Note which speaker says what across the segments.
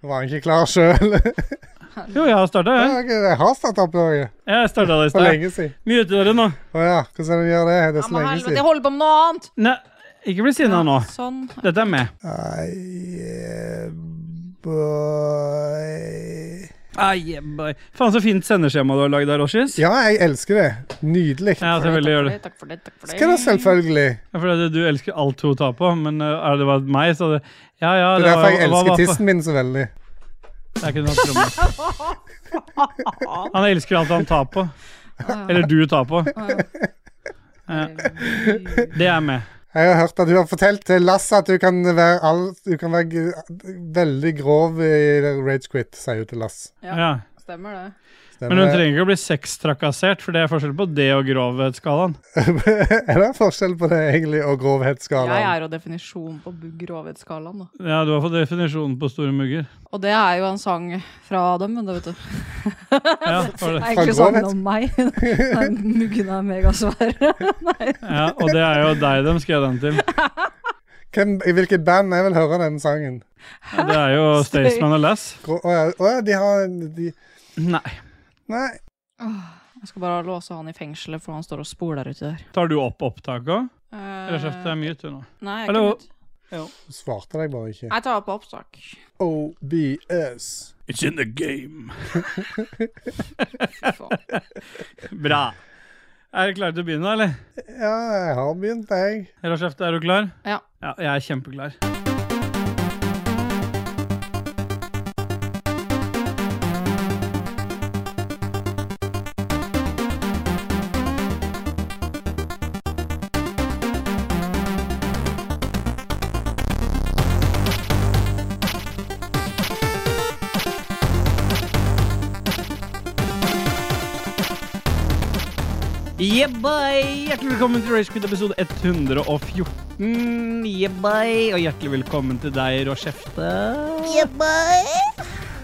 Speaker 1: Var han ikke klar sjøl?
Speaker 2: Jo, jeg har starta, jeg.
Speaker 1: jeg har starta opp Norge.
Speaker 2: Jeg starta det i
Speaker 1: For
Speaker 2: stad.
Speaker 1: lenge siden.
Speaker 2: Mute dere nå.
Speaker 1: Å ja, hvordan er det de gjør det? Det er
Speaker 3: Ja,
Speaker 1: så
Speaker 3: men
Speaker 1: lenge
Speaker 3: helvete, jeg
Speaker 1: siden.
Speaker 3: holder på med noe annet!
Speaker 2: Nei, ikke bli sinna nå.
Speaker 3: Sånn.
Speaker 2: Dette er med.
Speaker 1: Nei, eh, boy.
Speaker 2: Ai, boy. Faen, så fint sendeskjema du har lagd der, Oshis.
Speaker 1: Ja, jeg elsker det. Nydelig.
Speaker 2: Ja, selvfølgelig gjør det.
Speaker 3: Takk for det, takk for det.
Speaker 1: Skal det selvfølgelig.
Speaker 2: Ja, for det, du elsker alt hun tar på, men eh, er det bare meg, så det Ja, ja,
Speaker 1: Det er derfor jeg
Speaker 2: var- hva var
Speaker 1: elsker
Speaker 2: på-
Speaker 1: tissen min så veldig.
Speaker 2: Det er ikke noe tromme. Han elsker alt han tar på. Eller du tar på. Ja. Det er med.
Speaker 1: Jeg har hørt at hun har fortalt til Lasse at hun kan være, all, hun kan være g- veldig grov i Rage Quit, sier hun til Lass.
Speaker 2: Ja.
Speaker 3: Stemmer det.
Speaker 1: Stemmer
Speaker 2: Men hun
Speaker 1: det?
Speaker 2: trenger ikke å bli sextrakassert, for det er forskjell på det og grovhetsskalaen.
Speaker 1: er det forskjell på det egentlig og
Speaker 3: Jeg
Speaker 1: grovhetsskalaen?
Speaker 3: er jo definisjonen på bugg rovhetsskalaen, da.
Speaker 2: Ja, du har fått definisjonen på store mugger.
Speaker 3: Og det er jo en sang fra dem, men det vet du.
Speaker 2: Ja, var det.
Speaker 4: Det er egentlig
Speaker 1: Fra
Speaker 4: sånn om meg. Den muggen er megasvær. Nei.
Speaker 2: Ja, og det er jo deg de skrev den til.
Speaker 1: Hvem, I hvilket band jeg vil høre den sangen?
Speaker 2: Ja, det er jo Staysman og Lass.
Speaker 1: Gro- Å ja, å ja, de har en de,
Speaker 2: Nei.
Speaker 1: Nei.
Speaker 3: Jeg skal bare låse han i fengselet, for han står og spoler uti der.
Speaker 2: Tar du opp opptaket òg? Eller kjeft, det er
Speaker 3: Eh,
Speaker 2: mute du nå.
Speaker 3: nei, jeg
Speaker 2: Hallo?
Speaker 3: kan ikke.
Speaker 1: Hun svarte deg bare ikke.
Speaker 3: Jeg tar på opptak.
Speaker 1: OBS.
Speaker 2: It's in the game.
Speaker 3: Fy faen.
Speaker 2: Bra. Er du klar til å begynne, eller?
Speaker 1: Ja, jeg har begynt, jeg.
Speaker 2: Lars Hefte, er du klar?
Speaker 3: Ja.
Speaker 2: Ja, jeg er kjempeklar. Yeah, boy! Hjertelig velkommen til Race Quit episode 114. Yeah, boy! Og hjertelig velkommen til deg, Rochefte. Yeah, boy!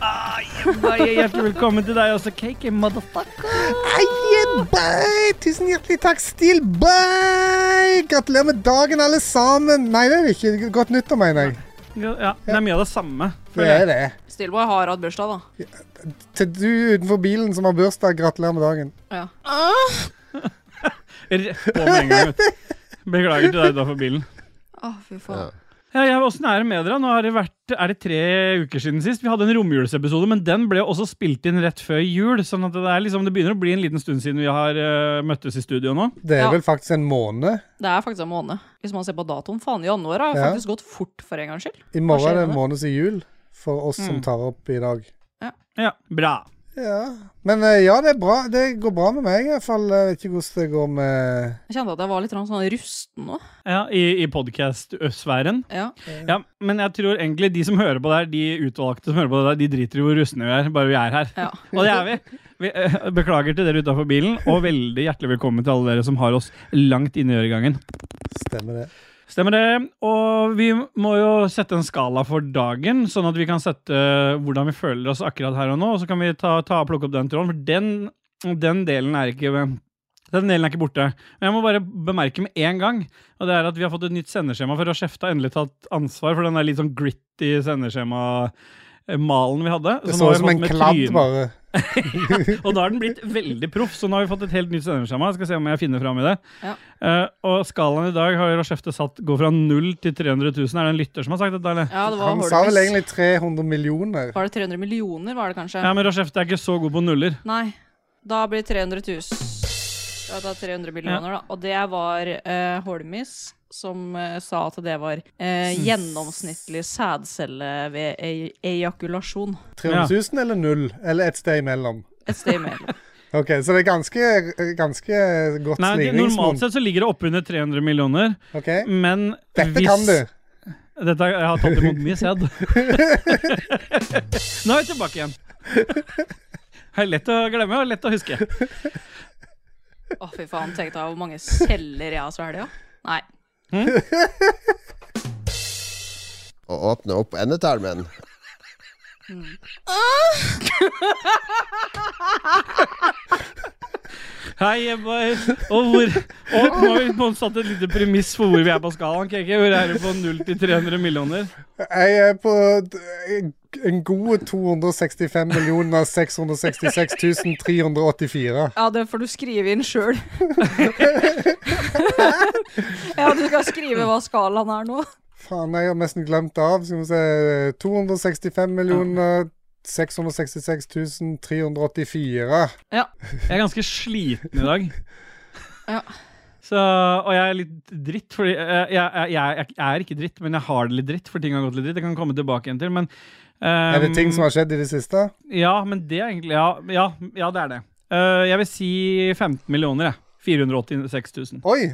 Speaker 2: Ah, yeah, boy! Og Hjertelig velkommen til deg også, KK Motherfucker.
Speaker 1: Eie, bye! Tusen hjertelig takk, Stil. Bye! Gratulerer med dagen, alle sammen. Nei, det er det ikke. Godt nyttår, mener jeg.
Speaker 2: Ja, det er mye av det samme.
Speaker 1: Det er det.
Speaker 3: Stillboy har hatt bursdag, da.
Speaker 1: Til du utenfor bilen som har bursdag, gratulerer med dagen.
Speaker 3: Ja.
Speaker 2: Rett på med en gang. vet du. Beklager til deg utenfor bilen.
Speaker 3: Å, fy faen.
Speaker 2: Ja, jeg, Åssen er det med dere? Nå har det vært, er det tre uker siden sist. Vi hadde en romjulsepisode, men den ble også spilt inn rett før jul. sånn at det, er liksom, det begynner å bli en liten stund siden vi har eh, møttes i studio nå.
Speaker 1: Det er
Speaker 3: Ja.
Speaker 1: vel faktisk en måned.
Speaker 3: Det er faktisk en måned. Hvis man ser på datoen. Faen, januar har
Speaker 1: Ja.
Speaker 3: faktisk gått fort, for en gangs skyld.
Speaker 1: I morgen
Speaker 3: Hva
Speaker 1: er
Speaker 3: skjer
Speaker 1: det en
Speaker 3: med det?
Speaker 1: måned til jul for oss som
Speaker 2: Mm.
Speaker 1: tar opp i dag.
Speaker 2: Ja, Bra.
Speaker 1: Ja. Men eh, ja, det er bra. Det går bra med meg, i hvert fall. Jeg vet ikke hvordan det går med
Speaker 3: Jeg kjente at jeg var litt sånn rusten nå.
Speaker 2: Ja, I, i podkast-sfæren.
Speaker 3: Ja.
Speaker 2: Ja, men jeg tror egentlig de som hører på det her, de utvalgte som hører på det her, de driter i hvor rustne vi er, bare vi er her.
Speaker 3: Ja.
Speaker 2: Og det er vi. vi eh, beklager til dere utafor bilen, og veldig hjertelig velkommen til alle dere som har oss langt inne i øregangen.
Speaker 1: Stemmer det.
Speaker 2: Stemmer det. Og vi må jo sette en skala for dagen, sånn at vi kan sette eh, hvordan vi føler oss akkurat her og nå. Og så kan vi ta, ta plukke opp den tråden, for den, den delen er ikke den delen er ikke borte. Men jeg må bare bemerke med en gang og det er at vi har fått et nytt sendeskjema. For Rochefte har endelig tatt ansvar for den der litt sånn gritty sendeskjema-malen vi hadde.
Speaker 1: Det
Speaker 2: nå
Speaker 1: så ut
Speaker 2: har vi
Speaker 1: som
Speaker 2: fått
Speaker 1: en
Speaker 2: med
Speaker 1: kladd,
Speaker 2: tryn-
Speaker 1: bare.
Speaker 2: og da har den blitt veldig proff, så nå har vi fått et helt nytt sendeskjema. Jeg skal se om jeg finner fram i det.
Speaker 3: Ja.
Speaker 2: Eh, og skalaen i dag har Rochefte satt går fra 0 til 300 000. Er det en lytter som har sagt dette, eller?
Speaker 3: ja, det var
Speaker 1: Han sa vel
Speaker 3: Hordalis.
Speaker 1: egentlig 300 millioner.
Speaker 3: Var det 300 millioner, var det kanskje?
Speaker 2: Ja, men Rochefte er ikke så god på nuller.
Speaker 3: Nei. Da blir det 300 000. Ja, da 300 millioner, da. Og det var eh, Holmis som eh, sa at det var eh, gjennomsnittlig sædcelle ved e ejakulasjon.
Speaker 1: 300 000 eller null? Eller et sted imellom?
Speaker 3: Et sted imellom.
Speaker 1: Ok, så det er ganske, ganske godt
Speaker 2: Nei, det- Normalt
Speaker 1: slingringsmonn.
Speaker 2: sett så ligger det oppunder 300 millioner,
Speaker 1: Ok,
Speaker 2: men
Speaker 1: Dette
Speaker 2: hvis
Speaker 1: kan du.
Speaker 2: Dette, jeg har tatt imot mye sæd. Nå er vi tilbake igjen. Det er lett å glemme og lett å huske.
Speaker 3: Å, fy faen. Tenk deg hvor mange celler jeg har svelga. Nei.
Speaker 5: Å åpne opp endetarmen.
Speaker 2: Hei, Ebba. Og hvor og Nå har vi på en måte satt et lite premiss for hvor vi er på skalaen. KK. Hvor er du på 0 til 300 millioner?
Speaker 1: Jeg er på d- en god 265 millioner 666 384.
Speaker 3: Ja, det får du skrive inn sjøl. ja, du skal skrive hva skalaen er nå.
Speaker 1: Faen, jeg har nesten glemt det av. Skal vi se 265 millioner 666 384.
Speaker 2: Jeg er ganske sliten i dag.
Speaker 3: Ja.
Speaker 2: Så, og jeg er litt dritt, fordi eh, jeg, jeg, jeg, jeg er ikke dritt, men jeg har det litt dritt, for ting har gått litt dritt. Jeg kan komme tilbake igjen til, men ehm,
Speaker 1: Er det
Speaker 2: Um,
Speaker 1: ting som har skjedd i det siste?
Speaker 2: Ja, men det er egentlig Ja, ja, ja det er det. Eh, jeg vil si 15 millioner, jeg. 486 000.
Speaker 1: Oi!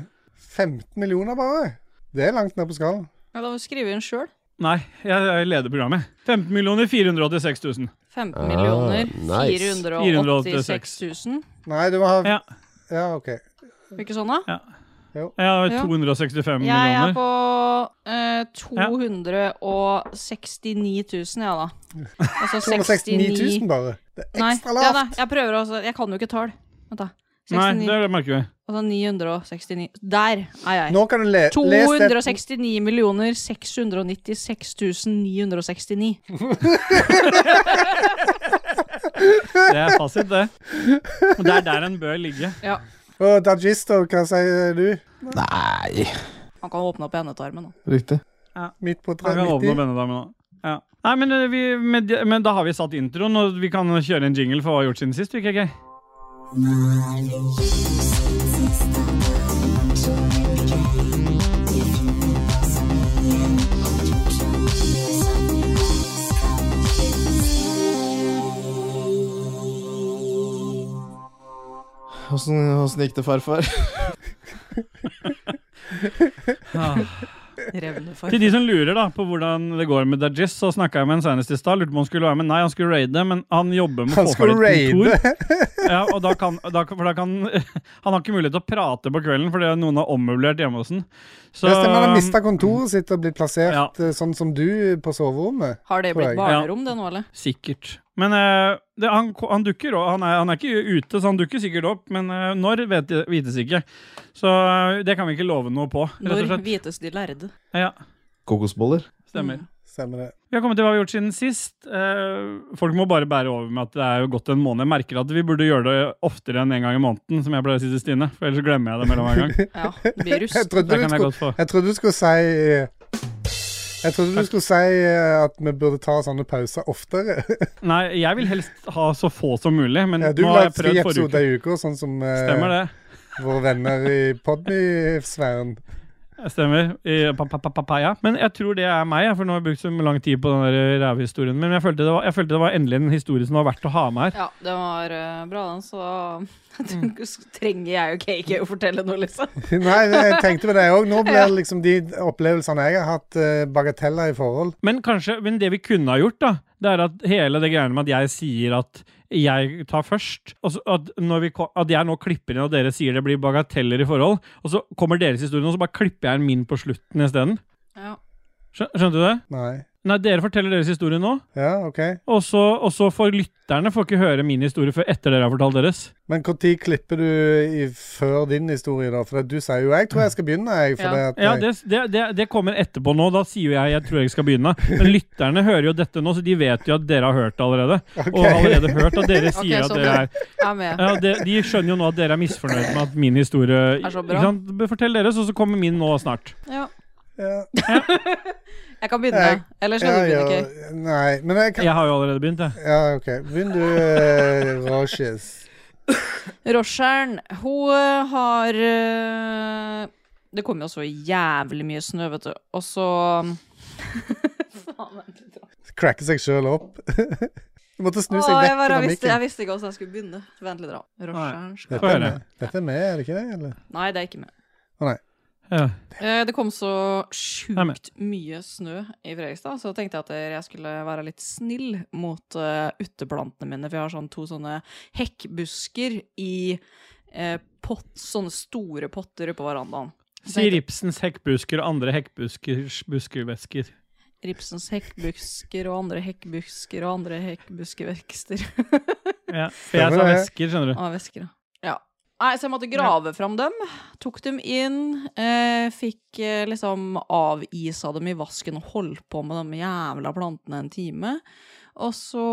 Speaker 1: 15 millioner bare. Det er langt ned på skalaen.
Speaker 3: Ja, da må du skrive inn sjøl.
Speaker 2: Nei, jeg, jeg leder programmet. 15 millioner 486 000.
Speaker 3: 15
Speaker 5: Ah,
Speaker 3: millioner
Speaker 5: nice.
Speaker 3: 486 000.
Speaker 1: Nei, du må ha
Speaker 2: Ja.
Speaker 1: Ja, OK.
Speaker 3: Ikke sånn, da?
Speaker 2: Jeg har
Speaker 3: Ja.
Speaker 2: 265
Speaker 3: Jeg er
Speaker 2: millioner.
Speaker 3: på eh, 269 000, ja da. Altså
Speaker 1: 269 000, bare. Det er
Speaker 3: Nei,
Speaker 1: ekstra
Speaker 3: ja, da,
Speaker 1: lavt.
Speaker 3: jeg prøver også. Jeg kan jo ikke tall. Vent, da.
Speaker 2: Nei,
Speaker 3: 69,
Speaker 2: det er det merker vi.
Speaker 3: altså 969 Der er jeg.
Speaker 1: Nå kan du le lese det.
Speaker 3: 269 millioner 696 969.
Speaker 2: Det er fasit, det. Og det er der en bør ligge.
Speaker 1: Og Dagisto, hva sier du?
Speaker 6: Nei
Speaker 3: Han kan åpne opp i endetarmen. da.
Speaker 6: Riktig.
Speaker 1: Midt på
Speaker 2: Jeg kan åpne opp
Speaker 1: 390?
Speaker 2: denne damen nå. Ja. Nei, men, eh, vi, med, de- men da har vi satt introen, og vi kan kjøre en jingle for hva vi har gjort siden sist. vi, KK.
Speaker 6: Åssen åssen gikk det, farfar?
Speaker 2: Ah.
Speaker 3: Revneform.
Speaker 2: Til de som lurer da på hvordan det går med Dajis, så snakka jeg med en senest i stad. Lurte på om han skulle være med. Nei, han skulle raide, men han jobber med å
Speaker 1: Han
Speaker 2: få
Speaker 1: skulle
Speaker 2: for et kontor.
Speaker 1: raide.
Speaker 2: Ja, og da kan, da, kan- for da kan, han har ikke mulighet til å prate på kvelden fordi noen har ommøblert hjemme hos han. Så-
Speaker 1: Det stemmer, han har mista kontoret sitt og blitt plassert
Speaker 2: Ja.
Speaker 1: eh, sånn som du på soverommet.
Speaker 3: Har det
Speaker 1: Tror jeg.
Speaker 3: blitt barnerom, det nå, eller?
Speaker 2: Sikkert. Men eh, det, han, ko- han dukker opp. Han er, han er ikke ute, så han dukker sikkert opp. Men eh, når, vet, vites ikke. Så eh, det kan vi ikke love noe på, rett og
Speaker 3: Når
Speaker 2: slett.
Speaker 3: vites de lærde? Mm.
Speaker 2: Ja,
Speaker 6: Kokosboller?
Speaker 2: stemmer.
Speaker 1: Stemmer det.
Speaker 2: Vi har kommet til hva vi har gjort siden sist. Eh, folk må bare bære over med at det er jo gått en måned. Jeg merker at vi burde gjøre det oftere enn en gang i måneden, som jeg pleier å si til Stine. For ellers så glemmer jeg det mellom hver gang.
Speaker 3: Ja, det blir
Speaker 1: Jeg
Speaker 3: rust.
Speaker 1: trodde
Speaker 2: Det
Speaker 1: du
Speaker 2: kan jeg
Speaker 1: skulle,
Speaker 2: godt få.
Speaker 1: jeg trodde du skulle si eh, Jeg trodde du
Speaker 2: Takk.
Speaker 1: skulle si eh, at vi burde ta sånne pauser oftere.
Speaker 2: Nei, jeg vil helst ha så få som mulig, men
Speaker 1: Ja, du
Speaker 2: nå
Speaker 1: vil
Speaker 2: har
Speaker 1: ha
Speaker 2: jeg
Speaker 1: tre
Speaker 2: prøvd forrige uke.
Speaker 1: episoder i uka, sånn som eh,
Speaker 2: Stemmer det.
Speaker 1: våre venner i Podmy-sfæren.
Speaker 2: Stemmer. I pa- pa- pa- papaya. Men jeg tror det er meg, jeg, for nå har jeg brukt så lang tid på den der rævehistorien. min, Men jeg følte, det var, jeg følte det var endelig en historie som var verdt å ha med her.
Speaker 3: Ja, det var eh, bra, den, så da trenger jeg jo ikke å fortelle noe, liksom.
Speaker 1: Nei, det- jeg tenkte på det òg. Nå blir liksom de opplevelsene jeg har hatt, eh, bagateller i forhold.
Speaker 2: Men kanskje, men det vi kunne ha gjort, da, det er at hele det greiene med at jeg sier at jeg tar først, og så at, når vi, ko- at jeg nå klipper inn og dere sier det blir bagateller i forhold, og så kommer deres historie, og så bare klipper jeg inn min på slutten isteden.
Speaker 3: Ja.
Speaker 2: Skjø- Skjønte du det?
Speaker 1: Nei.
Speaker 2: Nei, dere forteller deres historie nå,
Speaker 1: Ja, OK.
Speaker 2: og så, og så får lytterne får ikke høre min historie før etter dere har fortalt deres.
Speaker 1: Men når klipper du i, før din historie, da? For at du sier jo 'jeg tror jeg skal begynne', jeg. For
Speaker 3: Ja.
Speaker 1: det at
Speaker 2: Ja,
Speaker 1: jeg-
Speaker 2: det, det, det, det kommer etterpå nå. Da sier jo jeg jeg tror jeg skal begynne. Men lytterne hører jo dette nå, så de vet jo at dere har hørt det allerede. Og har allerede hørt at dere
Speaker 3: Ok,
Speaker 2: sier
Speaker 3: så
Speaker 2: at dere
Speaker 3: bra.
Speaker 2: er
Speaker 3: Jeg er med.
Speaker 2: ja, de, de skjønner jo nå at dere er misfornøyd med at min historie
Speaker 3: Er så bra.
Speaker 2: ikke sant? Fortell deres, og så kommer min nå snart.
Speaker 3: Ja.
Speaker 1: ja.
Speaker 3: Jeg kan begynne,
Speaker 1: Jeg-
Speaker 3: eller skal
Speaker 1: Ja,
Speaker 3: du
Speaker 1: ja,
Speaker 3: begynne, Kay?
Speaker 1: Nei, men jeg kan
Speaker 2: Jeg har jo allerede begynt, jeg.
Speaker 1: Ja, OK. Begynn du, eh, Roshes.
Speaker 3: Rosheren, hun eh, har eh, Det kom jo så jævlig mye snø, vet du, og så Faen, vent litt.
Speaker 1: Cracker seg sjøl opp. Du måtte snu
Speaker 3: Åh,
Speaker 1: seg
Speaker 3: jeg,
Speaker 1: vekk
Speaker 3: bare,
Speaker 1: fra
Speaker 3: visste, jeg
Speaker 1: mikken.
Speaker 3: visste ikke hvordan jeg skulle begynne. Vent litt, da. Rosheren skal
Speaker 1: Dette er
Speaker 2: Få høre.
Speaker 1: med, Dette er med, er det ikke det? Eller?
Speaker 3: Nei, det er ikke med.
Speaker 2: Ja.
Speaker 3: Eh, Det kom så
Speaker 2: Nei, men-
Speaker 3: sjukt mye snø i Fredrikstad, så tenkte jeg at jeg skulle være litt snill mot eh, uteplantene mine. For jeg har sånn to sånne hekkbusker i eh, pott, sånne store potter på verandaen.
Speaker 2: Sier Ibsens hekkbusker og andre hekkbuskers buskervesker.
Speaker 3: Ripsens hekkbusker og andre hekkbusker og andre hekkbuskevekster.
Speaker 2: Ja. For jeg sa
Speaker 1: Stemmer det.
Speaker 2: vesker, skjønner du.
Speaker 3: Av væsker, da. Ja. Nei, så jeg måtte grave fram dem. Tok dem inn. Eh, fikk eh, liksom avisa dem i vasken og holdt på med de jævla plantene en time. Og så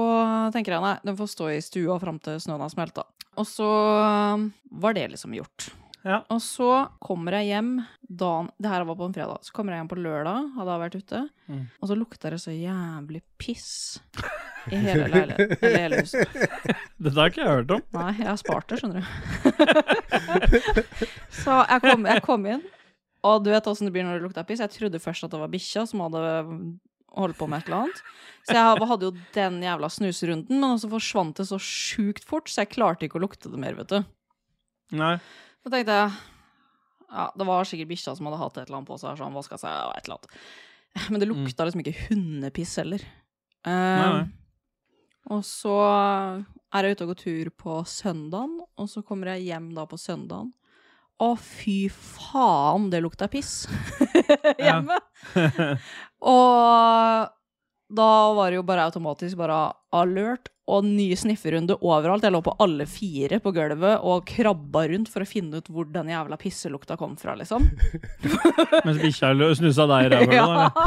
Speaker 3: tenker jeg nei, de får stå i stua fram til snøen har smelta. Og så eh, var det liksom gjort.
Speaker 2: Ja.
Speaker 3: Og så kommer jeg hjem dagen Det her var på en fredag. Så kommer jeg hjem på lørdag, hadde jeg vært ute.
Speaker 2: Mm.
Speaker 3: Og så lukta det så jævlig piss i hele leiligheten. Eller hele huset.
Speaker 2: Dette har ikke jeg hørt om.
Speaker 3: Nei, jeg har spart det, skjønner du. så jeg kom, jeg kom inn, og du vet åssen det blir når det lukter piss. Jeg trodde først at det var bikkja som hadde holdt på med et eller annet. Så jeg hadde jo den jævla snuserunden, men så forsvant det så sjukt fort, så jeg klarte ikke å lukte det mer, vet du.
Speaker 2: Nei.
Speaker 3: Så tenkte jeg Ja, det var sikkert bikkja som hadde hatt et eller annet på seg, så han vaska seg og et eller annet. Men det lukta liksom ikke hundepiss heller. Eh,
Speaker 2: Mm. Nei, nei.
Speaker 3: Og så er jeg ute og går tur på søndagen, og så kommer jeg hjem da på søndagen. Å, fy faen, det lukta piss hjemme! og da var det jo bare automatisk bare alert og ny snifferunde overalt. Jeg lå på alle fire på gulvet og krabba rundt for å finne ut hvor den jævla pisselukta kom fra, liksom.
Speaker 2: Mens bikkja lø- snusa deg i ræva. da,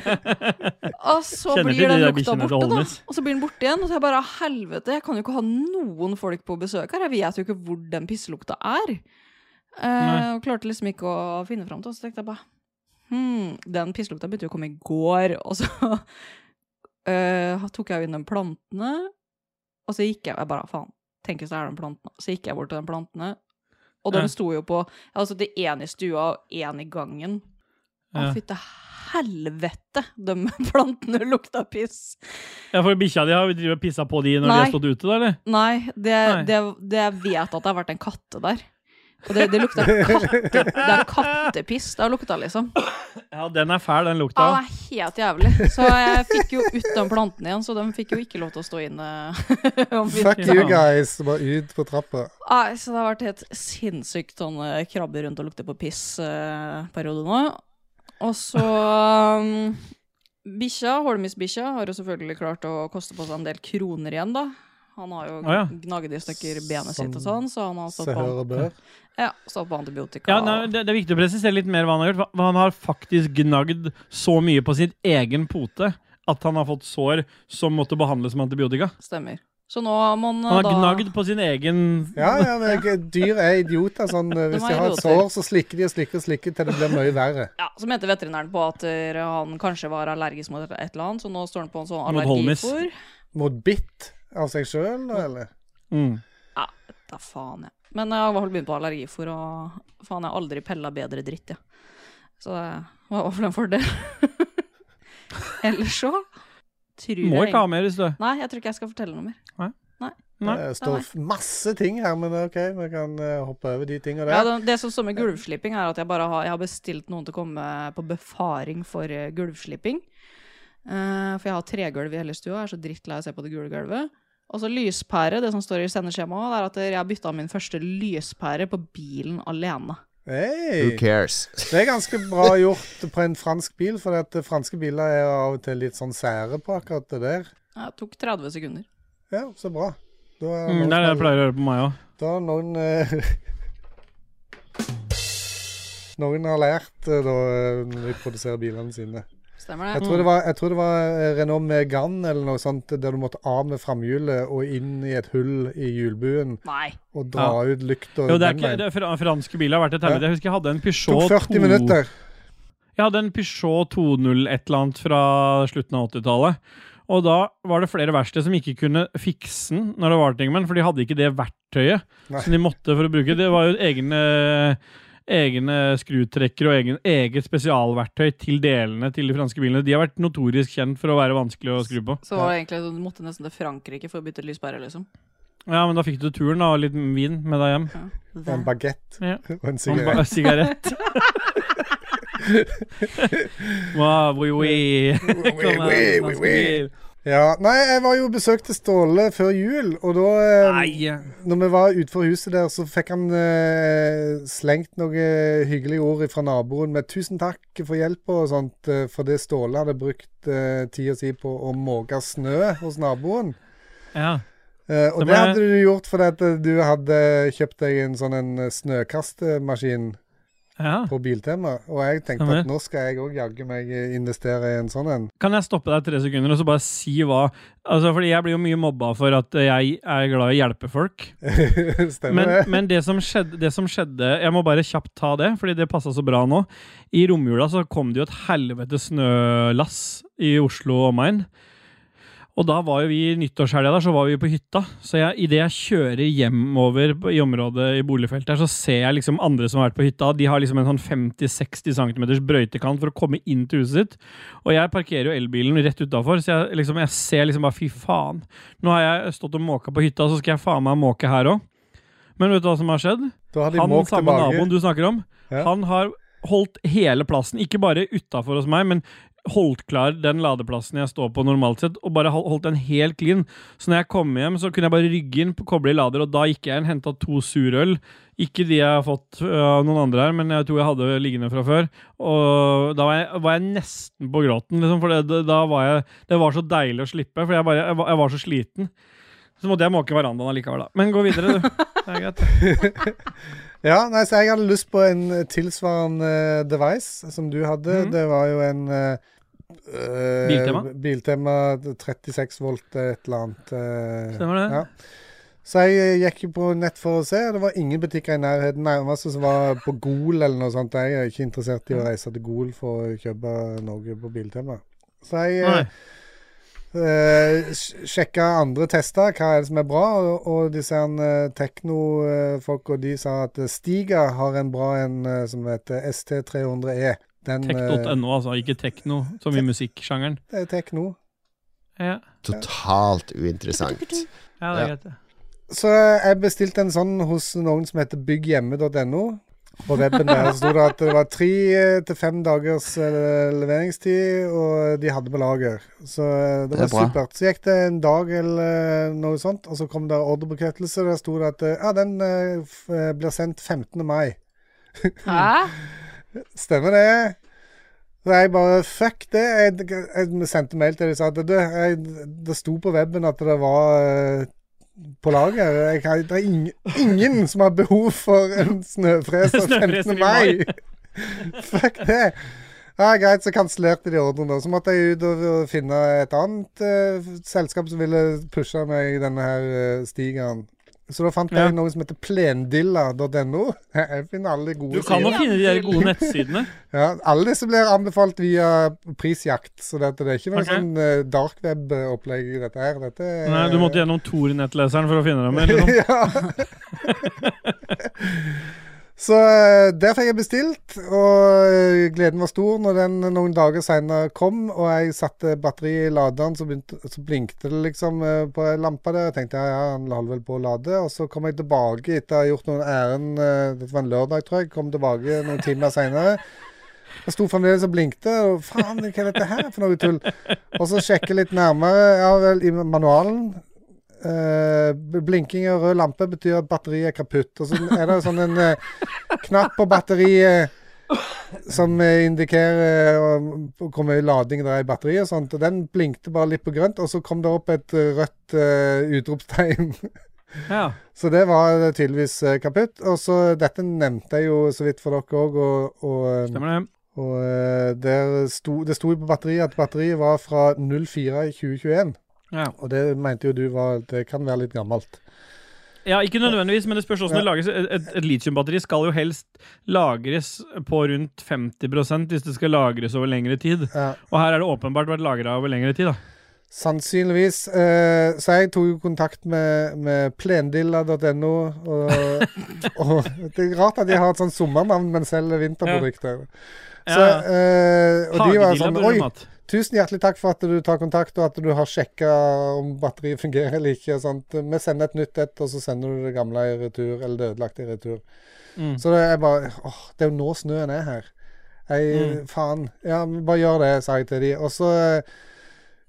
Speaker 3: Og så
Speaker 2: Kjenner til
Speaker 3: blir
Speaker 2: de
Speaker 3: den
Speaker 2: der
Speaker 3: lukta
Speaker 2: bikkjene til
Speaker 3: borte, da.
Speaker 2: Holmnes.
Speaker 3: Og så blir den borte igjen. Og så er jeg bare helvete, jeg kan jo ikke ha noen folk på besøk her. Jeg vet jo ikke hvor den pisselukta er. Eh,
Speaker 2: Nei.
Speaker 3: og klarte liksom ikke å finne fram til det. Så tenkte jeg bare hm, den pisselukta begynte jo å komme i går. Og så eh, tok jeg jo inn de plantene. Og så gikk jeg jeg bare faen, tenk hvis det er de plantene. Så gikk jeg bort til de plantene. Og de
Speaker 2: Ja.
Speaker 3: sto jo på Altså, det én i stua og én i gangen. Å,
Speaker 2: Ja.
Speaker 3: fytte helvete! De plantene lukta piss.
Speaker 2: Ja, for bikkja di har jo drivet og pissa på de når de
Speaker 3: Nei.
Speaker 2: har stått ute, da, eller?
Speaker 3: Nei, det,
Speaker 2: Nei.
Speaker 3: Det, det jeg vet at det har vært en katte der. Og det, det lukta katte, det er kattepiss. Det har lukta, liksom.
Speaker 2: Ja, den er fæl, den
Speaker 3: Ja,
Speaker 2: lukta.
Speaker 3: det er helt jævlig. Så jeg fikk jo ut de plantene igjen, så de fikk jo ikke lov til å stå inne. om
Speaker 1: Fuck
Speaker 3: vinteren.
Speaker 1: you guys, bare ut på trappa.
Speaker 3: Nei, Ah, så det har vært helt sinnssykt sånn eh, krabbe rundt og lukte på piss-periode nå. Og så um, Bikkja, Holmis-bikkja, har jo selvfølgelig klart å koste på seg en del kroner igjen, da. Han har jo
Speaker 2: Å, ja.
Speaker 3: gnagd i stykker benet
Speaker 1: Sånn.
Speaker 3: sitt og sånn, så han har
Speaker 1: Se
Speaker 3: stått på,
Speaker 1: hør og bør.
Speaker 3: ja, stått på antibiotika.
Speaker 2: Ja, nei, det, det er viktig å presisere litt mer hva han har gjort. Hva- hva Han har faktisk gnagd så mye på sin egen pote at han har fått sår som måtte behandles med antibiotika.
Speaker 3: Stemmer. Så nå må han, eh,
Speaker 2: Han har
Speaker 3: da
Speaker 2: gnagd på sin egen
Speaker 1: Ja, ja, men jeg- dyr er idioter. Sånn, eh, hvis
Speaker 3: er
Speaker 1: de har et
Speaker 3: idioter.
Speaker 1: sår, så slikker de og slikker og slikker til det blir mye verre.
Speaker 3: Ja, Så mente veterinæren på at eh, han kanskje var allergisk mot et eller annet, så nå står han på en sånn
Speaker 2: Mot Holmis.
Speaker 3: allergifor.
Speaker 1: Mot bitt av seg sjøl, eller?
Speaker 2: mm.
Speaker 3: Da faen, jeg. Men jeg har begynt på allergifor, og faen, jeg har aldri pella bedre dritt, jeg. Så det var i hvert fall en fordel. Ellers så tror
Speaker 2: Må
Speaker 3: jeg
Speaker 2: ikke ha mer hvis du er
Speaker 3: Nei, jeg tror ikke jeg skal fortelle noe mer.
Speaker 2: Nei.
Speaker 1: Det står f- masse ting her, men OK, vi kan eh, hoppe over de tinga
Speaker 3: Ja,
Speaker 1: der.
Speaker 3: det, det som står med gulvslipping, er at jeg bare har, jeg har bestilt noen til å komme på befaring for eh, gulvslipping. Eh, for jeg har tregulv i hele stua, jeg er så drittlei av å se på det gule gulvet. Og så lyspære, det som står i sendeskjemaet, det er at jeg bytta min første lyspære på bilen alene.
Speaker 5: Who
Speaker 1: Hey.
Speaker 5: cares?
Speaker 1: Det er ganske bra gjort på en fransk bil, for at eh, franske biler er av og til litt sånn sære på akkurat det der.
Speaker 3: Det tok 30 sekunder.
Speaker 1: Ja, så bra. Da er
Speaker 2: mm, Det er det jeg
Speaker 1: noen,
Speaker 2: pleier å gjøre på meg òg.
Speaker 1: da er noen eh, Noen har lært eh, da eh, når de produserer bilene sine.
Speaker 3: Stemmer
Speaker 1: Jeg
Speaker 2: Mm.
Speaker 3: det?
Speaker 1: tror det var, jeg tror det var eh, Renault Megane eller noe sånt, der du måtte av med framhjulet og inn i et hull i hjulbuen
Speaker 3: Nei.
Speaker 1: og dra ut lykta
Speaker 2: Jo, det er
Speaker 1: den
Speaker 2: ikke,
Speaker 1: veien.
Speaker 2: det er fra, franske biler har vært et helvete. Jeg husker jeg hadde en
Speaker 1: tok
Speaker 2: Peugeot
Speaker 1: 40
Speaker 2: to-
Speaker 1: minutter.
Speaker 2: Jeg hadde en Peugeot 201 et eller annet fra slutten av 80-tallet. Og da var det flere verksted som ikke kunne fikse den når det var ting med den, for de hadde ikke det verktøyet
Speaker 1: Nei.
Speaker 2: som de måtte for å bruke. Det var jo egne, egne skrutrekkere og egen, eget spesialverktøy til delene til de franske bilene. De har vært notorisk kjent for å være vanskelig å skru på.
Speaker 3: Så var det egentlig at du måtte nesten til Frankrike for å bytte lyspære, liksom.
Speaker 2: Ja, men da fikk du turen da, og litt vin med deg hjem.
Speaker 1: Og en bagett
Speaker 2: Ja.
Speaker 1: og en
Speaker 2: Og
Speaker 1: sigarett.
Speaker 2: ba- Sigarett. Wow, oui, oui. Kom her, franske bil.
Speaker 1: Ja, nei, jeg var jo og besøkte Ståle før jul, og da eh,
Speaker 2: Nei.
Speaker 1: Når vi var utenfor huset der, så fikk han eh, slengt noen hyggelige ord fra naboen med 'tusen takk for hjelpa' og sånt, eh, for det Ståle hadde brukt eh, tida si på å måke snø hos naboen.
Speaker 2: Ja.
Speaker 1: Eh, Eh, og det,
Speaker 2: Det må jeg-
Speaker 1: hadde du gjort fordi at eh, du hadde kjøpt deg en sånn en eh, snøkastemaskin
Speaker 2: Ja.
Speaker 1: på Biltema, og jeg tenkte
Speaker 2: Stemmer.
Speaker 1: at nå skal jeg òg jaggu meg eh, investere i en sånn en.
Speaker 2: Kan jeg stoppe deg tre sekunder og så bare si hva Altså, fordi jeg blir jo mye mobba for at jeg er glad i å hjelpe folk.
Speaker 1: Stemmer
Speaker 2: men,
Speaker 1: det?
Speaker 2: Men det som, skjedde, det som skjedde Jeg må bare kjapt ta det, fordi det passa så bra nå. I romjula så kom det jo et helvete snølass i Oslo og omegn. Og da var jo vi i nyttårshelga der, så var vi på hytta. Så jeg, idet jeg kjører hjemover på- i området i boligfeltet her, så ser jeg liksom andre som har vært på hytta. De har liksom en sånn 50-60 cm brøytekant for å komme inn til huset sitt. Og jeg parkerer jo elbilen rett utafor, så jeg, liksom, jeg ser liksom bare fy faen. Nå har jeg stått og måka på hytta, så skal jeg faen meg måke her òg. Men vet du hva som har skjedd?
Speaker 1: Da hadde jeg
Speaker 2: Han
Speaker 1: måkt
Speaker 2: samme
Speaker 1: tilbake.
Speaker 2: naboen du snakker om,
Speaker 1: Ja.
Speaker 2: han har holdt hele plassen, ikke bare utafor hos meg, men holdt klar den ladeplassen jeg står på normalt sett, og bare hol- holdt den helt clean. Så når jeg kom hjem, så kunne jeg bare rygge inn, koble i lader, og da gikk jeg inn, henta to surøl. Ikke de jeg har fått øh, av noen andre her, men jeg tror jeg hadde liggende fra før. Og da var jeg, var jeg nesten på gråten, liksom, for det, det, da var jeg, det var så deilig å slippe, for jeg, bare, jeg, var, jeg var så sliten. Så måtte jeg måke verandaen allikevel, da. Men gå videre, du. Det er greit.
Speaker 1: Ja, nei, så jeg hadde lyst på en eh, tilsvarende eh, device som du hadde.
Speaker 2: Mhm.
Speaker 1: Det var jo en eh, eh,
Speaker 2: Biltema?
Speaker 1: Biltema 36 volt eh, et eller annet. eh,
Speaker 2: Stemmer det.
Speaker 1: Ja. Så jeg eh, gikk jo på nett for å se, og det var ingen butikker i nærheten. Nærmeste som var på Gol eller noe sånt. Jeg er ikke interessert i å reise til Gol for å kjøpe noe på Biltema. Så jeg eh,
Speaker 2: Nei.
Speaker 1: Eh, sj- sjekke andre tester, hva er det som er bra, og, og disse uh, teknofolka de sa at eh, Stiga har en bra en eh, som heter ST300E. E. Den eh,
Speaker 2: Tech.no, altså. Ikke tekno, som i musikksjangeren.
Speaker 1: det er tekno.
Speaker 2: Ja,
Speaker 5: Totalt uinteressant.
Speaker 2: ja det er greit. det.
Speaker 1: Så eh, jeg bestilte en sånn hos noen som heter bygghjemme.no. På webben der så sto det at det var tre eh, til fem dagers eh, leveringstid, og de hadde på lager. Så eh, det
Speaker 6: Det er
Speaker 1: var
Speaker 6: bra.
Speaker 1: supert. Så gikk det en dag eller eh, noe sånt, og så kom det ordrebekreftelse. og Der sto det at eh, ja, den eh, f- eh, blir sendt 15. mai.
Speaker 3: Hæ?
Speaker 1: Stemmer det? Så jeg bare fuck det. Jeg, jeg, jeg sendte mail til dem og sa at du, jeg, det sto på webben at det var eh, på lager. Jeg, kan- det er ingen, ingen som har behov for en snøfreser
Speaker 2: Snøfreser i
Speaker 1: 15. mai. fuck det. Ja, Greit, så kansellerte de ordren. da. Så måtte jeg ut og, og finne et annet eh, selskap som ville pushe meg i denne her eh, stigeren. Så da fant
Speaker 2: Ja.
Speaker 1: jeg noe som heter plendilla.no. Jeg finner alle gode
Speaker 2: Du kan jo finne de der gode nettsidene.
Speaker 1: ja, alle disse blir anbefalt via prisjakt, så dette, det er ikke noe
Speaker 2: Ok.
Speaker 1: sånn eh, darkweb-opplegg i dette her. Dette er,
Speaker 2: Nei, Du måtte gjennom Tor-nettleseren for å finne dem. eller noe.
Speaker 1: Ja. Så eh, der fikk jeg bestilt, og eh, gleden var stor når den noen dager senere kom, og jeg satte batteri i laderen, så, begynte, så blinkte det liksom eh, på ei lampe der. Jeg tenkte ja, ja, han holder vel på å lade. Og så kom jeg tilbake etter å ha gjort noen ærend, eh, dette var en lørdag, tror jeg, kom tilbake noen timer seinere. Jeg sto fremdeles og blinkte. og Faen, hva er dette her for noe tull? Og så sjekke litt nærmere. Ja vel, i manualen eh, Blinking av rød lampe betyr at batteriet er kaputt. Og så er det sånn en eh, knapp på batteriet som eh, indikerer eh, hvor mye lading det er i batteriet og sånt. Og den blinkte bare litt på grønt, og så kom det opp et eh, rødt eh, utropstegn.
Speaker 2: Ja.
Speaker 1: Så det var tydeligvis eh, kaputt. Og så dette nevnte jeg jo så vidt for dere òg, og, og eh,
Speaker 2: Stemmer det.
Speaker 1: og eh, der sto, det sto jo på batteriet at batteriet var fra 04 i 2021.
Speaker 2: Ja.
Speaker 1: Og det mente jo du var Det kan være litt gammelt.
Speaker 2: ja, Ikke nødvendigvis, men det spørs hvordan det lages. Et, et- et litiumbatteri skal jo helst lagres på rundt 50 hvis det skal lagres over lengre tid.
Speaker 1: Ja.
Speaker 2: Og her er det åpenbart vært lagra over lengre tid. da.
Speaker 1: Sannsynligvis. eh, så jeg tok jo kontakt med, med plendilla.no. Og, og Det er rart at de har et sånt sommernavn, men selger vinterprodukter. Så,
Speaker 2: Ja.
Speaker 1: eh, og de var
Speaker 2: Hagedilla
Speaker 1: sånn
Speaker 2: burde
Speaker 1: Oi,
Speaker 2: du hatt.
Speaker 1: tusen hjertelig takk for at du tar kontakt, og at du har sjekka om batteriet fungerer eller ikke. og sånt. Vi sender et nytt et, og så sender du det gamle i retur, eller det ødelagte i retur.
Speaker 2: Mm.
Speaker 1: Så det er bare åh, det er jo nå snøen
Speaker 2: Mm.
Speaker 1: er her. Jeg, Faen. Ja, men bare gjør det, sa jeg til de. Og så eh,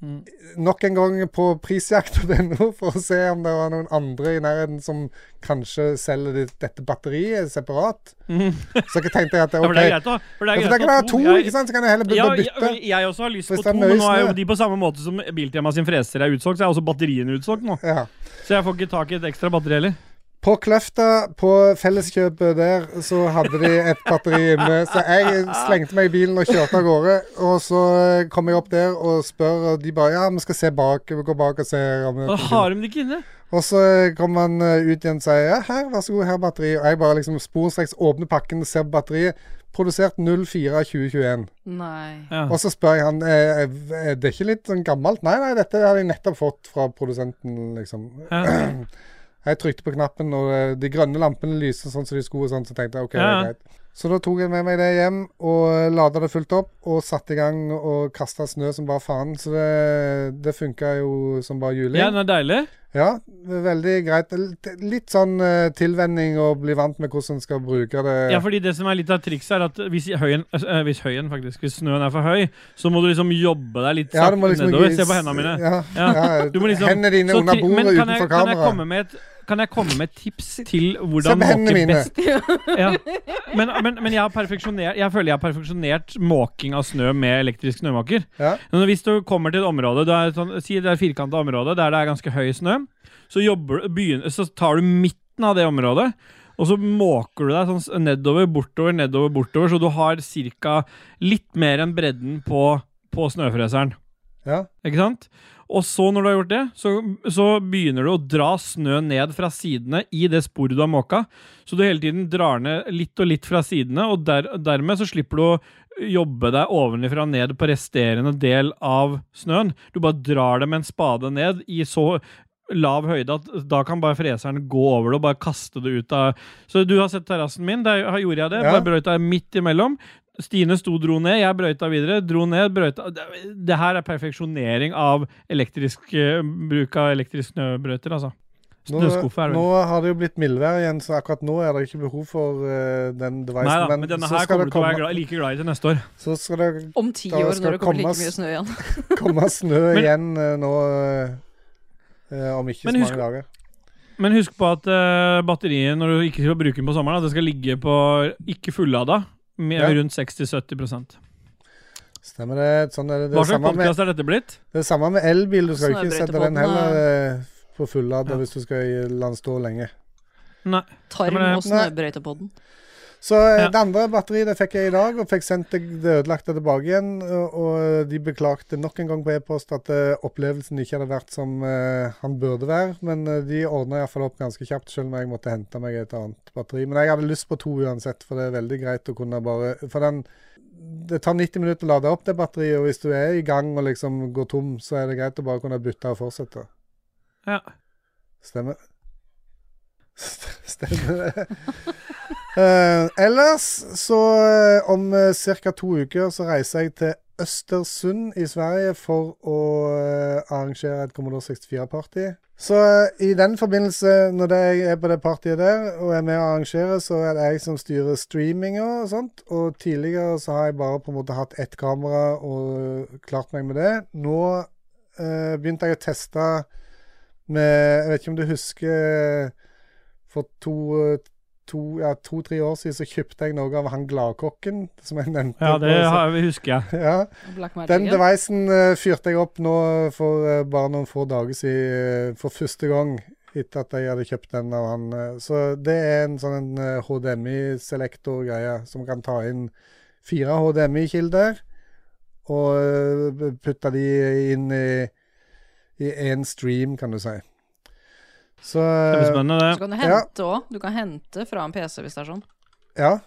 Speaker 2: Mm.
Speaker 1: nok en gang på prisjakt.no for å se om det var noen andre i nærheten som kanskje selger det- dette batteriet separat.
Speaker 2: Mhm.
Speaker 1: Så jeg tenkte jeg at
Speaker 2: Ja, for det
Speaker 1: ok,
Speaker 2: er greit, da. For det
Speaker 1: ja, for
Speaker 2: er greit
Speaker 1: da kan det
Speaker 2: å ha
Speaker 1: være to,
Speaker 2: Jeg-
Speaker 1: ikke sant? Så kan jeg heller
Speaker 2: Ja,
Speaker 1: begynne å bytte.
Speaker 2: jeg, jeg også har lyst
Speaker 1: Hvis
Speaker 2: på
Speaker 1: det er
Speaker 2: to, men nå er jo
Speaker 1: nøyesnø.
Speaker 2: de på samme måte som Biltema sin freser er utsolgt, så er også batteriene utsolgt nå.
Speaker 1: Ja.
Speaker 2: Så jeg får ikke tak i et ekstra batteri heller.
Speaker 1: På Kløfta, på Felleskjøpet der, så hadde de et batteri inne. Så jeg slengte meg i bilen og kjørte av gårde. Og så eh, kom jeg opp der og spør, og de bare Ja, vi skal se bak. Vi går bak og ser om
Speaker 2: Og har de det ikke inne?
Speaker 1: Og så kom han eh, ut igjen og sier ja, her, vær så god, her er batteriet. Og jeg bare liksom sporenstreks åpner pakken og ser på batteriet. Produsert 04.2021.
Speaker 3: Nei.
Speaker 2: Ja.
Speaker 1: Og så spør jeg han eh, er det ikke litt sånn gammelt. Nei, nei, dette har jeg nettopp fått fra produsenten, liksom.
Speaker 2: Ja.
Speaker 1: Jeg trykte på knappen, og eh, de grønne lampene lyste sånn som de skulle, og sånn, så tenkte jeg OK, det
Speaker 2: Ja,
Speaker 1: er
Speaker 2: ja.
Speaker 1: greit. Så da tok jeg med meg det hjem og lada det fullt opp og satte i gang og kasta snø som bare faen. Så det, det funka jo som bare juling.
Speaker 2: ja, den er deilig.
Speaker 1: Ja, det er veldig greit. Litt- Litt sånn eh, tilvenning og bli vant med hvordan en skal bruke det.
Speaker 2: Ja, fordi det som er litt av trikset, er at hvis høyen, eh, hvis høyen faktisk, hvis snøen er for høy, så må du liksom jobbe deg litt
Speaker 1: Ja,
Speaker 2: sakte
Speaker 1: du må liksom
Speaker 2: nedover.
Speaker 1: ikke-
Speaker 2: Se på hendene mine.
Speaker 1: Ja, ja.
Speaker 2: Du må liksom-
Speaker 1: Hendene dine
Speaker 2: Så
Speaker 1: under
Speaker 2: tri- men
Speaker 1: bordet
Speaker 2: kan
Speaker 1: utenfor
Speaker 2: jeg, kan jeg komme
Speaker 1: kameraet.
Speaker 2: med et kan jeg komme med et tips til
Speaker 1: Se
Speaker 2: hvordan
Speaker 1: på hendene
Speaker 2: måke
Speaker 1: mine.
Speaker 2: best ja. men, men, men jeg har perfeksjonert Jeg føler jeg har perfeksjonert måking av snø med elektrisk snømaker.
Speaker 1: Ja.
Speaker 2: Men hvis du kommer til et område det er et sånn, Si det er et firkanta område der det er ganske høy snø, så, jobber, du- begynner, så tar du midten av det området. Og så måker du deg sånn s- nedover, bortover, nedover, bortover, så du har ca. litt mer enn bredden på, på snøfreseren.
Speaker 1: Ja.
Speaker 2: Ikke sant? Og så, når du har gjort det, så, så begynner du å dra snø ned fra sidene i det sporet du har måka. Så du hele tiden drar ned litt og litt fra sidene, og der, dermed så slipper du å jobbe deg ovenifra og ned på resterende del av snøen. Du bare drar det med en spade ned i så lav høyde at da kan bare freseren gå over det og bare kaste det ut av Så du har sett terrassen min, der har- gjorde jeg det.
Speaker 1: Ja.
Speaker 2: Bare brøyta midt imellom. Stine sto og dro ned, jeg brøyta videre, dro ned, brøyta Det- Det her er perfeksjonering av elektrisk eh, bruk av elektrisk snøbrøyter, altså.
Speaker 1: Nå,
Speaker 2: Snøskuffe er det vel.
Speaker 1: nå har det jo blitt mildvær igjen, så akkurat nå er det ikke behov for eh, den devicen.
Speaker 2: Nei da, men denne
Speaker 1: så
Speaker 2: her
Speaker 1: skal
Speaker 2: kommer
Speaker 1: det
Speaker 2: du til å være
Speaker 1: komme-
Speaker 2: glad, like glad i til neste år.
Speaker 1: Så skal det
Speaker 3: Om ti
Speaker 1: Da
Speaker 3: år,
Speaker 1: skal
Speaker 3: når det kommer
Speaker 1: komme
Speaker 3: like mye
Speaker 1: oss-
Speaker 3: snø igjen.
Speaker 1: komme snø
Speaker 2: Men-
Speaker 1: igjen eh, nå eh, om ikke så
Speaker 2: Men husk-
Speaker 1: mange dager.
Speaker 2: Men husk på at eh, batteriet når du ikke skal bruke den på sommeren, da, det skal ligge på ikke fullada. Med
Speaker 1: Ja.
Speaker 2: rundt 60-70
Speaker 1: Stemmer det. Sånn er det. Det
Speaker 2: Hva
Speaker 1: er
Speaker 2: slags
Speaker 1: samme med
Speaker 2: podkast er dette blitt?
Speaker 1: Det er samme med elbil. Du skal jo ikke sette
Speaker 3: Snøbrøytebåten
Speaker 1: den heller eh, på fullad
Speaker 2: Ja.
Speaker 1: hvis du skal i- la den stå lenge.
Speaker 3: Tarm
Speaker 2: Ja,
Speaker 1: eh,
Speaker 2: men det-
Speaker 3: og snøbrøytepodden.
Speaker 1: Så eh,
Speaker 2: Ja.
Speaker 1: det andre batteriet det fikk jeg i dag, og fikk sendt det det ødelagte tilbake igjen. Og, og de beklagte nok en gang på e-post at eh, opplevelsen ikke hadde vært som eh, han burde være. Men eh, de ordna iallfall opp ganske kjapt, selv om jeg måtte hente meg et annet batteri. Men jeg hadde lyst på to uansett, for det er veldig greit å kunne bare For den det tar 90 minutter å lade opp det batteriet, og hvis du er i gang og liksom går tom, så er det greit å bare kunne bytte og fortsette.
Speaker 2: Ja.
Speaker 1: Stemmer. Stemmer det. Eh, ellers så eh, om uh, ca. to uker så reiser jeg til Østersund i Sverige for å eh, arrangere et Commodore 64-party. Så eh, i den forbindelse, når det jeg er på det partiet der og er med å arrangere, så er det jeg som styrer streaminga og sånt. Og tidligere så har jeg bare på en måte hatt ett kamera og klart meg med det. Nå eh, begynte jeg å teste med Jeg vet ikke om du husker For to to, ja, to-tre år siden så kjøpte jeg noe av han gladkokken, som jeg nevnte.
Speaker 2: ja, det
Speaker 1: på-
Speaker 2: har, husker jeg.
Speaker 1: ja.
Speaker 3: Black Magic.
Speaker 1: Den devicen eh, fyrte jeg opp nå for eh, bare noen få dager siden eh, for første gang etter at jeg hadde kjøpt den av han. eh. så det er en sånn eh, HDMI-selektor-greie som kan ta inn fire HDMI-kilder og eh, putte de inn i i én stream, kan du si. Så
Speaker 2: Det blir spennende,
Speaker 3: Så
Speaker 2: det.
Speaker 3: kan du
Speaker 1: Ja.
Speaker 3: hente òg. Du kan hente fra en PC hvis det er sånn.
Speaker 1: eh, Ja.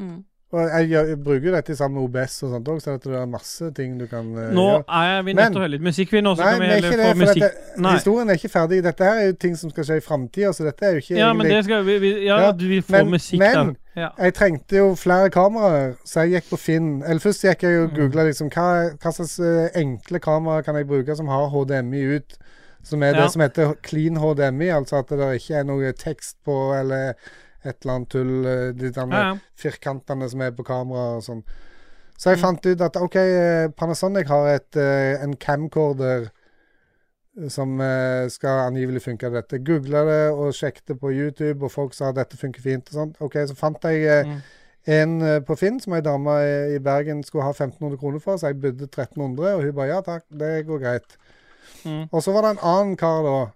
Speaker 3: Mm.
Speaker 1: Og jeg, gjør- jeg bruker jo dette sammen med OBS og sånt òg, så det er masse ting du kan eh,
Speaker 2: Nå
Speaker 1: gjøre.
Speaker 2: er vi nødt
Speaker 1: Men-
Speaker 2: til å høre litt musikk, vi. Nå så
Speaker 1: Nei,
Speaker 2: Altså, kan vi
Speaker 1: men ikke
Speaker 2: heller
Speaker 1: det,
Speaker 2: få
Speaker 1: for
Speaker 2: musikk.
Speaker 1: dette,
Speaker 2: Nei.
Speaker 1: historien er ikke ferdig. Dette her er jo ting som skal skje i framtida, så dette er jo ikke
Speaker 2: Ja, men det skal vi, vi Ja,
Speaker 1: Ja,
Speaker 2: du vil få
Speaker 1: men-
Speaker 2: musikk, da.
Speaker 1: men-
Speaker 2: Ja.
Speaker 1: Jeg trengte jo flere kameraer, så jeg gikk på Finn. Eller først gikk jeg jo
Speaker 2: Mm.
Speaker 1: og googla liksom, hva, hva slags eh, enkle kameraer kan jeg bruke som har HDMI ut, som er
Speaker 2: Ja.
Speaker 1: det som heter clean HDMI, altså at det ikke er noe tekst på eller et eller annet tull, eh, de
Speaker 2: Ja,
Speaker 1: derne
Speaker 2: ja.
Speaker 1: firkantene som er på kameraet og sånn. Så jeg fant ut at OK, eh, Panasonic har et, eh, en camcorder som eh, skal angivelig funke av dette. Googla det og sjekket det på YouTube, og folk sa dette funker fint og sånt. OK, så fant jeg eh,
Speaker 2: Mm.
Speaker 1: en eh, på Finn som ei dame i- i Bergen skulle ha 1500 kroner for, så jeg budde 1300, og hun bare ja takk, det går greit.
Speaker 2: Mm.
Speaker 1: Og så var det en annen kar da,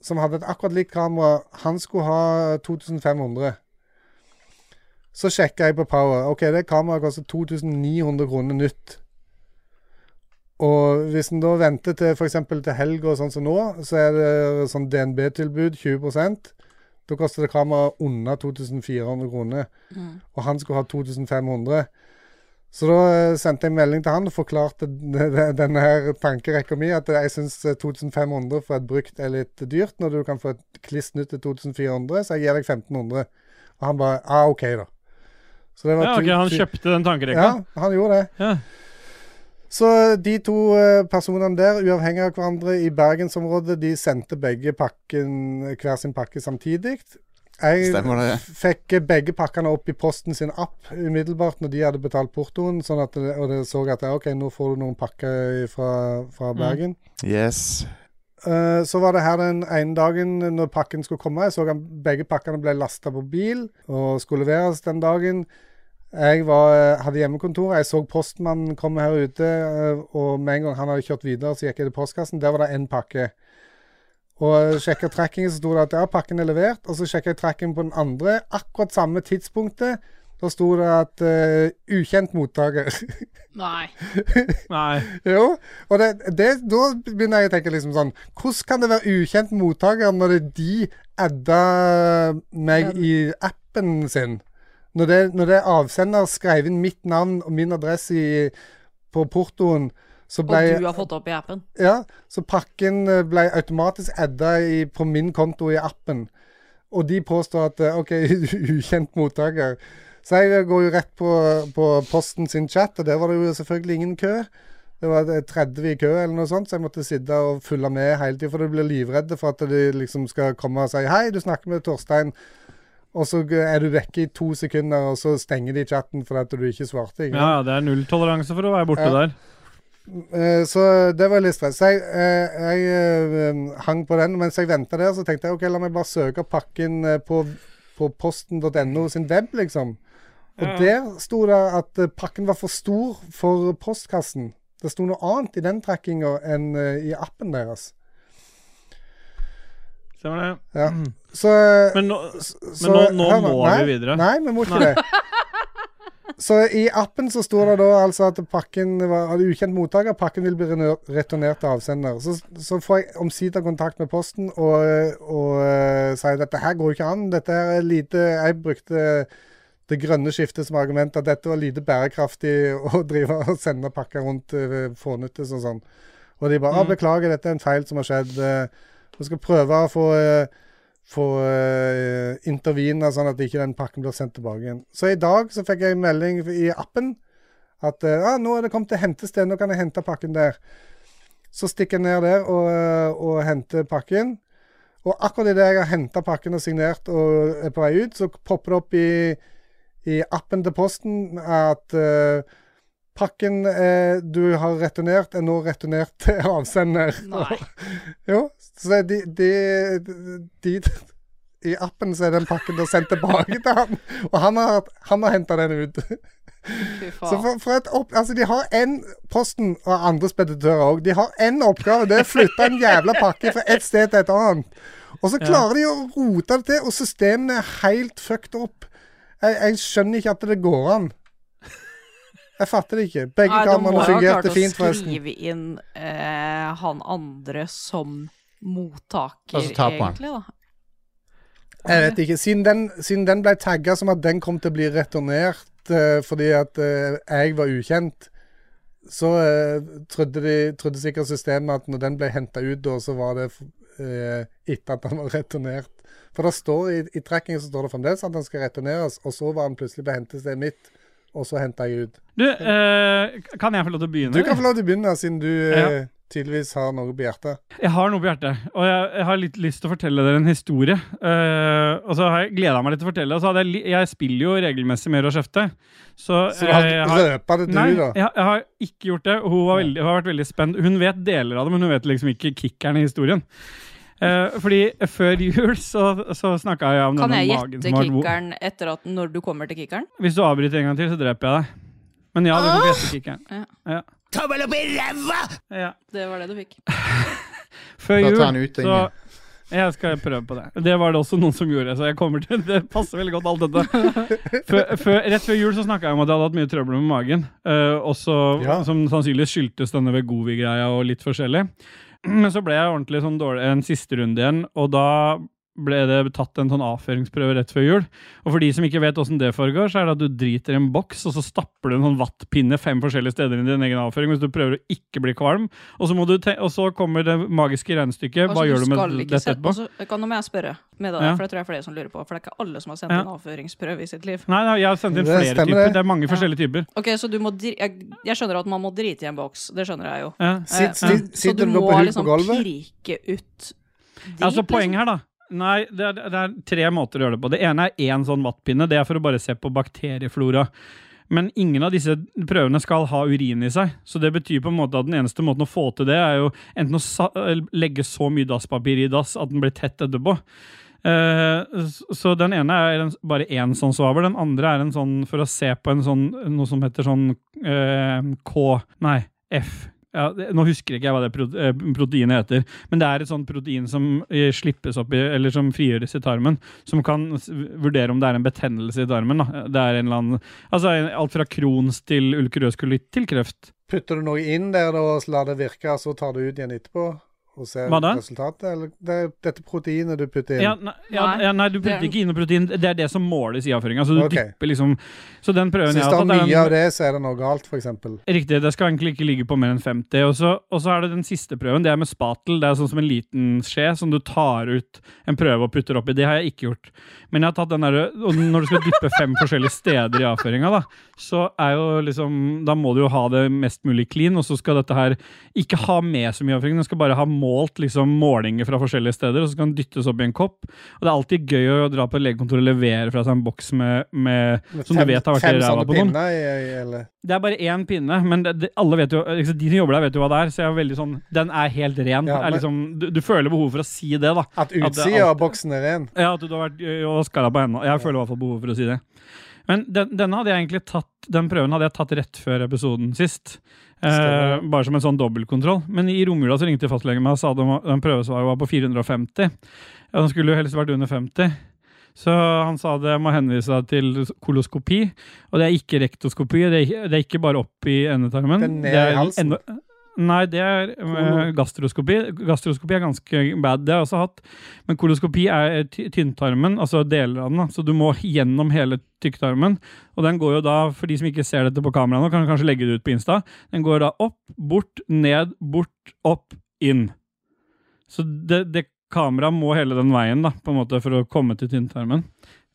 Speaker 1: som hadde et akkurat likt kamera. Han skulle ha 2500. Så sjekka jeg på Power. Ok, det kameraet koster 2900 kroner nytt. Og hvis en da venter til f.eks. til helga, sånn som nå, så er det sånn DNB-tilbud 20 Da koster det kamera under 2400 kroner. Og han skulle ha 2500. Så da eh, sendte jeg en melding til han og forklarte d- d- denne her tankerekka mi at jeg eh, syns 2500 for et brukt er litt dyrt, når du kan få et kliss nytt til 2400, så jeg gir deg 1500. Og han bare ah, OK, da. Så det
Speaker 2: Ja,
Speaker 1: tu-
Speaker 2: ok, Han
Speaker 1: tu-
Speaker 2: kjøpte den
Speaker 1: Ja,
Speaker 2: tankerekka?
Speaker 1: han gjorde det.
Speaker 2: Ja.
Speaker 1: Så de to eh, personene der, uavhengig av hverandre i bergensområdet, de sendte begge pakken, hver sin pakke samtidig. Jeg
Speaker 6: Stemmer det.
Speaker 1: f- fikk begge pakkene opp i posten sin app umiddelbart når de hadde betalt portoen, sånn at det, og det så at ja, OK, nå får du noen pakker fra, fra
Speaker 2: Mm.
Speaker 1: Bergen.
Speaker 6: Yes.
Speaker 1: Eh, Så var det her den ene dagen når pakken skulle komme. Jeg så han, begge pakkene ble lasta på bil og skulle leveres den dagen. Jeg var, eh, hadde hjemmekontor. Jeg så postmannen komme her ute, eh, og med en gang han hadde kjørt videre, så gikk jeg til postkassen. Der var det én pakke. Og sjekka trackingen, så sto det at ja, pakken er levert. Og så sjekka jeg trackingen på den andre. Akkurat samme tidspunktet. Da sto det at eh, 'ukjent mottaker'.
Speaker 3: Nei.
Speaker 2: Nei.
Speaker 1: Jo, og det, det, da begynner jeg å tenke liksom sånn Hvordan kan det være ukjent mottaker når det er de adda meg i appen sin? Når det, når det er avsender skrev inn mitt navn og min adresse i, på portoen, så
Speaker 3: Og
Speaker 1: ble
Speaker 3: du har fått det opp i appen.
Speaker 1: ja, så pakken eh, ble automatisk adda i, på min konto i appen. Og de påstår at eh, OK, ukjent mottaker. Så jeg eh, går jo rett på, på posten sin chat, og der var det jo selvfølgelig ingen kø. Det var eh, 30 i kø, eller noe sånt, så jeg måtte sitte og følge med hele tida. For du blir livredd for at de liksom skal komme og si 'Hei, du snakker med Torstein'. Og så eh, er du vekke i to sekunder, og så stenger de chatten fordi at du ikke svarte. Ikke? sant?
Speaker 2: Ja, ja, det er nulltoleranse for å være borte
Speaker 1: Ja.
Speaker 2: der.
Speaker 1: Eh, så det var litt stress. Jeg, eh, jeg eh, hang på den. Mens jeg venta der, så tenkte jeg ok, la meg bare søke pakken eh, på, på posten.no sin web, liksom. Og der sto det at eh, pakken var for stor for postkassen. Det sto noe annet i den trackinga enn eh, i appen deres.
Speaker 2: Stemmer det.
Speaker 1: Ja. Så eh,
Speaker 2: Men nå,
Speaker 1: så-
Speaker 2: nå- nå
Speaker 1: hør
Speaker 2: må
Speaker 1: nei,
Speaker 2: vi videre.
Speaker 1: Nei, vi må ikke det. Så i appen så står det da altså at pakken var av ukjent mottaker. Pakken vil bli rener- returnert til avsender. Så, så får jeg omsider kontakt med Posten og, og eh, sier at dette her går jo ikke an. Dette her er lite Jeg brukte det grønne skiftet som argument, at dette var lite bærekraftig å drive og sende pakker rundt eh, fånyttes og sånn. Og de
Speaker 2: Mm.
Speaker 1: bare ah, 'Beklager, dette er en feil som har skjedd'. eh, Vi skal prøve å få eh, få uh, intervene sånn at ikke den pakken blir sendt tilbake igjen. Så i dag så fikk jeg en melding i appen at eh, ah, nå er det kommet til hentested, nå kan jeg hente pakken der. Så stikker jeg ned der og, eh, og henter pakken. Og akkurat idet jeg har henta pakken og signert og er på vei ut, så popper det opp i, i appen til Posten at eh, pakken eh, du har returnert, er nå returnert til avsender.
Speaker 3: Nei.
Speaker 1: Jo, så de, de, de, I appen så er den pakken da sendt tilbake til han, og han har, han har henta den ut.
Speaker 3: Fy
Speaker 1: Så
Speaker 3: faen.
Speaker 1: for, for et opp, altså de har én Posten og andre speditører òg. De har én oppgave. Det er å flytte en jævla pakke fra et sted til et annet. Og så klarer de å rote det til, og systemene er helt fucked up. Jeg, jeg skjønner ikke at det går an. Jeg fatter det ikke. Begge
Speaker 3: Nei, da må
Speaker 1: kameraene
Speaker 3: jeg ha klart
Speaker 1: fungerte
Speaker 3: å
Speaker 1: fint, forresten.
Speaker 3: skrive inn eh, han andre som mottaker,
Speaker 5: Altså taperen.
Speaker 3: egentlig, da.
Speaker 1: Jeg vet ikke. Siden den, siden den ble tagga som at den kom til å bli returnert eh, fordi at eh, jeg var ukjent, så eh, trodde, de, trodde sikkert systemet at når den ble henta ut, da, så var det eh, etter at den var returnert. For det står i, i trackingen så står det fremdeles at den skal returneres, og så var den plutselig på hentestedet mitt, og så henta jeg ut.
Speaker 2: Du, eh, kan jeg få lov til å begynne?
Speaker 1: Du kan
Speaker 2: eller?
Speaker 1: få lov til å begynne, siden du eh, tydeligvis har noe på hjertet.
Speaker 2: Jeg har noe på hjertet, og jeg, jeg har litt lyst til å fortelle dere en historie. Eh, og så har jeg gleda meg litt til å fortelle. Og så hadde jeg, li- jeg spiller jo regelmessig med Rochefte. Så,
Speaker 1: Så du har
Speaker 2: Eh, jeg
Speaker 1: ikke røpa det, du,
Speaker 2: Nei,
Speaker 1: da?
Speaker 2: jeg, jeg har ikke gjort det. og Hun, var veldig, hun har vært veldig spent. Hun vet deler av det, men hun vet liksom ikke kickeren i historien. Eh, fordi før jul så, så snakka jeg om
Speaker 3: Kan
Speaker 2: denne
Speaker 3: jeg
Speaker 2: magen
Speaker 3: gjette
Speaker 2: som har vo-
Speaker 3: kickeren etter at når du kommer til kickeren?
Speaker 2: Hvis du avbryter en gang til, så dreper jeg deg. Men ja, du
Speaker 3: Ah!
Speaker 2: får gjette kickeren. Ja.
Speaker 5: Tommel opp i ræva!
Speaker 2: Ja.
Speaker 3: Det var det du fikk.
Speaker 2: Før
Speaker 5: Da
Speaker 2: jul,
Speaker 5: tar han ut den,
Speaker 2: så
Speaker 5: ja.
Speaker 2: Jeg skal prøve på det. Det var det også noen som gjorde, så jeg kommer til Det passer veldig godt, alt dette. Før, før, rett før jul så snakka jeg om at jeg hadde hatt mye trøbbel med magen, eh, også,
Speaker 1: Ja.
Speaker 2: som sannsynligvis skyldtes denne Vegovi-greia og litt forskjellig. Men så ble jeg ordentlig sånn dårlig en siste runde igjen, og da ble det tatt en sånn avføringsprøve rett før jul. Og for de som ikke vet åssen det foregår, så er det at du driter i en boks, og så stapper du en sånn vattpinne fem forskjellige steder i din egen avføring hvis du prøver å ikke bli kvalm. Og så, må du te og så kommer det magiske regnestykket. Hva
Speaker 3: Altså,
Speaker 2: gjør du med
Speaker 3: skal ikke
Speaker 2: dette
Speaker 3: se-
Speaker 2: etterpå?
Speaker 3: altså, kan, nå må jeg spørre med deg,
Speaker 2: Ja.
Speaker 3: for det tror jeg er flere som lurer på. For det er ikke alle som har sendt
Speaker 2: Ja.
Speaker 3: en avføringsprøve i sitt liv.
Speaker 2: Nei, nei, jeg har sendt inn
Speaker 1: Det
Speaker 2: flere
Speaker 1: stemmer,
Speaker 2: typer. Det.
Speaker 1: det.
Speaker 2: er mange forskjellige typer.
Speaker 3: Ok, så du må dri jeg, jeg skjønner at man må drite i en boks, det skjønner jeg jo.
Speaker 2: Ja.
Speaker 3: Eh,
Speaker 1: Sitt- sitt-
Speaker 3: Så du
Speaker 1: Sitter du nå
Speaker 3: må
Speaker 1: på huk
Speaker 3: liksom
Speaker 1: på gulvet?
Speaker 3: pirke ut dit,
Speaker 2: Altså,
Speaker 3: liksom.
Speaker 2: poenget her, da. Nei, det er, det er tre måter å gjøre det på. Det ene er én sånn vattpinne. Det er for å bare se på bakterieflora. Men ingen av disse prøvene skal ha urin i seg. Så det betyr på en måte at den eneste måten å få til det, er jo enten å sa legge så mye dasspapir i dass at den blir tett etterpå. Eh, s- så den ene er en, bare én sånn svavel. Den andre er en sånn for å se på en sånn, noe som heter sånn eh, K Nei, F. Ja, det, nå husker ikke jeg hva det pro- eh, proteinet heter, men det er et sånt protein som eh, slippes opp i, eller som frigjøres i tarmen, som kan s- vurdere om det er en betennelse i tarmen. Da. Det er en eller annen, altså en- alt fra Crohns til ulkerøs kulitt til kreft.
Speaker 1: Putter du noe inn der da, og så lar det virke, og så tar du ut igjen etterpå? Og ser
Speaker 2: Hva da?
Speaker 1: resultatet? Eller det er dette proteinet du putter inn?
Speaker 2: Ja, nei, ja,
Speaker 3: Nei,
Speaker 2: ja, nei du
Speaker 3: det er-
Speaker 2: putter ikke inn noe protein, det er det som måles i avføringa. Så du
Speaker 1: Ok.
Speaker 2: dypper liksom Så den prøven
Speaker 1: så
Speaker 2: jeg
Speaker 1: hvis det er
Speaker 2: har tatt, er den-
Speaker 1: mye av det, så er det noe galt, f.eks.?
Speaker 2: Riktig, det skal egentlig ikke ligge på mer enn 50. Og så, og så er det den siste prøven, det er med spatel. Det er sånn som en liten skje som du tar ut en prøve og putter oppi. Det har jeg ikke gjort. Men jeg har tatt den der, og når du skal dyppe fem forskjellige steder i avføringa, da, så er jo liksom, da må du jo ha det mest mulig clean, og så skal dette her ikke ha med så mye avføring, den skal bare ha målt liksom målinger fra forskjellige steder, og så kan den dyttes opp i en kopp. Og det er alltid gøy å dra på legekontoret og levere fra seg en boks med, med som du vet har vært i
Speaker 1: fem
Speaker 2: ræva
Speaker 1: sånne
Speaker 2: på noen.
Speaker 1: pinner i- i- eller
Speaker 2: Det er bare én pinne, men det, det, alle vet jo, liksom, de som jobber der, vet jo hva det er. Så jeg er veldig sånn, den er helt ren.
Speaker 1: Ja,
Speaker 2: er
Speaker 1: men-
Speaker 2: liksom, du, du føler behov for å si det, da.
Speaker 1: At
Speaker 2: det er
Speaker 1: utsida av
Speaker 2: alt-
Speaker 1: boksen er ren?
Speaker 2: Ja, At du har vært ø, og skarra på henne. Jeg føler i hvert fall behov for å si det. Men den, denne hadde jeg egentlig tatt, den prøven hadde jeg tatt rett før episoden sist. Eh,
Speaker 1: Stemmer.
Speaker 2: bare som en sånn dobbeltkontroll. Men i romjula så ringte fastlegen meg og sa at den var- den prøvesvaret var på 450. Ja, den skulle jo helst vært under 50. Så han sa det må henvise deg til koloskopi. Og det er ikke rektoskopi, det er, ikke- det er ikke bare opp i endetarmen.
Speaker 1: Det er ned
Speaker 2: Det er
Speaker 1: i halsen.
Speaker 2: enda- Nei, det er eh, gastroskopi. Gastroskopi er ganske bad, det har jeg også hatt. Men koloskopi er ty- tynntarmen, altså deler av den. da. Så du må gjennom hele tykktarmen. Og den går jo da, for de som ikke ser dette på kamera nå, kan kanskje legge det ut på Insta. Den går da opp, bort, ned, bort, opp, inn. Så det, det kameraet må hele den veien da, på en måte, for å komme til tynntarmen.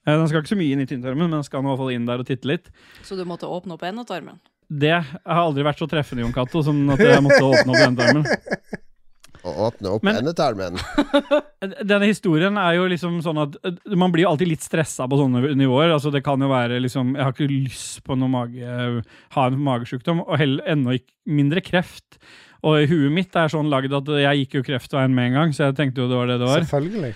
Speaker 2: Eh, Den skal ikke så mye inn i tynntarmen, men den skal i hvert fall inn der og titte litt.
Speaker 3: Så du måtte åpne opp en av tarmen?
Speaker 2: Det har aldri vært så treffende, Jon Cato, som at jeg måtte åpne opp den tarmen.
Speaker 5: Og åpne opp
Speaker 2: Men-
Speaker 5: endetarmen.
Speaker 2: Eh, Denne historien er jo liksom sånn at eh, man blir jo alltid litt stressa på sånne nivåer. Altså det kan jo være liksom Jeg har ikke lyst på noe mage, ha en magesjukdom, og heller enda ikke, mindre kreft. Og i huet mitt er sånn lagd at jeg gikk jo kreftveien med en gang, så jeg tenkte jo det var det det var.
Speaker 1: Selvfølgelig.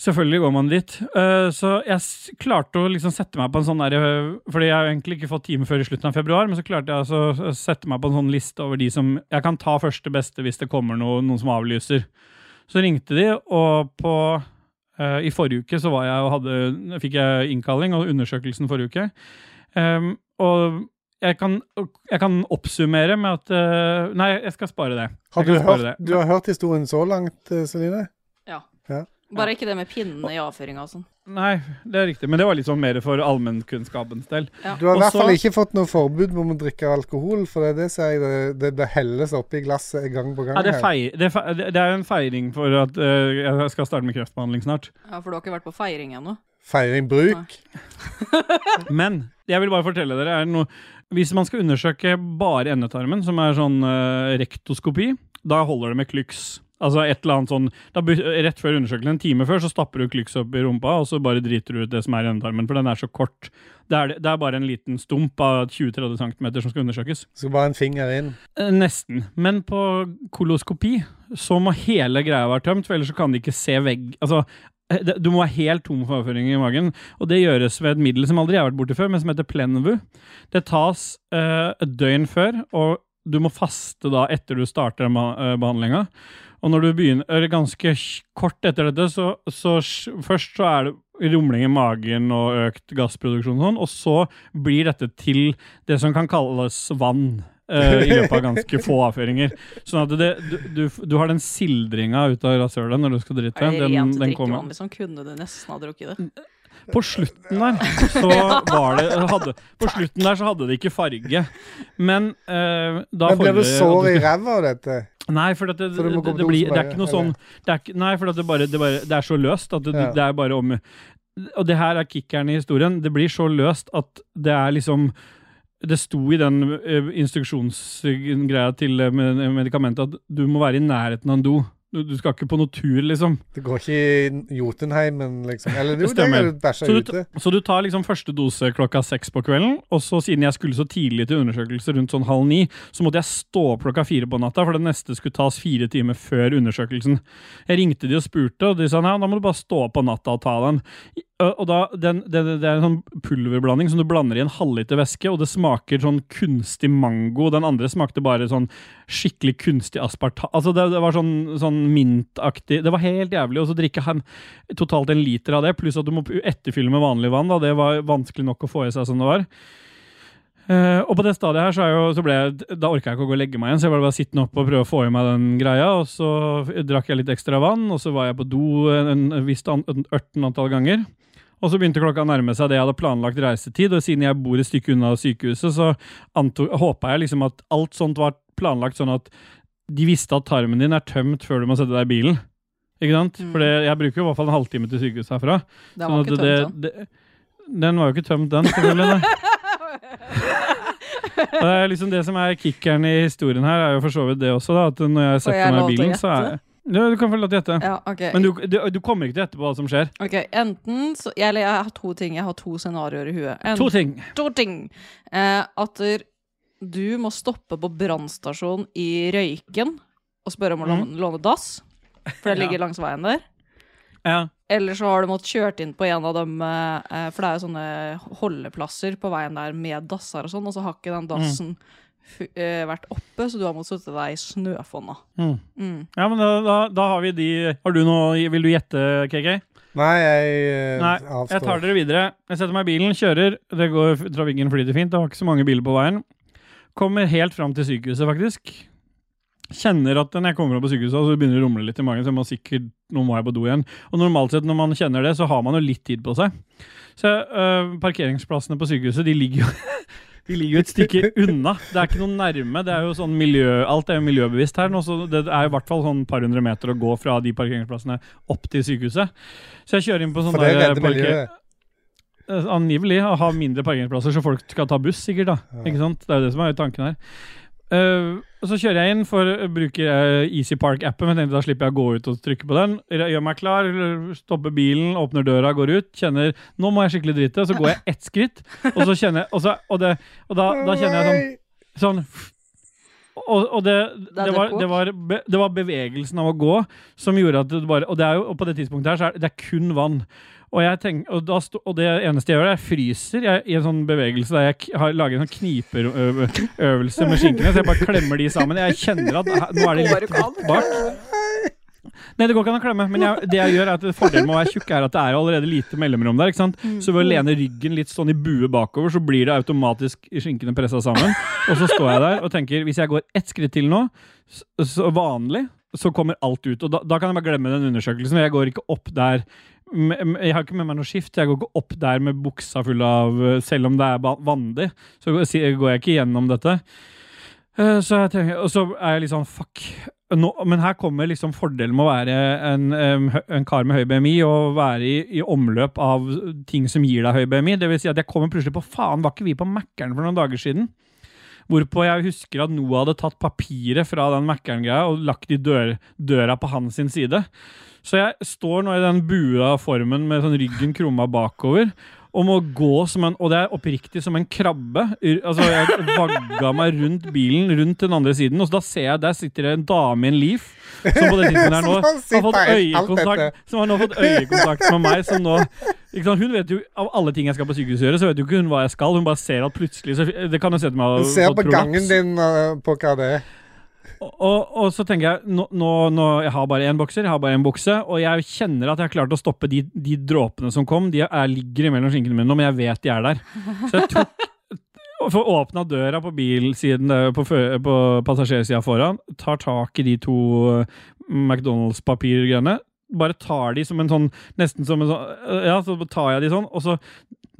Speaker 2: Selvfølgelig går man dit. Eh, så jeg s klarte å liksom sette meg på en sånn der, eh, Fordi jeg har jo egentlig ikke fått time før i slutten av februar, men så klarte jeg altså å sette meg på en sånn liste over de som Jeg kan ta første beste hvis det kommer noe, noen som avlyser. Så ringte de, og på eh, I forrige uke så var jeg og hadde Fikk jeg innkalling og undersøkelsen forrige uke. Ehm, og jeg kan, jeg kan oppsummere med at eh, Nei, jeg skal spare det.
Speaker 1: Har
Speaker 2: Jeg
Speaker 1: du,
Speaker 2: kan spare
Speaker 1: hørt,
Speaker 2: det.
Speaker 1: du har hørt historien så langt, eh, Celine?
Speaker 3: Ja.
Speaker 1: Ja.
Speaker 3: Bare ikke det med pinnene i avføringa og sånn.
Speaker 2: Nei, det er riktig. Men det var litt sånn mer for allmennkunnskapens del.
Speaker 1: Du har i
Speaker 2: Og
Speaker 1: hvert fall
Speaker 2: så-
Speaker 1: ikke fått noe forbud om å drikke alkohol, for det er det ser jeg det, det, det helles oppi glasset gang på gang.
Speaker 2: Ja, det,
Speaker 1: her.
Speaker 2: feir, det, fe- det er jo en feiring for at eh, jeg skal starte med kreftbehandling snart.
Speaker 3: Ja, For du har ikke vært på feiring ennå?
Speaker 1: Feiring bruk.
Speaker 2: Men jeg vil bare fortelle dere er det noe, Hvis man skal undersøke bare endetarmen, som er sånn eh, rektoskopi, da holder det med klyks. Altså et eller annet sånn, da, bu- Rett før undersøkelsen, en time før, så stapper du klyks opp i rumpa, og så bare driter du ut det som er i endetarmen, for den er så kort. Det er, det er bare en liten stump av 20-30 cm som skal undersøkes.
Speaker 1: Skal bare en finger inn.
Speaker 2: Eh, Nesten. Men på koloskopi så må hele greia være tømt, for ellers så kan de ikke se vegg... Altså, eh, det- du må være helt tom for avføring i magen, og det gjøres ved et middel som aldri jeg har vært borti før, men som heter Plenvu. Det tas eh, et døgn før, og du må faste da etter du starter behandlinga. Og når du begynner eller ganske kj- kort etter dette, så, så sj- først så er det rumling i magen og økt gassproduksjon og sånn, og så blir dette til det som kan kalles vann. eh, I løpet av ganske få avføringer. Sånn at det, du, du, du har den sildringa ut av rasshølet når du skal drite.
Speaker 3: Er det
Speaker 2: Den,
Speaker 3: rent
Speaker 2: den kommer.
Speaker 3: drikkevann hvis han kunne det nesten ha drukket det?
Speaker 2: På slutten der så var det hadde, På slutten der så hadde det ikke farge. Men eh, da
Speaker 1: Men blir du
Speaker 2: forrige-
Speaker 1: sår i ræva av dette?
Speaker 2: Nei, for at det,
Speaker 1: Så du
Speaker 2: det,
Speaker 1: må gå på
Speaker 2: det,
Speaker 1: do
Speaker 2: blir,
Speaker 1: som
Speaker 2: det er
Speaker 1: bare-
Speaker 2: ikke noe sånn det er, ikke- Nei, for at det, bare, det, bare, det er så løst at det,
Speaker 1: Ja.
Speaker 2: det er bare om Og det her er kickeren i historien. Det blir så løst at det er liksom det sto i den eh, instruksjonsgreia til eh, med- medikamentet at du må være i nærheten av en do. Du, du skal ikke på noe tur, liksom.
Speaker 1: Det går ikke i Jotunheimen, liksom? Eller jo,
Speaker 2: Det
Speaker 1: det
Speaker 2: stemmer.
Speaker 1: er jo bæsja
Speaker 2: Så du,
Speaker 1: ute.
Speaker 2: t- så du tar liksom første dose klokka seks på kvelden, og så siden jeg skulle så tidlig til undersøkelse rundt sånn halv ni, så måtte jeg stå opp klokka fire på natta, for det neste skulle tas fire timer før undersøkelsen. Jeg ringte de og spurte, og de sa nei, da må du bare stå opp på natta og ta den. I- ø, Og da, den, det, det- det er en sånn pulverblanding som du blander i en halvliter væske, og det smaker sånn kunstig mango. Den andre smakte bare sånn skikkelig kunstig aspartam. Altså det, det var sånn, sånn mintaktig. Det var helt jævlig. Og så drikke han totalt en liter av det, pluss at du må etterfylle med vanlig vann. Da. Det var vanskelig nok å få i seg som det var. Eh, og på det stadiet her, så, er jo, så ble jeg, da orka jeg ikke å gå og legge meg igjen, så jeg var bare sittende oppe og prøve å få i meg den greia, og så f- drakk jeg litt ekstra vann, og så var jeg på do en, en visst an, en ørten antall ganger. Og så begynte klokka å nærme seg det jeg hadde planlagt reisetid, og siden jeg bor et stykke unna sykehuset, så anto- håpa jeg liksom at alt sånt var planlagt sånn at de visste at tarmen din er tømt før du må sette deg i bilen. Ikke sant?
Speaker 3: Mm.
Speaker 2: For det, jeg bruker jo i hvert fall en halvtime til sykehuset herfra.
Speaker 3: Den var
Speaker 2: Sånn
Speaker 3: ikke
Speaker 2: at det-
Speaker 3: tømt,
Speaker 2: det- Den var jo ikke tømt, den. selvfølgelig. nei. Og det er liksom det som er kickeren i historien her, er jo for så vidt det også, da. At når jeg
Speaker 3: Får jeg
Speaker 2: setter meg
Speaker 3: lov
Speaker 2: i
Speaker 3: til å
Speaker 2: bilen, så er jeg ja, Du kan få lov til å gjette.
Speaker 3: Ja, ok.
Speaker 2: Men du, du, du kommer ikke til å gjette på hva som skjer.
Speaker 3: Ok, enten så, jeg- Eller jeg har to ting. Jeg har to scenarioer i huet. En,
Speaker 2: To ting.
Speaker 3: to ting. Eh, at der- du må stoppe på brannstasjonen i Røyken og spørre om å låne, låne dass, for det
Speaker 2: Mm. Ja.
Speaker 3: ligger langs veien der.
Speaker 2: Ja.
Speaker 3: Eller så har du måttet kjørt inn på en av dem, eh, eh, for det er jo sånne holdeplasser på veien der med dasser og sånn, og så har
Speaker 2: Mm.
Speaker 3: ikke den dassen fu- eh, vært oppe, så du har måttet sitte deg i snøfonna.
Speaker 2: Mm.
Speaker 3: Mm.
Speaker 2: ja, men da, da, da har vi de Har du noe Vil du gjette, KK?
Speaker 1: Nei, jeg eh,
Speaker 2: Nei, jeg tar
Speaker 1: avstår.
Speaker 2: dere videre. Jeg setter meg i bilen, kjører. Det går, trafikken flyter fint, det var ikke så mange biler på veien. Kommer helt fram til sykehuset, faktisk. Kjenner at når jeg kommer opp på sykehuset, så begynner det å rumle litt i magen. Så jeg må sikkert, nå må jeg på do igjen. Og normalt sett når man kjenner det, så har man jo litt tid på seg. Så øh, parkeringsplassene på sykehuset, de ligger jo de ligger jo et stykke unna. Det er ikke noe nærme. det er jo sånn miljø, Alt er jo miljøbevisst her nå, så det er jo i hvert fall sånn par hundre meter å gå fra de parkeringsplassene opp til sykehuset. Så jeg kjører inn på sånn
Speaker 1: For det
Speaker 2: der,
Speaker 1: redder
Speaker 2: parker-
Speaker 1: miljøet.
Speaker 2: Eh, Angivelig å ha mindre parkeringsplasser, så folk skal ta buss, sikkert. da Ikke sant? Det er jo det som er tanken her. Eh, og så kjører jeg inn, for eh, bruker jeg Easy Park-appen. Men jeg tenkte da slipper jeg å gå ut og trykke på den. Re- Gjør meg klar, stopper bilen, åpner døra, går ut. Kjenner nå må jeg skikkelig drite. Så går jeg ett skritt, og så kjenner jeg Og, så, og, det, og da, da kjenner jeg sånn Sånn og, og det,
Speaker 3: er
Speaker 2: det, var,
Speaker 3: depot.
Speaker 2: det, var, be- det var bevegelsen av å gå som gjorde at det bare Og, det er jo, og på det tidspunktet her så er det- det er kun vann. Og, jeg tenk, og, da sto, og det eneste jeg gjør, er jeg fryser jeg, i en sånn bevegelse der jeg k har, lager en sånn kniperøvelse med skinkene. Så jeg bare klemmer de sammen. Jeg kjenner at her- nå er det litt vekt bak. Nei, det går ikke an å klemme, men jeg, det jeg gjør er at fordelen med å være tjukk er at det er allerede lite mellomrom der. ikke sant? Så ved å lene ryggen litt sånn i bue bakover, så blir det automatisk skinkene pressa sammen. Og så står jeg der og tenker hvis jeg går ett skritt til nå, s- så vanlig, så kommer alt ut. Og da, da kan jeg bare glemme den undersøkelsen. og Jeg går ikke opp der m- m- jeg har ikke med meg noe skift. Jeg går ikke opp der med buksa full av eh, Selv om det er ba- vanlig, så går- si- går jeg ikke gjennom dette. Eh, Så jeg tenker, og så er jeg litt sånn fuck. nå, men her kommer liksom fordelen med å være en, em, hø- en kar med høy BMI og være i, i omløp av ting som gir deg høy BMI. Det vil si at jeg kommer plutselig på faen, var ikke vi på Mækkern for noen dager siden? Hvorpå jeg husker at Noah hadde tatt papiret fra den Mækkern-greia og lagt i dør, døra på hans sin side. Så jeg står nå i den bua formen med sånn ryggen krumma bakover. Og må gå som en, og det er oppriktig som en krabbe. Ur- Altså, jeg vagga meg rundt bilen, rundt til den andre siden, og så da ser jeg der sitter det en dame i en Leaf. Som på det tidspunktet her nå
Speaker 1: Som har
Speaker 2: har fått
Speaker 1: sittet alt dette.
Speaker 2: øyekontakt Som har nå fått øyekontakt med meg. Som nå, ikke sant? Hun vet jo, Av alle ting jeg skal på sykehuset gjøre, så vet jo ikke hun hva jeg skal. Hun bare ser at plutselig så, Det kan jo sette meg
Speaker 1: Du
Speaker 2: og-
Speaker 1: ser
Speaker 2: og
Speaker 1: på
Speaker 2: prolaps.
Speaker 1: gangen din og på hva det er.
Speaker 2: Og, og så tenker jeg nå, nå, nå, Jeg har bare én bokser, jeg har bare én bukse, og jeg kjenner at jeg har klart å stoppe de, de dråpene som kom. De er, ligger mellom skinkene mine nå, men jeg vet de er der. Så jeg tok Får åpna døra på bilsiden, eh, på, fø- på passasjersida foran, tar tak i de to eh, McDonald's-papirgreiene. Bare tar de som en sånn Nesten som en sånn Ja, så tar jeg de sånn, og så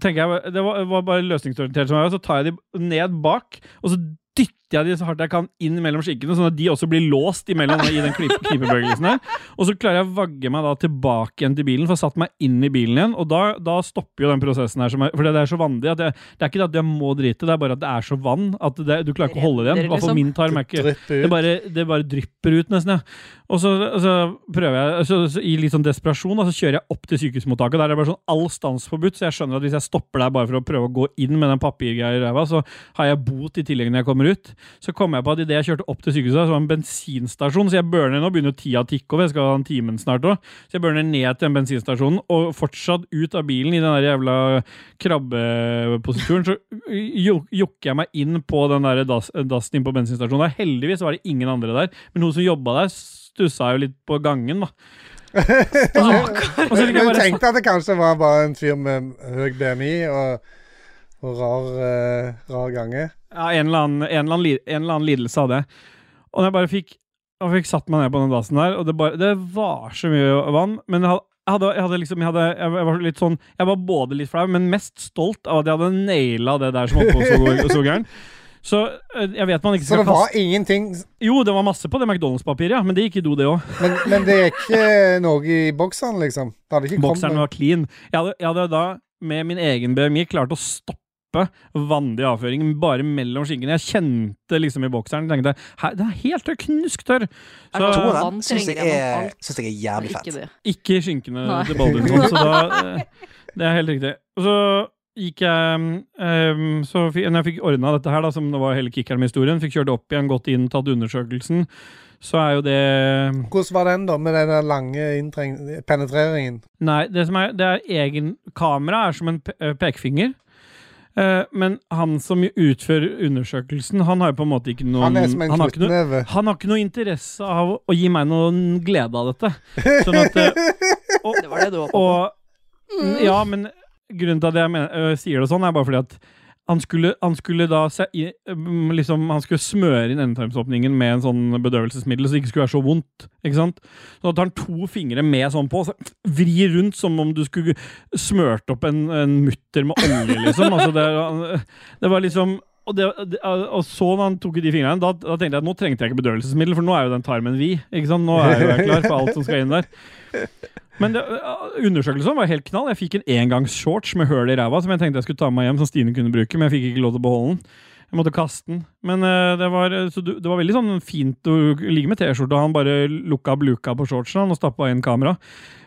Speaker 2: tenker jeg Det var, var bare løsningsorientert som jeg var, så tar jeg de ned bak, og så dytter jeg de så hardt jeg kan inn mellom skinkene, sånn at de også blir låst imellom i den knip- knipebevegelsen her. Og så klarer jeg å vagge meg da tilbake igjen til bilen, for jeg satt meg inn i bilen igjen, og da, da stopper jo den prosessen her, som er, for det er så vanlig at jeg, det er ikke det at jeg må drite, det er bare at det er så vann at det, du klarer ikke å holde det igjen. I hvert fall min tarm er ikke
Speaker 1: Drypper
Speaker 2: det
Speaker 1: ut.
Speaker 2: bare, det bare drypper ut, nesten. ja. Og så, og så prøver jeg, så, så, i litt sånn desperasjon, da, så kjører jeg opp til sykehusmottaket. Der er det bare sånn all stans forbudt, så jeg skjønner at hvis jeg stopper der bare for å prøve å gå inn med den papirgreia i ræva, så har jeg bot i tillegg når jeg kommer ut. Så kom jeg på at idet jeg kjørte opp til sykehuset, så var det en bensinstasjon, så jeg burner nå, begynner jo tida å tikke over, jeg skal ha den timen snart òg, så jeg burner ned til den bensinstasjonen, og fortsatt ut av bilen i den der jævla krabbeposituren, så jo- jokker jeg meg inn på den der dass- dassen inn på bensinstasjonen. Der. Heldigvis var det ingen andre der, men hun som jobba der, stussa jo litt på gangen, da. Og så fikk jeg
Speaker 1: Men Du
Speaker 2: bare sånn-
Speaker 1: tenkte at det kanskje var bare en fyr med høy BMI og, og rar, eh, rar gange?
Speaker 2: Ja, en eller annen, en eller annen, li- en eller annen lidelse hadde jeg. Og når jeg bare fikk, jeg fikk satt meg ned på den dassen der, og det, bare, det var så mye vann, men jeg hadde, jeg hadde, jeg hadde liksom, jeg, hadde, jeg var litt sånn, jeg var både litt flau, men mest stolt av at jeg hadde naila det der som holdt på så, god- så gæren. Så eh, jeg vet man ikke
Speaker 1: Så
Speaker 2: skal
Speaker 1: det
Speaker 2: kaste
Speaker 1: var ingenting
Speaker 2: Jo, det var masse på det McDonald's-papiret, ja, men det gikk i do, det òg.
Speaker 1: Men, men det er ikke noe i bokseren, liksom? Det hadde ikke
Speaker 2: Bokseren
Speaker 1: kommet
Speaker 2: var clean. Jeg hadde, jeg hadde da med min egen BMI klart å stoppe vanlig avføring bare mellom skinkene. Jeg kjente liksom i bokseren tenkte, «Hæ, Den er helt tørr, knusktørr!
Speaker 3: Er
Speaker 2: Så
Speaker 3: det to av dem?
Speaker 7: Toeren syns jeg,
Speaker 3: trenger gjennom
Speaker 7: er-
Speaker 3: alt.
Speaker 7: synes jeg er jævlig
Speaker 3: Ikke
Speaker 7: fett.
Speaker 3: det.
Speaker 2: ikke i skinkene
Speaker 4: Nei.
Speaker 2: til Baldursson, så da eh, Det er helt riktig. Og så gikk jeg ehm, så fi- Når jeg fikk ordna dette her, da, som det var hele kickeren med historien, fikk kjørt opp igjen, gått inn, tatt undersøkelsen, så er jo det
Speaker 1: Hvordan var den, da, med den der lange inntreng- penetreringen?
Speaker 2: Nei, det som er, det er egen kamera er som en pe eh, pekefinger. Eh, men han som utfører undersøkelsen, han har jo på en måte ikke noen
Speaker 1: Han er som en
Speaker 2: han har ikke noe,
Speaker 1: knyttneve.
Speaker 2: han har ikke noe interesse av å gi meg noen glede av dette. Sånn at eh,
Speaker 3: Det var det du håpet på. Mm.
Speaker 2: og Ja, men grunnen til at jeg mener, øh, sier det sånn, er bare fordi at han skulle, han skulle da se, i- mm, liksom, Han skulle smøre inn endetarmsåpningen med en sånn bedøvelsesmiddel, så det ikke skulle være så vondt. Ikke sant? Så da tar han to fingre med sånn på, så vri rundt som om du skulle smørt opp en, en mutter med olje, liksom. Altså, det, det var liksom og, det, det- og så når han tok i de fingrene, da, da tenkte jeg at nå trengte jeg ikke bedøvelsesmiddel, for nå er jo den tarmen vid. Ikke sant? Nå er jo jeg klar for alt som skal inn der. Men det, eh, undersøkelsen var helt knall. Jeg fikk en engangsshorts med høl i ræva som jeg tenkte jeg skulle ta med meg hjem, som Stine kunne bruke, men jeg fikk ikke lov til å beholde den. Jeg måtte kaste den. Men eh, det, var, så du, det var veldig sånn fint å ligge med T-skjorte, og han bare lukka opp luka på shortsen han, og stappa inn kamera.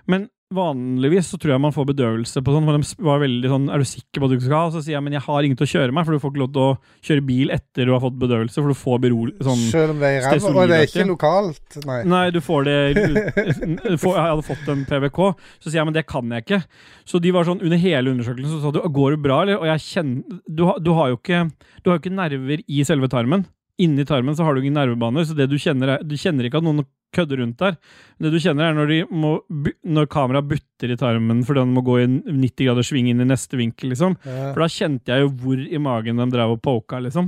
Speaker 2: Men vanligvis så tror jeg man får bedøvelse på sånn, for de sp- var veldig sånn Er du sikker på at du ikke skal ha? Og så sier jeg men jeg har ingen til å kjøre meg, for du får ikke lov til å kjøre bil etter du har fått bedøvelse, for du får berol... Sånn
Speaker 1: Selv om det er i ræva? Og det er ikke
Speaker 2: stesolidaktig.
Speaker 1: lokalt, nei.
Speaker 2: Nei, du får det får, Jeg hadde fått en PVK. Så sier jeg men det kan jeg ikke. Så de var sånn under hele undersøkelsen så sa du går det bra, eller? Og jeg kjenner Du, har- du har jo ikke Du har jo ikke nerver i selve tarmen. Inni tarmen så har du ingen nervebaner, så det du kjenner er, du kjenner ikke at noen kødder rundt der. Det du kjenner, er når, de må, bu- når kameraet butter i tarmen fordi den må gå i en 90 graders sving inn i neste vinkel, liksom.
Speaker 1: Ja.
Speaker 2: For da kjente jeg jo hvor i magen de drev og poka, liksom.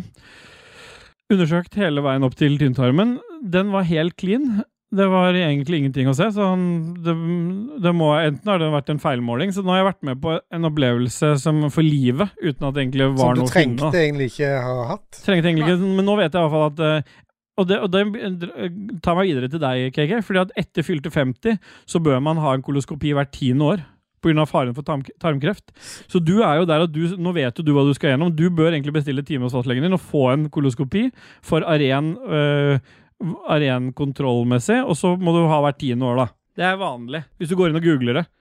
Speaker 2: Undersøkt hele veien opp til tynntarmen. Den var helt clean. Det var egentlig ingenting å se, så han, det, det må, enten har det vært en feilmåling, så nå har jeg vært med på en opplevelse som for livet, uten at det egentlig var
Speaker 1: Som du
Speaker 2: noe å finne, da.
Speaker 1: trengte egentlig ikke ha hatt.
Speaker 2: Trengte egentlig ikke, men nå vet jeg i hvert fall at eh, og det, og det tar meg videre til deg, KK. fordi at etter fylte 50 så bør man ha en koloskopi hvert tiende år. Pga. faren for tarm tarmkreft. Så du er jo der at du, nå vet jo du hva du skal gjennom. Du bør egentlig bestille time hos fastlegen din og få en koloskopi for aren, øh, aren kontrollmessig, og så må du ha hvert tiende år, da. Det er vanlig, hvis du går inn og googler det.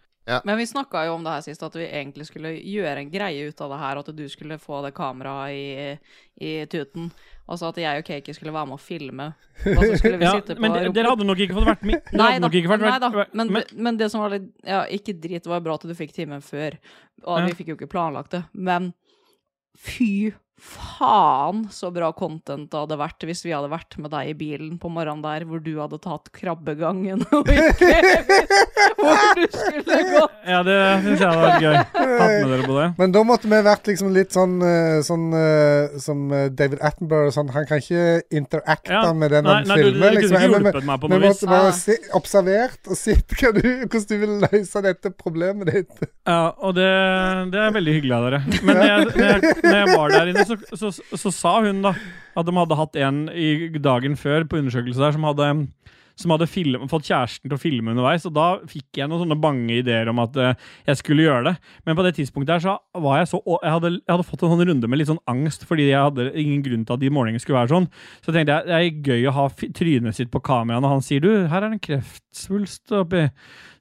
Speaker 3: Men vi snakka jo om det her sist, at vi egentlig skulle gjøre en greie ut av det her. At du skulle få det kameraet i, i tuten. Og så at jeg og Kaki skulle være med og filme. Og så skulle vi
Speaker 2: Ja,
Speaker 3: sitte på
Speaker 2: men de-
Speaker 3: rommet.
Speaker 2: dere hadde nok ikke fått vært med. Dere
Speaker 3: Nei
Speaker 2: hadde
Speaker 3: da,
Speaker 2: nok ikke vært-
Speaker 3: nei da.
Speaker 2: vært-
Speaker 3: Men, men det som var litt ja, Ikke drit, det var bra at du fikk timen før. Og
Speaker 2: Ja.
Speaker 3: vi fikk jo ikke planlagt det. Men fy faen så bra content det hadde vært hvis vi hadde vært med deg i bilen på morgenen der hvor du hadde tatt krabbegangen og ikke visst hvor du skulle gå.
Speaker 2: Ja, det syns jeg hadde vært gøy. Hatt med dere på det.
Speaker 1: Eh, Men da måtte vi vært liksom litt sånn, eh, sånn eh, som eh, David Attenborough og sånn. Han kan ikke interacte
Speaker 2: Ja.
Speaker 1: med den
Speaker 2: Nei,
Speaker 1: han
Speaker 2: nei, du,
Speaker 1: filmer.
Speaker 2: dere
Speaker 1: liksom.
Speaker 2: kunne ikke
Speaker 1: Men-
Speaker 2: hjulpet meg på
Speaker 1: Vi
Speaker 2: noe vis.
Speaker 1: måtte bare
Speaker 3: Ah.
Speaker 1: se, observert og sett hva du, hvordan du ville løse dette problemet ditt.
Speaker 2: Ja, og det, det er veldig hyggelig av dere. Men når jeg, når jeg, når jeg var der inne, så, så, så, sa hun da at de hadde hatt en i dagen før på undersøkelse der som hadde, som hadde film, fått kjæresten til å filme underveis. Og da fikk jeg noen sånne bange ideer om at eh, jeg skulle gjøre det. Men på det tidspunktet her så var jeg så og jeg hadde, jeg hadde fått en sånn runde med litt sånn angst fordi jeg hadde ingen grunn til at de morgenene skulle være sånn. Så tenkte jeg det er gøy å ha fi- trynet sitt på kameraet når han sier du, her er det en kreftsvulst oppi.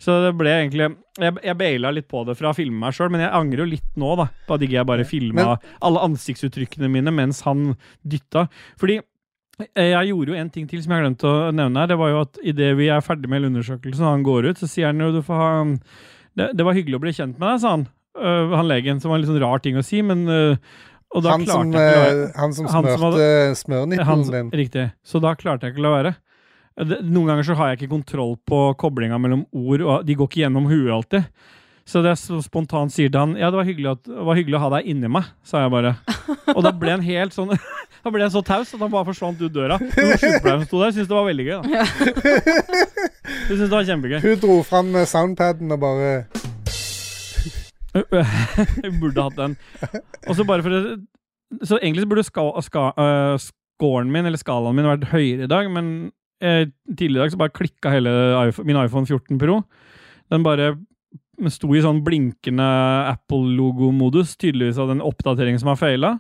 Speaker 2: Så det ble egentlig Jeg, jeg baila litt på det fra å filme meg sjøl, men jeg angrer jo litt nå da, på at ikke jeg bare filma
Speaker 1: Men-
Speaker 2: alle ansiktsuttrykkene mine mens han dytta. Fordi eh, jeg gjorde jo en ting til som jeg glemte å nevne her. Det var jo at idet vi er ferdig med hele undersøkelsen, og han går ut, så sier han jo du får ha det, det var hyggelig å bli kjent med deg, sa han. Øh, han legen, som var en litt sånn rar ting å si, men øh, Og da
Speaker 1: Han som,
Speaker 2: klarte jeg ikke å la
Speaker 1: eh, han som
Speaker 2: han som
Speaker 1: smørte smørnippelen
Speaker 2: han-
Speaker 1: din.
Speaker 2: Riktig. Så da klarte jeg ikke å la være. Det, noen ganger så har jeg ikke kontroll på koblinga mellom ord, og de går ikke gjennom huet alltid. Så det er så spontant sier til han Ja, det var hyggelig, at, det var hyggelig å ha deg inni meg, sa jeg bare. Og da ble han helt sånn Da ble han så taus at han bare forsvant ut døra. Men hun sykepleieren som sto der, syntes det var veldig gøy, da. Hun syntes det var kjempegøy.
Speaker 1: Hun dro fram eh, soundpaden og bare
Speaker 2: Vi burde hatt den. Og så bare for å Så egentlig så burde ska, ska, øh, scoren min, eller skalaen min, vært høyere i dag, men eh, tidligere i dag så bare klikka hele iPhone, min iPhone 14 Pro. Den bare sto i sånn blinkende Apple-logomodus, tydeligvis av den oppdateringen som har feila.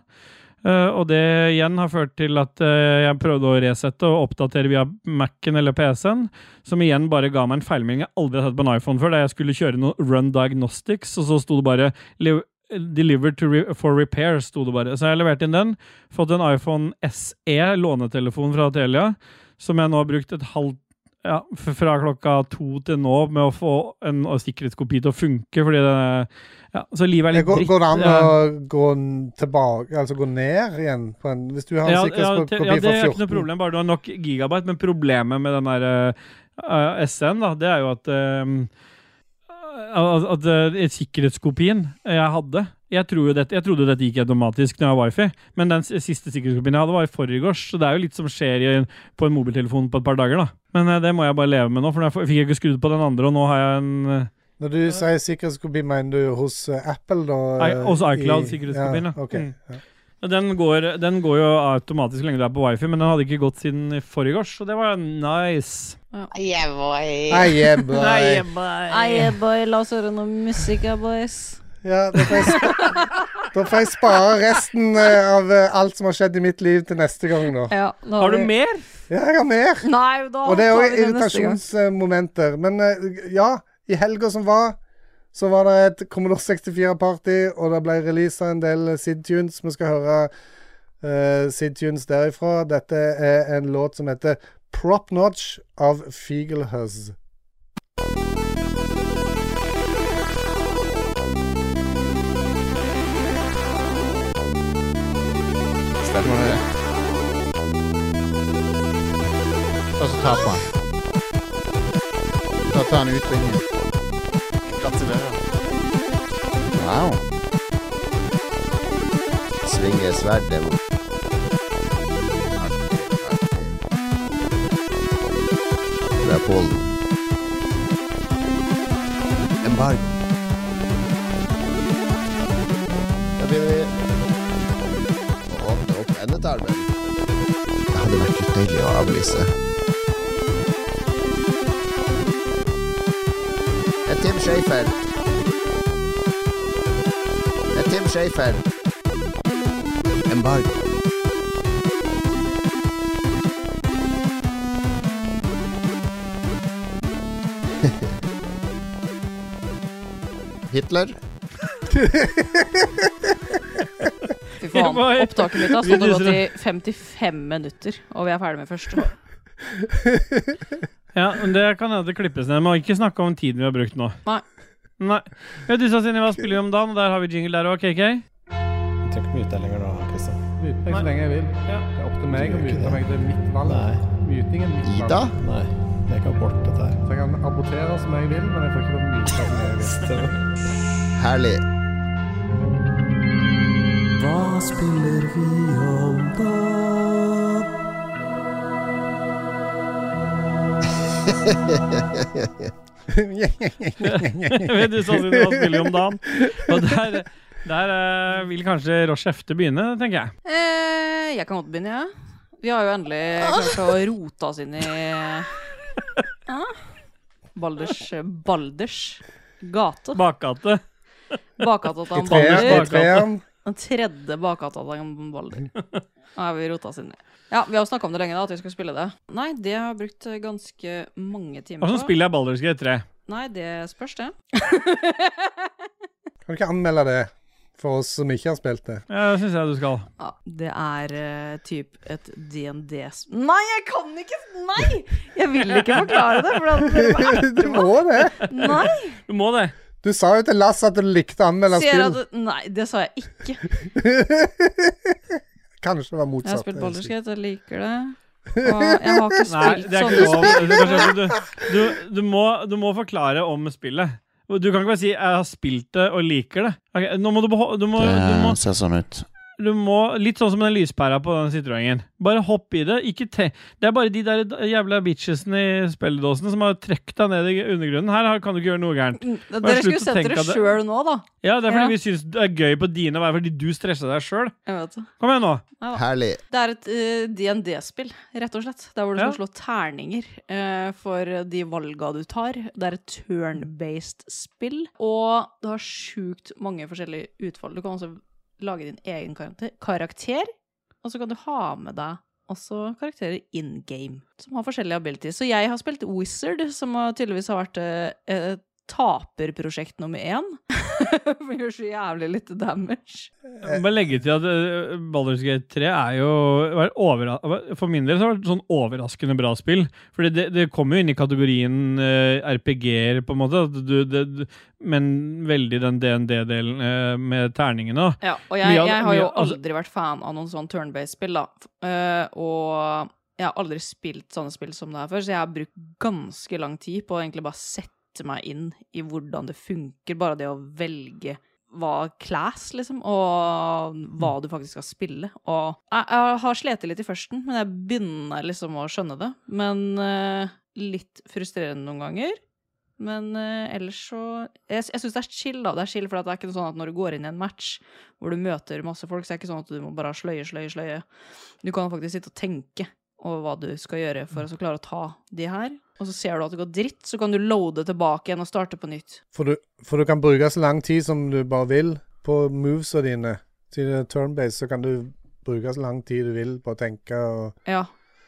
Speaker 2: Eh, og det igjen har ført til at eh, jeg prøvde å resette og oppdatere via Mac-en eller PC-en, som igjen bare ga meg en feilmelding jeg aldri har sett på en iPhone før, da jeg skulle kjøre noe Run Diagnostics, og så sto det bare «Liv- Delivered to re for repair, sto det bare. Så jeg leverte inn den. Fått en iPhone SE, lånetelefon fra Telia, som jeg nå har brukt et halvt ja, f- fra klokka to til nå med å få en sikkerhetskopi til å funke, fordi det ja, Så livet er
Speaker 1: eh,
Speaker 2: litt
Speaker 1: går,
Speaker 2: dritt.
Speaker 1: går det an
Speaker 2: Ja.
Speaker 1: å gå n- tilbake, altså gå ned igjen på en Hvis du har en
Speaker 2: Ja, ja, te-
Speaker 1: sikkerhetskopi
Speaker 2: ja, det er ikke
Speaker 1: fra
Speaker 2: noe
Speaker 1: 14
Speaker 2: problem, bare du har nok gigabyte. Men problemet med den der eh, eh, SN, da, det er jo at eh, at, at eh, sikkerhetskopien jeg hadde jeg, tror jo dette, jeg trodde dette gikk automatisk når jeg har wifi, men den s- siste sikkerhetskopien jeg hadde, var i forgårs. Så det er jo litt som skjer i, på en mobiltelefon på et par dager, da. Men eh, det må jeg bare leve med nå, for jeg fikk jeg ikke skrudd på den andre, og nå har jeg en eh,
Speaker 1: Når du sier sikkerhetskopi, mener du hos eh, Apple, da?
Speaker 2: I-
Speaker 1: eh,
Speaker 2: hos iCloud
Speaker 1: i-
Speaker 2: sikkerhetskopien, ja.
Speaker 1: ja. ok.
Speaker 2: Mm.
Speaker 1: ja.
Speaker 2: Ja, Den går, den går jo automatisk så lenge du er på wifi, men den hadde ikke gått siden i forgårs, så det var nice.
Speaker 1: Nei, eh, yeah, boy.
Speaker 2: eh.
Speaker 4: Ei, boy, la oss høre noe musikk, ja, boys.
Speaker 1: Ja, da får jeg, sp- da får jeg spare resten eh, av eh, alt som har skjedd i mitt liv, til neste gang, da.
Speaker 4: Ja, nå
Speaker 2: Har du mer?
Speaker 1: Ja, jeg har mer.
Speaker 4: Nei, da
Speaker 1: Og det er
Speaker 4: tar
Speaker 1: jo
Speaker 4: vi det neste gang.
Speaker 1: irritasjonsmomenter. Men eh, ja, i helga som var, så var det et Commodore 64-party, og det ble releasa en del Sid-tunes. Vi skal høre eh, Sid-tunes derifra. Dette er en låt som heter Prop Notch av Fiegelhuzz.
Speaker 5: Stemmer det. Og så taper han. Da tar han ut ringen. Gratulerer. Wow. Svinger sverdet mot Leopoldo. Embargo. Da blir vi å åpne opp endetarmen. Ja,
Speaker 6: hadde vært litt deilig å avlyse.
Speaker 5: Det er Tim Schafer. Det er Tim Schafer.
Speaker 6: Embargo.
Speaker 5: Hitler.
Speaker 3: Fy faen.
Speaker 2: Oi.
Speaker 3: Opptaket mitt
Speaker 2: Vi
Speaker 3: har stått og gått i
Speaker 2: viser
Speaker 3: 55 minutter, og vi er ferdig med første.
Speaker 2: Ja, men Det kan hende det klippes ned. Må ikke snakke om tiden vi har brukt nå.
Speaker 3: Nei.
Speaker 2: Nei. Ja, du sa Sinni, hva spiller vi om dagen? Og der har vi jingle der òg, KK.
Speaker 6: Du trenger ikke mye ut der lenger nå, Kristian.
Speaker 1: Myte meg så
Speaker 2: Nei.
Speaker 1: lenge jeg vil.
Speaker 2: Ja.
Speaker 1: Det er opp til
Speaker 6: Du
Speaker 1: meg å
Speaker 6: gjør ikke
Speaker 1: myte
Speaker 6: det.
Speaker 1: meg. Det er mitt valg.
Speaker 6: Nei.
Speaker 1: Myting er mitt valg.
Speaker 5: Ida.
Speaker 6: Nei, det er ikke abort, dette her.
Speaker 1: Så jeg kan abortere som jeg vil, men jeg får ikke lov å myte som jeg vil.
Speaker 5: Herlig.
Speaker 7: Hva spiller vi om da?
Speaker 2: Vet du sa Sinni, hva spiller vi om dagen? Og der, der eh, vil kanskje Rosh Hefte begynne, tenker jeg.
Speaker 3: Eh, jeg kan godt begynne, jeg. Ja. Vi har jo endelig klart å rote oss inn i Balders Balders gate.
Speaker 2: Bakgate.
Speaker 3: Bakgata til han
Speaker 1: Treeren,
Speaker 2: Balders
Speaker 3: Balder.
Speaker 2: bak-
Speaker 1: treeren.
Speaker 3: Den tredje bakgata til han Balder.
Speaker 2: Mm.
Speaker 3: Nå har vi rota oss inn i. Ja, vi har snakka om det lenge, da, at vi skulle spille det. Nei, det har jeg brukt eh, ganske mange
Speaker 2: Hva
Speaker 3: timer
Speaker 2: slags spill er Baldur's Gate 3?
Speaker 3: Nei, det spørs, det.
Speaker 1: Kan du ikke anmelde det for oss som ikke har spilt det?
Speaker 2: Ja, det syns jeg du skal.
Speaker 3: Ja, det er eh, typ et DND s- Nei, jeg kan ikke Nei! Jeg vil ikke forklare det. For at dere bare
Speaker 1: Du må det!
Speaker 3: er- Nei!
Speaker 2: Du må det.
Speaker 1: Du sa jo til Lass at du likte å anmelde
Speaker 3: Sier
Speaker 1: spill.
Speaker 3: at, nei, det sa jeg ikke.
Speaker 1: Kanskje det var
Speaker 3: Jeg har
Speaker 1: motsatt.
Speaker 3: spilt Boulderskate, jeg liker det. Og jeg har ikke
Speaker 2: Nei,
Speaker 3: spilt sånn
Speaker 2: det er ikke
Speaker 3: sånne
Speaker 2: lov. Du,
Speaker 3: spill.
Speaker 2: du, du, du, må, du må forklare om spillet. Du kan ikke bare si 'jeg har spilt det og liker det'. Ok, nå må du, beho du, må, du, må,
Speaker 5: Det ser sånn ut.
Speaker 2: du må Litt sånn som den lyspæra på den Citroën. Bare hopp i det. Ikke te det er bare de der jævla bitchesene i spilledåsene som har trukket deg ned i undergrunnen. Her har- kan du ikke gjøre noe gærent.
Speaker 3: Dere
Speaker 2: slutt
Speaker 3: skulle
Speaker 2: å
Speaker 3: sett
Speaker 2: tenke
Speaker 3: dere
Speaker 2: at det-
Speaker 3: sjøl nå, da.
Speaker 2: Ja, Det er fordi
Speaker 3: Ja.
Speaker 2: vi syns det er gøy på dine veier, fordi du stressa deg sjøl.
Speaker 3: Jeg vet det.
Speaker 2: Kom igjen nå.
Speaker 5: Herlig.
Speaker 3: Det er et eh, DND-spill, rett og slett. Der hvor du
Speaker 2: Ja.
Speaker 3: skal slå terninger eh, for de valga du tar. Det er et turn-based spill, og du har sjukt mange forskjellige utfall. Du kan også lage din egen karakter, karakter og så kan du ha med deg også karakterer in game, som har forskjellige abilities. Så jeg har spilt Wizard, som har tydeligvis har vært eh, eh, taperprosjekt nummer én. For gjør så jævlig lite damage.
Speaker 2: Jeg må Bare legge til at eh, Baldur's Gate 3 er jo var overra- For min del så har det vært sånn overraskende bra spill. Fordi det, det kommer jo inn i kategorien eh, RPG-er, på en måte. At du, det, du- men veldig den DND-delen eh, med terningene. da.
Speaker 3: Ja, og
Speaker 2: Mye
Speaker 3: jeg,
Speaker 2: av det-
Speaker 3: jeg har jo
Speaker 2: mye av- altså-
Speaker 3: aldri vært fan av noen sånn turn-based-spill, da. F- eh, og jeg har aldri spilt sånne spill som det her før, så jeg har brukt ganske lang tid på å egentlig bare sette meg inn i hvordan det funker, bare det å velge hva class, liksom, og hva
Speaker 2: Mm.
Speaker 3: du faktisk skal spille. Og jeg, jeg har slitt litt i førsten, men jeg begynner liksom å skjønne det. Men eh, litt frustrerende noen ganger. Men eh, ellers så Jeg, jeg syns det er chill, da. Det er chill, for at det er ikke noe sånn at når du går inn i en match hvor du møter masse folk, så er det ikke sånn at du må bare sløye, sløye, sløye. Du kan faktisk sitte og tenke over hva du skal gjøre
Speaker 2: Mm.
Speaker 3: for å så klare å ta de her. Og så ser du at det går dritt, så kan du loade tilbake igjen og starte på nytt.
Speaker 1: For du, for du kan bruke så lang tid som du bare vil på movesa dine. Til det er turn-based så kan du bruke så lang tid du vil på å tenke og
Speaker 3: Ja.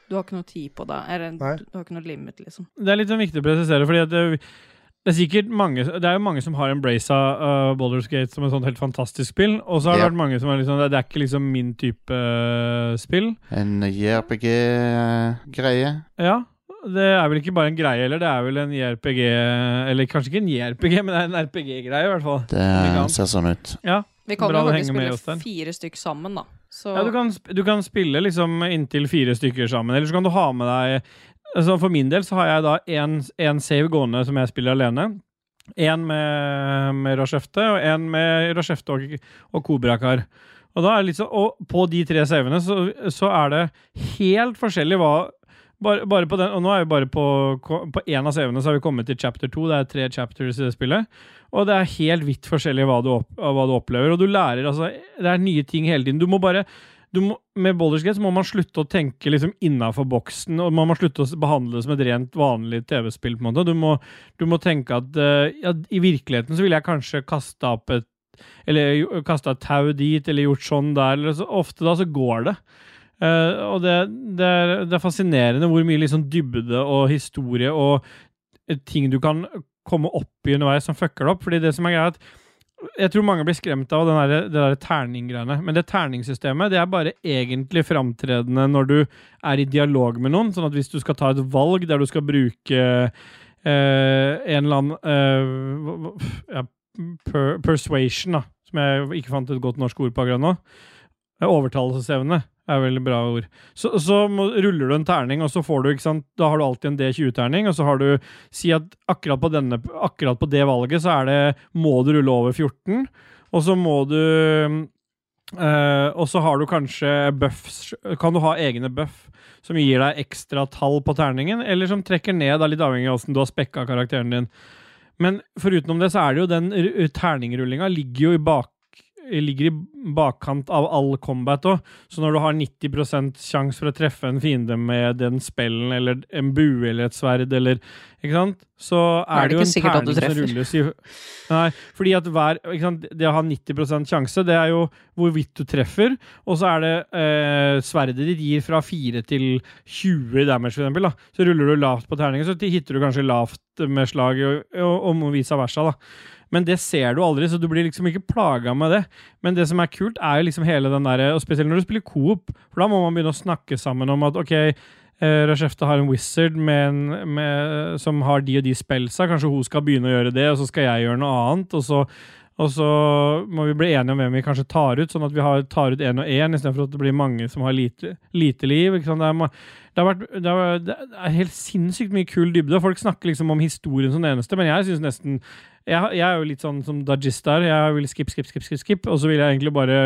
Speaker 3: Du har ikke noe tid på deg. Eller
Speaker 1: Nei.
Speaker 3: du har ikke noe limit, liksom.
Speaker 2: Det er litt sånn viktig å presisere, fordi at det, det er sikkert mange Det er jo mange som har embraced uh, Baldur's Gate som et sånt helt fantastisk spill, og så har det
Speaker 5: Ja.
Speaker 2: vært mange som er liksom Det, det er ikke liksom min type eh, spill.
Speaker 5: En uh, JRPG-greie.
Speaker 2: Ja. Det er vel ikke bare en greie heller, det er vel en JRPG Eller kanskje ikke en JRPG, men det er en RPG-greie, i hvert fall.
Speaker 5: Det ser sånn ut.
Speaker 2: Ja.
Speaker 3: Vi kan
Speaker 2: Bra
Speaker 3: jo
Speaker 2: du
Speaker 3: faktisk
Speaker 2: henger med,
Speaker 3: spille
Speaker 2: Jostein.
Speaker 3: fire stykk sammen, da. Så
Speaker 2: Ja, du, kan, sp- du kan spille liksom inntil fire stykker sammen, eller så kan du ha med deg altså For min del så har jeg da én save gående som jeg spiller alene. Én med, med Rashefte, og én med Rashefte og, og Kobrakar. Og, da er det litt sånn- og på de tre savene så, så er det helt forskjellig hva bare, bare på den, og nå er vi bare på På en av savene så har vi kommet til chapter 2. Det er tre chapters i det spillet. Og det er helt vidt forskjellig hva du, opp, hva du opplever. Og du lærer altså Det er nye ting hele tiden. Du må bare du må, med Baldur's Gate så må man slutte å tenke liksom innafor boksen, og man må slutte å s- behandle det som et rent vanlig TV-spill. på en måte. Du må, du må tenke at eh, ja, i virkeligheten så ville jeg kanskje kasta opp et eller jo- kasta et tau dit, eller gjort sånn der. Eller så, ofte da så går det. Eh, og det, det, er, det er fascinerende hvor mye liksom dybde og historie og eh, ting du kan komme opp i underveis som fucker det opp. Fordi det som er greia, er at jeg tror mange blir skremt av den der, det der terninggreiene. Men det terningsystemet det er bare egentlig framtredende når du er i dialog med noen. Sånn at hvis du skal ta et valg der du skal bruke eh, en eller annen eh, hva- hva- ja, per, Persuasion, da, som jeg ikke fant et godt norsk ord på akkurat nå. Eh, Overtalelsesevne er vel et bra ord. Så, så må, ruller du en terning, og så får du, ikke sant, da har du alltid en D20-terning, og så har du si at akkurat på, denne, akkurat på det valget så er det må du rulle over 14, og så må du eh, og så har du kanskje buffs Kan du ha egne buff som gir deg ekstra tall på terningen, eller som trekker ned, da, litt avhengig av åssen du har spekka karakteren din. Men forutenom det, så er det jo den r- terningrullinga ligger jo i bak ligger i bakkant av all combat òg, så når du har 90 sjanse for å treffe en fiende med den spellen eller en bue eller et sverd eller Ikke sant? Så er,
Speaker 3: er det
Speaker 2: det,
Speaker 3: ikke
Speaker 2: jo
Speaker 3: sikkert
Speaker 2: en
Speaker 3: at du
Speaker 2: terning som
Speaker 3: treffer.
Speaker 2: rulles i Nei, fordi at hver ikke sant? Det å ha 90 sjanse, det er jo hvorvidt du treffer, og så er det eh, sverdet ditt gir fra 4 til 20 damage, for eksempel, da. så ruller du lavt på terningen, så hitter du kanskje lavt med slag, og, og, og vice versa. da. Men det ser du aldri, så du blir liksom ikke plaga med det. Men det som er kult, er jo liksom hele den derre Og spesielt når du spiller coop, for da må man begynne å snakke sammen om at OK, eh, Rashefta har en wizard med en, med, som har de og de spellsa. Kanskje hun skal begynne å gjøre det, og så skal jeg gjøre noe annet. Og så, og så må vi bli enige om hvem vi kanskje tar ut, sånn at vi har, tar ut én og én, istedenfor at det blir mange som har lite, lite liv. Ikke sant? Det, er, ma- det, har vært, det, har, det er helt sinnssykt mye kul dybde. og Folk snakker liksom om historien som det eneste, men jeg syns nesten jeg, jeg er jo litt sånn som dajist der. Jeg vil skip, skip, skip, skip, skip, og så vil jeg egentlig bare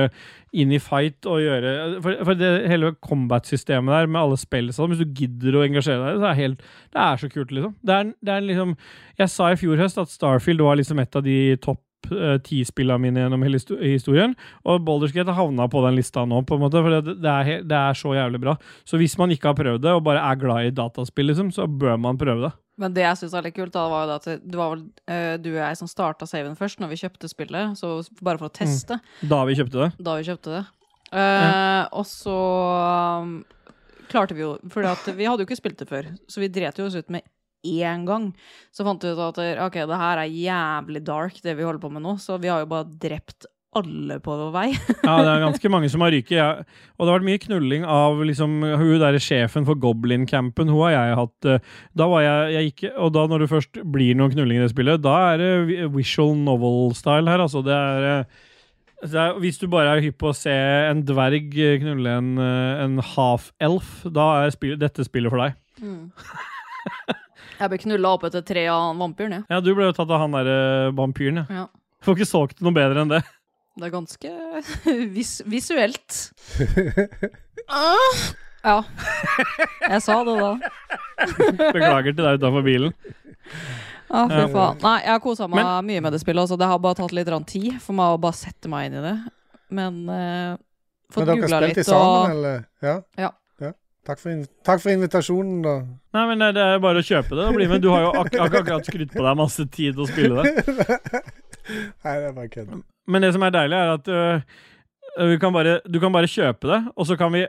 Speaker 2: inn i fight og gjøre For, for det hele combat-systemet der, med alle spill sånn, hvis du gidder å engasjere deg, så er det helt, det er så kult, liksom. Det er, det er liksom Jeg sa i fjor høst at Starfield var liksom et av de topp ti-spillene mine gjennom hele histo- historien, og Baldur's Gate har havna på den lista nå, på en måte, for det, det, er, he- det er så jævlig bra. Så hvis man ikke har prøvd det, og bare er glad i dataspill, liksom, så bør man prøve det.
Speaker 3: Men det jeg syns var litt kult, da, var jo det at det var vel eh, du og jeg som starta saven først, når vi kjøpte spillet, så bare
Speaker 2: Mm.
Speaker 3: for å teste
Speaker 2: Da vi kjøpte det.
Speaker 3: da vi kjøpte det. Eh, Og så um, klarte vi jo For vi hadde jo ikke spilt det før, så vi dret jo oss ut med én gang. Så fant vi ut at ok, det her er jævlig dark, det vi holder på med nå, så vi har jo bare drept alle på vår vei.
Speaker 2: Ja, det er ganske mange som har ryket. Jeg, og det har vært mye knulling av liksom, hun der sjefen for Goblin-campen. Hun har jeg hatt eh, Da var jeg, jeg gikk, Og da når du først blir noen knulling i det spillet, da er det vi- visual novel-style her, altså. Det er, eh, det er, hvis du bare er hypp på å se en dverg eh, knulle en, eh, en half-elf, da er spill, dette spillet for deg.
Speaker 3: Jeg ble knulla opp etter tre av han vampyren, jeg.
Speaker 2: Ja, du ble jo tatt av han derre vampyren,
Speaker 3: Ja.
Speaker 2: Får ikke solgt noe bedre enn det.
Speaker 3: Det er ganske vis visuelt. Ah! Ja.
Speaker 4: Jeg sa det da.
Speaker 2: Beklager til deg utafor bilen.
Speaker 3: Ja, fy
Speaker 2: Ja.
Speaker 3: faen. Nei, jeg har kosa meg
Speaker 2: Men-
Speaker 3: mye med det spillet. Altså. Det har bare tatt litt grann tid for meg å bare sette meg inn i det. Men
Speaker 1: Men
Speaker 3: eh, fått
Speaker 1: dere har
Speaker 3: googla
Speaker 1: spilt
Speaker 3: litt
Speaker 1: i sammen,
Speaker 3: og
Speaker 1: eller? Ja.
Speaker 3: Ja.
Speaker 1: Takk, for in takk for invitasjonen, da.
Speaker 2: Nei, men det er bare å kjøpe det og bli med. Du har jo ak ak akkurat skrytt på deg masse tid til å spille det.
Speaker 1: Nei, det er bare kødd.
Speaker 2: Men det som er deilig, er at øh, vi kan bare, du kan bare kjøpe det, og så kan vi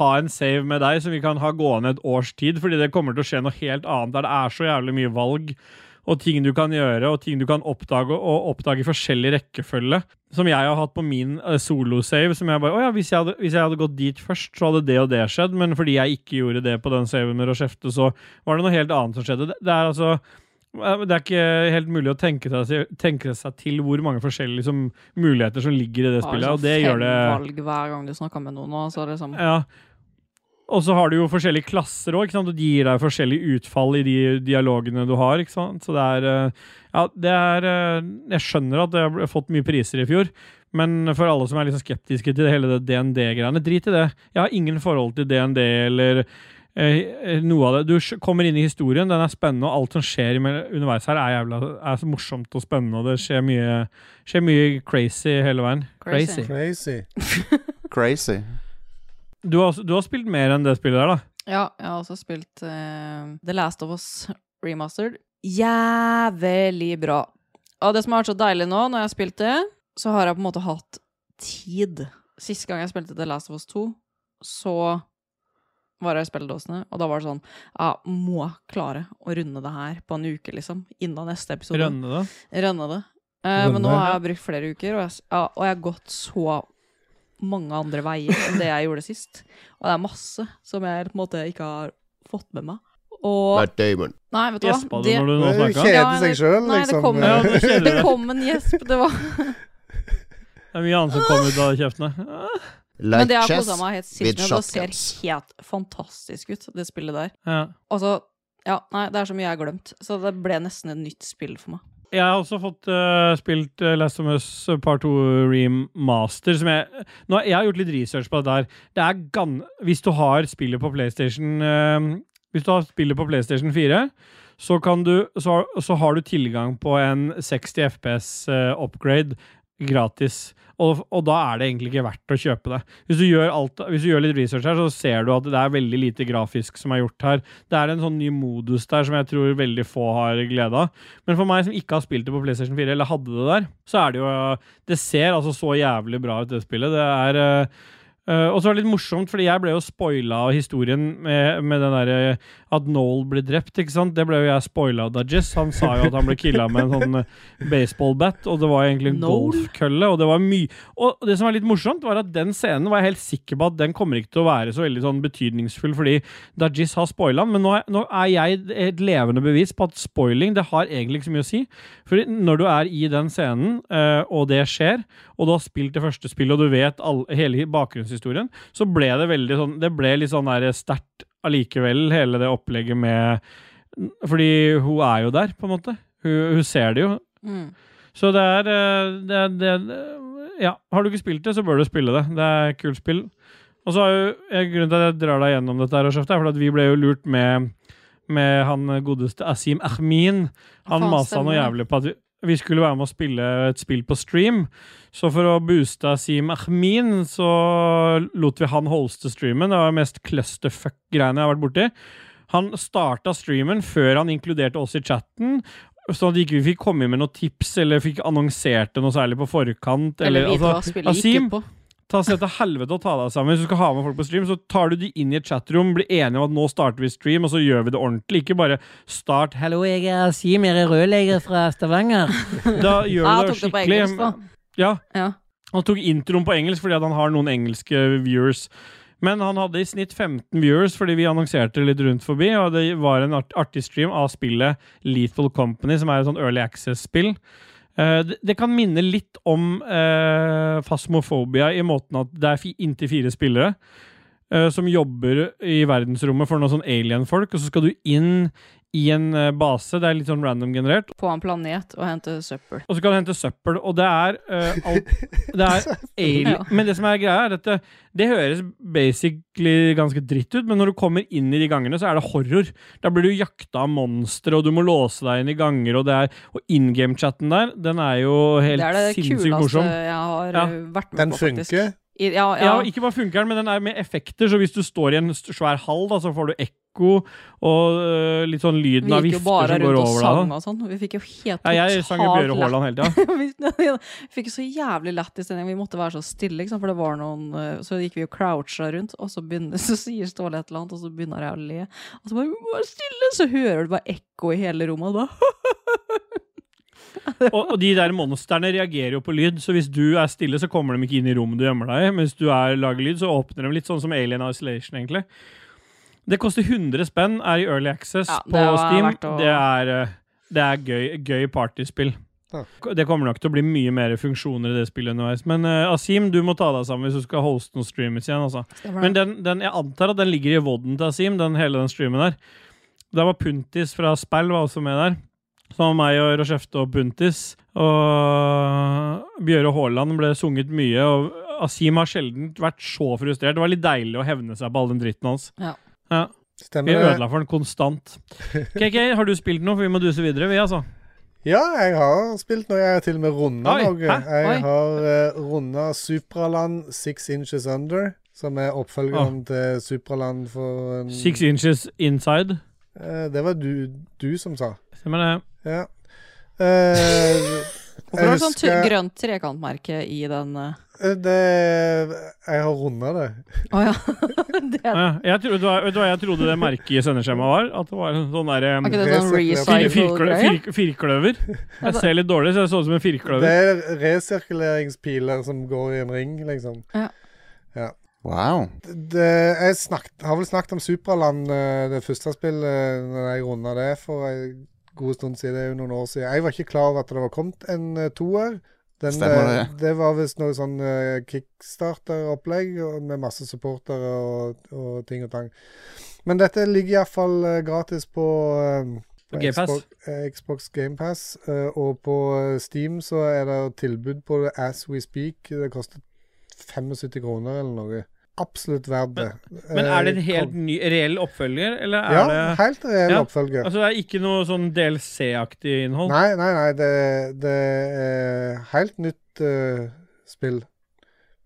Speaker 2: ha en save med deg som vi kan ha gående et års tid, fordi det kommer til å skje noe helt annet der det er så jævlig mye valg. Og ting du kan gjøre, og ting du kan oppdage, og oppdage i forskjellig rekkefølge. Som jeg har hatt på min eh, solo-save. Som jeg bare, å ja, hvis, jeg hadde, hvis jeg hadde gått dit først, så hadde det og det skjedd. Men fordi jeg ikke gjorde det på den saven med Rochefte, så var det noe helt annet som skjedde. Det, det er altså det er ikke helt mulig å tenke seg, tenke seg til hvor mange forskjellige liksom, muligheter som ligger i det
Speaker 3: har
Speaker 2: spillet,
Speaker 3: liksom
Speaker 2: og det gjør det
Speaker 3: fem valg hver gang du snakker med noen. Og så liksom
Speaker 2: ja. Og så har du jo forskjellige klasser òg, og de gir deg forskjellig utfall i de dialogene du har. ikke sant? Så det er eh, Ja, det er eh, Jeg skjønner at jeg har fått mye priser i fjor, men for alle som er liksom skeptiske til det hele det DND-greiene, drit i det. Jeg har ingen forhold til DND eller eh, noe av det. Du sj- kommer inn i historien, den er spennende, og alt som skjer imell- underveis her, er jævla er så morsomt og spennende, og det skjer mye, skjer mye crazy hele veien.
Speaker 3: Crazy.
Speaker 1: Crazy.
Speaker 5: Crazy.
Speaker 2: Du har, du har spilt mer enn det spillet der, da.
Speaker 3: Ja, jeg har også spilt eh, The Last of Us Remastered. Jævlig bra. Og det som har vært så deilig nå, når jeg har spilt det, så har jeg på en måte hatt tid. Sist gang jeg spilte The Last of Us 2, så var jeg i spilledåsene, og da var det sånn Ja, må klare å runde det her på en uke, liksom. Innen neste episode.
Speaker 2: Rønne, da.
Speaker 3: Rønne det. Eh, men nå har jeg brukt flere uker, og jeg, s- ja, og jeg har gått så mange andre veier enn det jeg gjorde sist. Og det er masse som jeg på en måte ikke har fått med meg. Og
Speaker 5: Matt Damon.
Speaker 3: Nei, vet du hva.
Speaker 2: Gjespa du
Speaker 3: Det,
Speaker 2: når du nå
Speaker 1: Det er jo
Speaker 2: snakka?
Speaker 3: kjedelig.
Speaker 1: Kjede seg sjøl,
Speaker 3: Nei, det
Speaker 1: liksom.
Speaker 3: kommer-
Speaker 2: Ja, det, kjeder
Speaker 3: det
Speaker 2: deg.
Speaker 3: kom en gjesp. Det var
Speaker 2: det er mye annet som kom ut av kjeftene.
Speaker 5: Like
Speaker 3: Men det har
Speaker 5: chess.
Speaker 3: kosa meg helt
Speaker 5: with
Speaker 3: sykt med. og Det ser
Speaker 5: shotguns.
Speaker 3: helt fantastisk ut, det spillet der.
Speaker 2: Ja.
Speaker 3: Altså, ja, nei, det er så mye jeg har glemt. Så det ble nesten et nytt spill for meg.
Speaker 2: Jeg har også fått eh, spilt eh, Last of Us Part 2 Remaster. Som jeg, nå, jeg har gjort litt research på det der. Det er gan hvis du har spillet på PlayStation eh, Hvis du har spillet på PlayStation 4, så, kan du, så, så har du tilgang på en 60 FPS eh, upgrade gratis. Og, og da er det egentlig ikke verdt å kjøpe det. Hvis du, gjør alt, hvis du gjør litt research her, så ser du at det er veldig lite grafisk som er gjort her. Det er en sånn ny modus der som jeg tror veldig få har glede av. Men for meg som ikke har spilt det på PlayStation 4, eller hadde det der, så er det jo Det ser altså så jævlig bra ut, det spillet. Det er eh, eh, og så var det litt morsomt, fordi jeg ble jo spoila av historien med, med den derre at Noel ble drept, ikke sant? Det ble jo jeg spoila av Dajis. Han sa jo at han ble killa med en sånn eh, baseballbat, og det var egentlig en
Speaker 3: Noel?
Speaker 2: golfkølle, og det var mye Og det som var litt morsomt, var at den scenen var jeg helt sikker på at den kommer ikke til å være så veldig sånn betydningsfull, fordi Dajis har spoila den, men nå er, nå er jeg et levende bevis på at spoiling, det har egentlig ikke så mye å si. Fordi når du er i den scenen, eh, og det skjer, og du har spilt det første spillet, og du vet all, hele bakgrunnshistorien, så ble det veldig sånn Det ble litt sånn der sterkt allikevel, hele det opplegget med Fordi hun er jo der, på en måte. Hun, hun ser det jo.
Speaker 3: Mm.
Speaker 2: Så det er, eh, det, er- det, er- Ja, har du ikke spilt det, så bør du spille det. Det er et kult spill. Og så har jo jeg- grunnen til at jeg drar deg gjennom dette, her, Sjef, det er fordi at vi ble jo lurt med med han godeste Asim Ahmin. Han
Speaker 3: Faen,
Speaker 2: masa noe
Speaker 3: stemmer
Speaker 2: jævlig på at vi, vi skulle være med å spille et spill på stream. Så for å booste Asim Ahmin, så lot vi han hoste streamen. Det var det mest clusterfuck-greiene jeg har vært borti. Han starta streamen før han inkluderte oss i chatten. Sånn at ikke vi fikk komme med noen tips eller fikk annonsert det noe særlig på forkant.
Speaker 3: Eller
Speaker 2: Eller,
Speaker 3: vite
Speaker 2: altså,
Speaker 3: hva spillet
Speaker 2: Asim,
Speaker 3: gikk ut på.
Speaker 2: Ta Se til helvete og ta deg sammen. Hvis du skal ha med folk på stream, så tar du de inn i et chatrom, blir enige om at nå starter vi stream, og så gjør vi det ordentlig. Ikke bare start 'Hallo, jeg er Sim, jeg er rørlegger fra Stavanger'. Da
Speaker 3: Ja,
Speaker 2: gjør du det
Speaker 3: tok det på
Speaker 2: skikkelig.
Speaker 3: engelsk, da.
Speaker 2: ja,
Speaker 3: Ja.
Speaker 2: han tok introen på engelsk fordi at han har noen engelske viewers. Men han hadde i snitt 15 viewers fordi vi annonserte litt rundt forbi, og det var en art artig stream av spillet Lethal Company, som er et sånn early access-spill. Eh, det, det kan minne litt om uh, fasmofobia i måten at det er fi, inntil fire spillere eh, som jobber i verdensrommet for noen sånn alien-folk, og så skal du inn i en eh, base, det er litt sånn random generert,
Speaker 3: På en planet og hente søppel.
Speaker 2: og så kan du hente søppel, og det er eh, alt Det er alien.
Speaker 3: Ja.
Speaker 2: Men det som er greia, er at det, det høres basically ganske dritt ut, men når du kommer inn i de gangene, så er det horror. Da blir du jakta av monstre, og du må låse deg inn i ganger, og det er Og in game-chatten der, den er jo helt
Speaker 3: det er det
Speaker 2: sinnssykt
Speaker 3: kuleste
Speaker 2: morsom.
Speaker 3: jeg har
Speaker 2: Ja.
Speaker 3: eh, vært med
Speaker 1: Den
Speaker 3: på, faktisk.
Speaker 1: funker.
Speaker 3: I, ja,
Speaker 2: Ja,
Speaker 3: ja.
Speaker 2: og ikke bare funker den, men den er med effekter, så hvis du står i en st- svær hall, da, så får du ekko, og øh, litt sånn lyden av
Speaker 3: vi gikk jo
Speaker 2: vifter
Speaker 3: bare
Speaker 2: som går
Speaker 3: rundt og
Speaker 2: over
Speaker 3: sang
Speaker 2: deg. da.
Speaker 3: og sånn. Vi fikk jo helt
Speaker 2: Ja, jeg sang jo Bjøre Haaland hele tida.
Speaker 3: Vi fikk jo så jævlig lett i stemning. Vi måtte være så stille, ikke sant? for det var noen eh, Så gikk vi og croucha rundt, og så, begynner, så sier Ståle et eller annet, og så begynner jeg å le. Og så bare, vi må være stille, så hører du bare ekko i hele rommet. Og da
Speaker 2: Og, og de der monsterne reagerer jo på lyd, så hvis du er stille, så kommer de ikke inn i rommet du gjemmer deg i. Men hvis du er, lager lyd, så åpner de litt, sånn som Alien Isolation, egentlig. Det koster 100 spenn, er i Early Access
Speaker 3: Ja, det
Speaker 2: på
Speaker 3: var
Speaker 2: Steam.
Speaker 3: verdt å-
Speaker 2: Det er, eh, det er gøy, gøy partyspill.
Speaker 1: Ja.
Speaker 2: Det kommer nok til å bli mye mer funksjoner i det spillet underveis. Men eh, Asim, du må ta deg sammen hvis du skal hoste noen streamers igjen. altså. Men den, den, jeg antar at den ligger i vodden til Asim, den, hele den streamen der. Der var Puntis fra Spell var også med der. Så var meg og Rochefte og Puntis. Og Bjøre Haaland ble sunget mye. Og Asim har sjelden vært så frustrert. Det var litt deilig å hevne seg på all den dritten hans.
Speaker 3: Ja.
Speaker 2: Ja, Vi
Speaker 1: Stemmer det?
Speaker 2: ødela for den konstant. KK, har du spilt noe? For vi må duse videre, vi, altså.
Speaker 1: Ja, jeg har spilt noe. Jeg har til og med runda
Speaker 2: Oi,
Speaker 1: noe.
Speaker 2: hæ?
Speaker 1: Jeg eh,
Speaker 3: Oi.
Speaker 1: har uh, runda Supraland Six Inches Under. Som er oppfølgeren til Supraland for en,
Speaker 2: Six inches inside.
Speaker 1: Eh, Det var du, du som sa.
Speaker 2: Stemmer det.
Speaker 1: Ja. Eh,
Speaker 3: Hvorfor har du sånn
Speaker 1: husker-
Speaker 3: tu- grønt trekantmerke i den eh?
Speaker 1: eh, det, jeg har runda det.
Speaker 3: Å ja. det er,
Speaker 2: Ja, jeg trodde, vet du hva- vet du hva jeg trodde det merket i sendeskjemaet var? At det var en sånn derre
Speaker 3: er ikke det sånn
Speaker 1: Resirkulert.
Speaker 2: fir, firklø,
Speaker 3: recycle-greie?
Speaker 2: fir, Firkløver. Jeg ser litt dårlig, så jeg så ut som en
Speaker 1: Det
Speaker 2: firkløver.
Speaker 1: er resirkuleringspiler som går i en ring, liksom.
Speaker 5: Wow.
Speaker 1: Det, jeg snakket, har vel snakket om Supraland, eh, det første spillet, når jeg runda det for en god stund siden. Det er jo noen år siden. Jeg var ikke klar over at det var kommet en eh, toer. Den,
Speaker 5: Stemmer
Speaker 1: eh,
Speaker 5: det.
Speaker 1: det var visst noe sånn eh, kickstarter-opplegg og med masse supportere og, og ting og tang. Men dette ligger iallfall gratis på, eh, på
Speaker 2: Game Pass.
Speaker 1: Xbox, eh, Xbox GamePass. Og på eh, Steam så er det tilbud på det As We Speak. Det koster 75 kroner eller noe. Absolutt verdt det.
Speaker 2: Men er
Speaker 1: Eh,
Speaker 2: det en helt
Speaker 1: kom-
Speaker 2: ny, reell oppfølger, eller er
Speaker 1: Ja,
Speaker 2: det
Speaker 1: helt reell
Speaker 2: Ja,
Speaker 1: oppfølger.
Speaker 2: Altså, det er ikke noe sånn DLC-aktig innhold?
Speaker 1: Nei, nei, nei. Det, det er helt nytt eh, spill.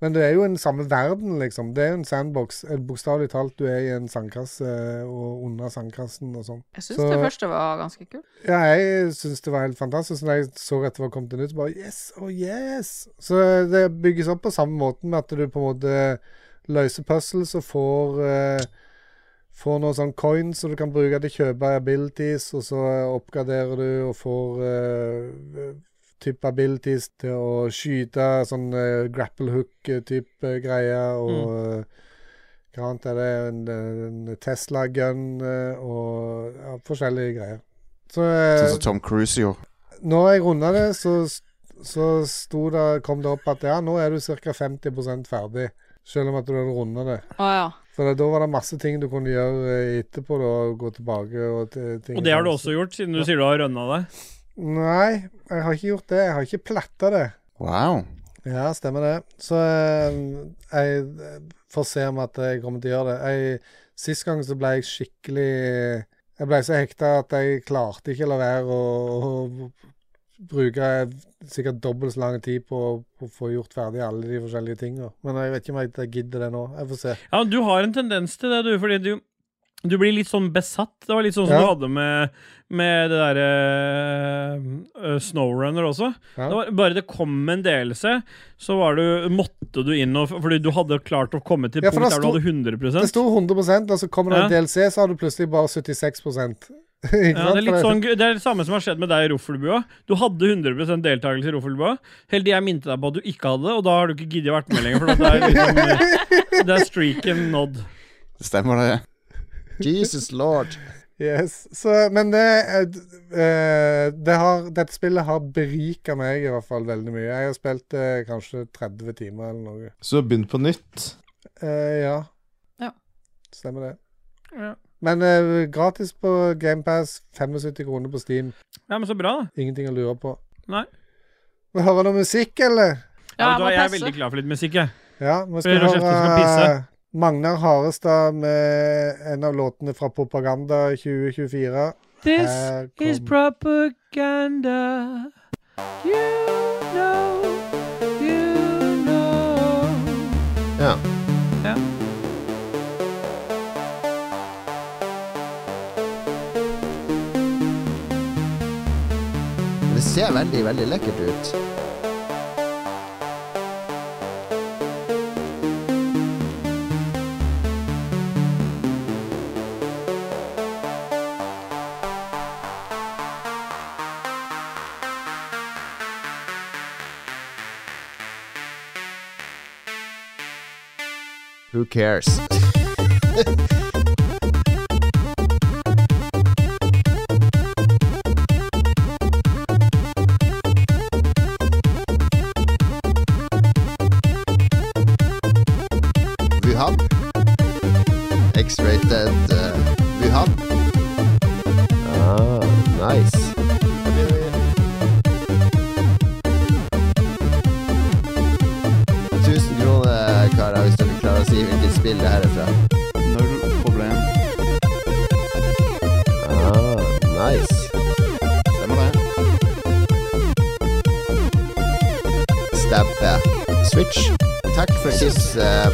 Speaker 1: Men det er jo en samme verden, liksom. Det er jo en sandbox. Eh, Bokstavelig talt, du er i en sandkasse eh, og under sandkassen og sånn.
Speaker 3: Jeg syns
Speaker 1: Så-
Speaker 3: det første var ganske kult.
Speaker 1: Ja, jeg syns det var helt fantastisk. Når jeg så at det var kommet en ut, så bare yes, oh yes. Så det bygges opp på samme måten med at du på en måte løser puzzles og får eh, Får noen sånne coins som du kan bruke til å kjøpe abilities, og så oppgraderer du og får uh, type abilities til å skyte, sånn eh, grapple hook-type greier, og eh, hva annet er det, en, en Tesla gun eh, og ja, forskjellige greier. Så eh,
Speaker 5: Sånn som Tom Cruise gjorde.
Speaker 1: når jeg runda det, så, så sto det, kom det opp at ja, nå er du ca. 50 ferdig. Selv om at du hadde runda det.
Speaker 3: Å ja.
Speaker 1: For da var det masse ting du kunne gjøre eh, etterpå. da, og Gå tilbake og t- ting.
Speaker 2: Og det har du
Speaker 1: sånn.
Speaker 2: også gjort, siden du sier du har rønna deg?
Speaker 1: Nei, jeg har ikke gjort det. Jeg har ikke platta det.
Speaker 5: Wow.
Speaker 1: Ja, stemmer det. Så eh, jeg eh, får se om at jeg kommer til å gjøre det. Jeg, sist gang så ble jeg skikkelig Jeg ble så hekta at jeg klarte ikke å la være å, å bruke sikkert dobbelt så lang tid på å- på å få gjort ferdig alle de forskjellige tinga. Men jeg vet ikke om jeg gidder det nå. Jeg får se.
Speaker 2: Ja, du har en tendens til det, du, fordi du, du blir litt sånn besatt. Det var litt sånn som
Speaker 1: Ja.
Speaker 2: du hadde med, med det derre Snowrunner også.
Speaker 1: Ja.
Speaker 2: Det var, bare det kom en delelse, så var du, måtte du inn og Fordi du hadde klart å komme til
Speaker 1: Ja, for
Speaker 2: punkt
Speaker 1: det
Speaker 2: der du hadde 100
Speaker 1: Det sto 100 og så kommer det en
Speaker 2: Ja.
Speaker 1: DLC, så har du plutselig bare 76 Ikke sant?
Speaker 2: Ja, det, er litt
Speaker 1: For
Speaker 2: sånn, det er det samme som har skjedd med deg i Roffelbua. Du hadde 100 deltakelse i Roffelbua. Helt til jeg minte deg på at du ikke hadde det, og da har du ikke giddet å vært med lenger. For da er liksom, det er streaken nådd.
Speaker 5: Det stemmer, det. Jesus lord.
Speaker 1: Yes, så, Men det, eh, d- eh, det har, dette spillet har berika meg i hvert fall veldig mye. Jeg har spilt det kanskje 30 timer eller noe.
Speaker 6: Så du har begynt på nytt?
Speaker 1: Eh, ja.
Speaker 3: Ja.
Speaker 1: Stemmer det.
Speaker 2: Ja.
Speaker 1: Men eh, gratis på GamePass, 75 kroner på Steam.
Speaker 2: Ja, men så bra, da.
Speaker 1: Ingenting å lure på.
Speaker 2: Nei.
Speaker 1: Vi hører noe musikk, eller?
Speaker 2: Ja,
Speaker 3: Ja,
Speaker 2: vet du hva, jeg er
Speaker 3: jeg må
Speaker 2: veldig
Speaker 3: pisse.
Speaker 2: glad for litt musikk, jeg.
Speaker 1: Ja, vi
Speaker 2: Vi
Speaker 1: skal
Speaker 2: hører Kjersti
Speaker 1: høre
Speaker 2: skal pisse.
Speaker 1: eh, Magnar Harestad med en av låtene fra Propaganda 2024. Her
Speaker 2: is
Speaker 1: kom-
Speaker 2: propaganda. You know, you know.
Speaker 6: Ja.
Speaker 2: Ja.
Speaker 5: Det ser veldig, veldig lekkert ut. Who cares? Wuhan. X-rated uh, Wuhan.
Speaker 6: Ah, nice.
Speaker 5: Tusen kroner, karer, hvis dere klarer å si hvilket spill det her er fra. Null problem.
Speaker 6: Ah, nice.
Speaker 5: Stemmer det. Stabbe. Switch. Takk for sist. eh,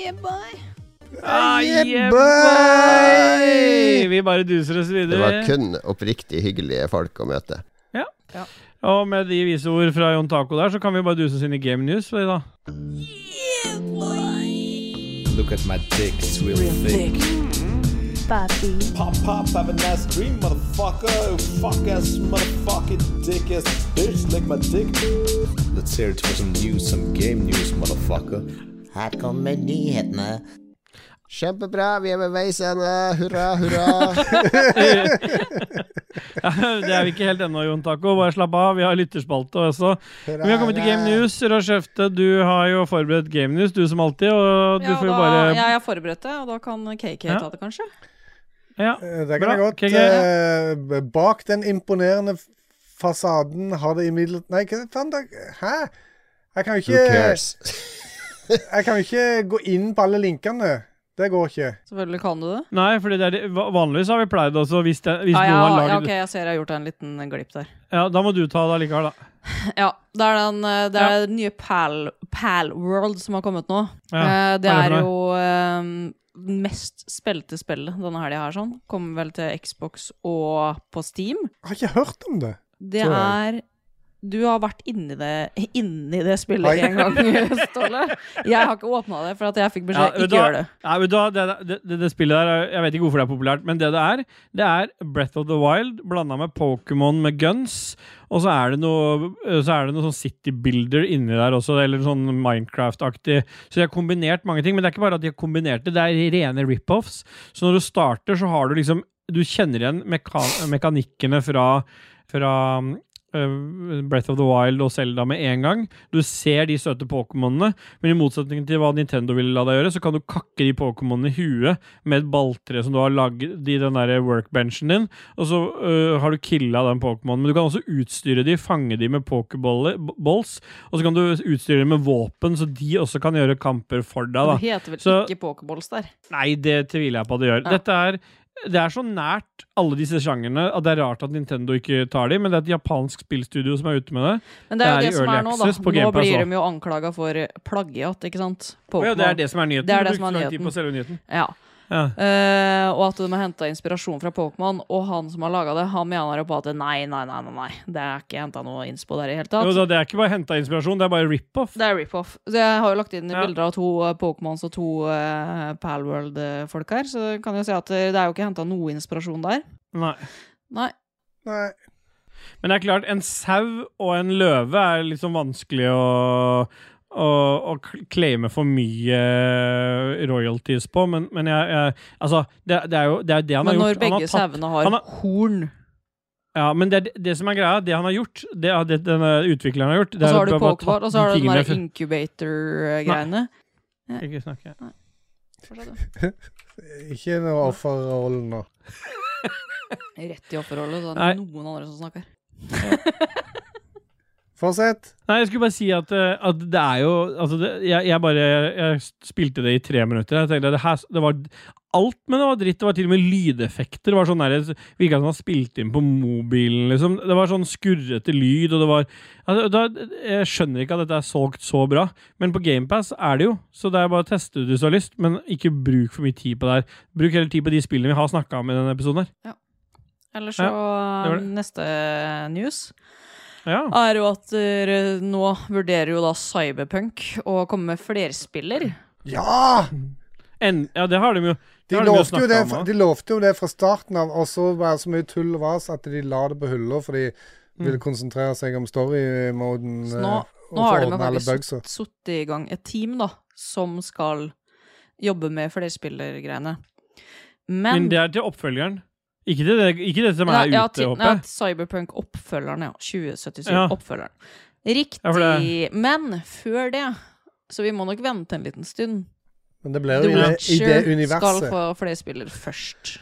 Speaker 4: Jebbai.
Speaker 2: Ajebai! Vi bare duser oss
Speaker 6: Det var
Speaker 2: videre.
Speaker 6: kun oppriktig hyggelige folk å møte.
Speaker 2: Og med de vise ord fra Jon Taco der, så kan vi bare duse oss inn i Game News. vi da.
Speaker 8: Look at my dick, it's real thick. Pop pop, have a nice dream, motherfucker. Fuck ass, motherfucking dick ass bitch, lick my dick. Let's hear it for some news, some game news, motherfucker.
Speaker 7: Her kommer nyhetene.
Speaker 6: Kjempebra, vi er ved veis ende. Hurra, hurra.
Speaker 2: Det er vi ikke helt ennå, Jon Taco. Bare slapp av. Vi har lytterspalte også. Men vi har kommet til Game News. Rashefte, du har jo forberedt Game News, du som alltid. Og du
Speaker 3: Ja,
Speaker 2: får jo
Speaker 3: da,
Speaker 2: bare
Speaker 3: jeg har forberedt det, og da kan KK
Speaker 2: Ja.
Speaker 3: ta det, kanskje?
Speaker 2: Ja.
Speaker 1: Eh, Det
Speaker 2: Bra,
Speaker 1: kan jeg godt.
Speaker 2: KK.
Speaker 1: Eh, bak den imponerende f- fasaden har det imidlertid Nei, hva faen da? Hæ? Jeg kan jo
Speaker 6: Who
Speaker 1: ikke,
Speaker 6: cares?
Speaker 1: jeg kan jo ikke gå inn på alle linkene. Det går ikke.
Speaker 3: Selvfølgelig kan du det.
Speaker 2: Nei, fordi det er de, va- vanligvis har vi pleid også, hvis, det, hvis
Speaker 3: Ja, ja,
Speaker 2: noen har
Speaker 3: ja,
Speaker 2: laget
Speaker 3: ok, jeg ser jeg har gjort en liten glipp der.
Speaker 2: Ja, da må du ta det allikevel, da.
Speaker 3: Ja, det er den, eh, det er den nye Pal, Pal World som har kommet nå.
Speaker 2: Ja,
Speaker 3: Eh, det
Speaker 2: hva er
Speaker 3: er
Speaker 2: det for
Speaker 3: jo eh, mest spilte spillet denne helga her, sånn. Kommer vel til Xbox og på Steam.
Speaker 1: Jeg har ikke hørt om det.
Speaker 3: Det
Speaker 1: Tror
Speaker 3: er Du har vært inni det, inni det
Speaker 1: Oi.
Speaker 3: spillet en gang, Ståle. Jeg har ikke åpna det, for at jeg fikk
Speaker 2: Ja,
Speaker 3: beskjed
Speaker 2: vet du
Speaker 3: ikke
Speaker 2: hva?
Speaker 3: gjør det.
Speaker 2: Nei, vet du hva, det, det, det, det spillet der, er- jeg vet ikke hvorfor det er populært, men det det er, det er Breath of the Wild blanda med Pokémon med guns, og så er det noe, så er det noe sånn City Builder inni der også, eller sånn Minecraft-aktig. Så de har kombinert mange ting, men det er ikke bare at de har kombinert det, det er rene rip-offs. Så når du starter, så har du liksom Du kjenner igjen meka mekanikkene fra, fra øh, Breath of the Wild og Zelda med en gang. Du ser de søte Pokémonene, men i motsetning til hva Nintendo ville la deg gjøre, så kan du kakke de Pokémonene i huet med et balltre som du har lagd i den der workbenchen din, og så øh, har du killa den Pokémonen. Men du kan også utstyre de, fange de med pokerballs, og så kan du utstyre de med våpen, så de også kan gjøre kamper for deg, da.
Speaker 3: Det heter vel
Speaker 2: Så-
Speaker 3: ikke pokerballs der.
Speaker 2: Nei, det tviler jeg på at det gjør.
Speaker 3: Ja.
Speaker 2: Dette er, det er så nært alle disse sjangerne at det er rart at Nintendo ikke tar dem, men det er et japansk spillstudio som er ute med det.
Speaker 3: Men det er jo
Speaker 2: Det
Speaker 3: det,
Speaker 2: er i
Speaker 3: som
Speaker 2: early
Speaker 3: er nå, da.
Speaker 2: access på
Speaker 3: Nå
Speaker 2: Game Pass
Speaker 3: blir
Speaker 2: også.
Speaker 3: de jo anklaga for plagiat, ikke sant?
Speaker 2: Å ja, det
Speaker 3: Pokémon.
Speaker 2: er det som er nyheten.
Speaker 3: Det er
Speaker 2: Du
Speaker 3: det
Speaker 2: brukte
Speaker 3: som er
Speaker 2: lang tid
Speaker 3: nyheten.
Speaker 2: på selve nyheten.
Speaker 3: Ja.
Speaker 2: Ja.
Speaker 3: Eh, og at de har henta inspirasjon fra Pokémon, og han som har laga det, han mener jo på at nei, nei, nei, nei, nei. det er ikke henta noe innspo der i hele tatt.
Speaker 2: Jo, da, det er ikke bare henta inspirasjon, det er bare rip-off.
Speaker 3: Det er rip-off. Så Jeg har jo lagt inn
Speaker 2: Ja.
Speaker 3: bilder av to eh, Pokémons og to eh, Palworld-folk her, så kan jeg jo si at eh, det er jo ikke henta noe inspirasjon der.
Speaker 2: Nei.
Speaker 3: Nei.
Speaker 1: Nei.
Speaker 2: Men det er klart, en sau og en løve er liksom vanskelig å å, å kl- claime for mye royalties på, men, men jeg, jeg Altså, det, det er jo det, er det han
Speaker 3: Men
Speaker 2: har
Speaker 3: når
Speaker 2: gjort. Han har
Speaker 3: begge
Speaker 2: tatt
Speaker 3: sauene
Speaker 2: han
Speaker 3: har
Speaker 2: har-
Speaker 3: horn,
Speaker 2: Ja, men det, det som er greia, det han har gjort, det, det denne utvikleren har gjort
Speaker 3: og
Speaker 2: det
Speaker 3: så
Speaker 2: er
Speaker 3: har du
Speaker 2: at bare tatt
Speaker 3: Pokéball, og så har du den
Speaker 2: tingene
Speaker 3: der incubator-greiene.
Speaker 2: fra- Ikke snakke.
Speaker 3: Forstår du?
Speaker 1: Ikke noe offerrollen nå.
Speaker 3: Rett i offerrollen, så
Speaker 2: Nei.
Speaker 3: er det noen andre som snakker.
Speaker 1: Fortsett.
Speaker 2: Nei, jeg skulle bare si at, eh, at det er jo altså det, jeg, jeg bare jeg spilte det i tre minutter. Jeg tenkte, det, her, det var Alt, men det var dritt. Det var til og med lydeffekter. Det var sånn der, Virka som han spilte inn på mobilen. liksom. Det var sånn skurrete lyd, og det var altså, da, Jeg skjønner ikke at dette er solgt så bra, men på GamePass er det jo. Så det er bare å teste det hvis du har lyst, men ikke bruk for mye tid på det her. Bruk heller tid på de spillene vi har snakka om i denne episoden her.
Speaker 3: Eller så
Speaker 2: Ja, det var det.
Speaker 3: neste news
Speaker 2: Ja.
Speaker 3: er jo at eh, nå vurderer jo da Cyberpunk å komme med flerspiller.
Speaker 1: Ja!
Speaker 2: En, ja, det har de jo.
Speaker 1: De
Speaker 2: har
Speaker 1: lovte, jo
Speaker 2: snakket
Speaker 1: det,
Speaker 2: om,
Speaker 1: fra-
Speaker 2: da.
Speaker 1: de lovte jo det fra starten av, og så var det så mye tull og vas at de la det på hylla, for de
Speaker 2: Mm.
Speaker 1: ville konsentrere seg om story-moden.
Speaker 3: Så nå,
Speaker 1: eh, og
Speaker 3: nå har
Speaker 1: få
Speaker 3: de
Speaker 1: ordnet alle
Speaker 3: faktisk
Speaker 1: bugsa.
Speaker 3: satt i gang et team da, som skal jobbe med flerspillergreiene. Men,
Speaker 2: Men det er til oppfølgeren. Ikke til det, ikke det som
Speaker 3: Nei,
Speaker 2: er
Speaker 3: ja,
Speaker 2: ute,
Speaker 3: ti-
Speaker 2: håper
Speaker 3: nei,
Speaker 2: jeg.
Speaker 3: Cyberpunk-oppfølgeren, ja. 2077.
Speaker 2: Ja.
Speaker 3: Oppfølgeren. Riktig.
Speaker 2: Ja, for det-
Speaker 3: Men før det, så vi må nok vente en liten stund.
Speaker 1: Men det ble
Speaker 3: The
Speaker 1: jo i det, i det
Speaker 3: Witcher skal
Speaker 1: universet.
Speaker 3: få flerspiller først.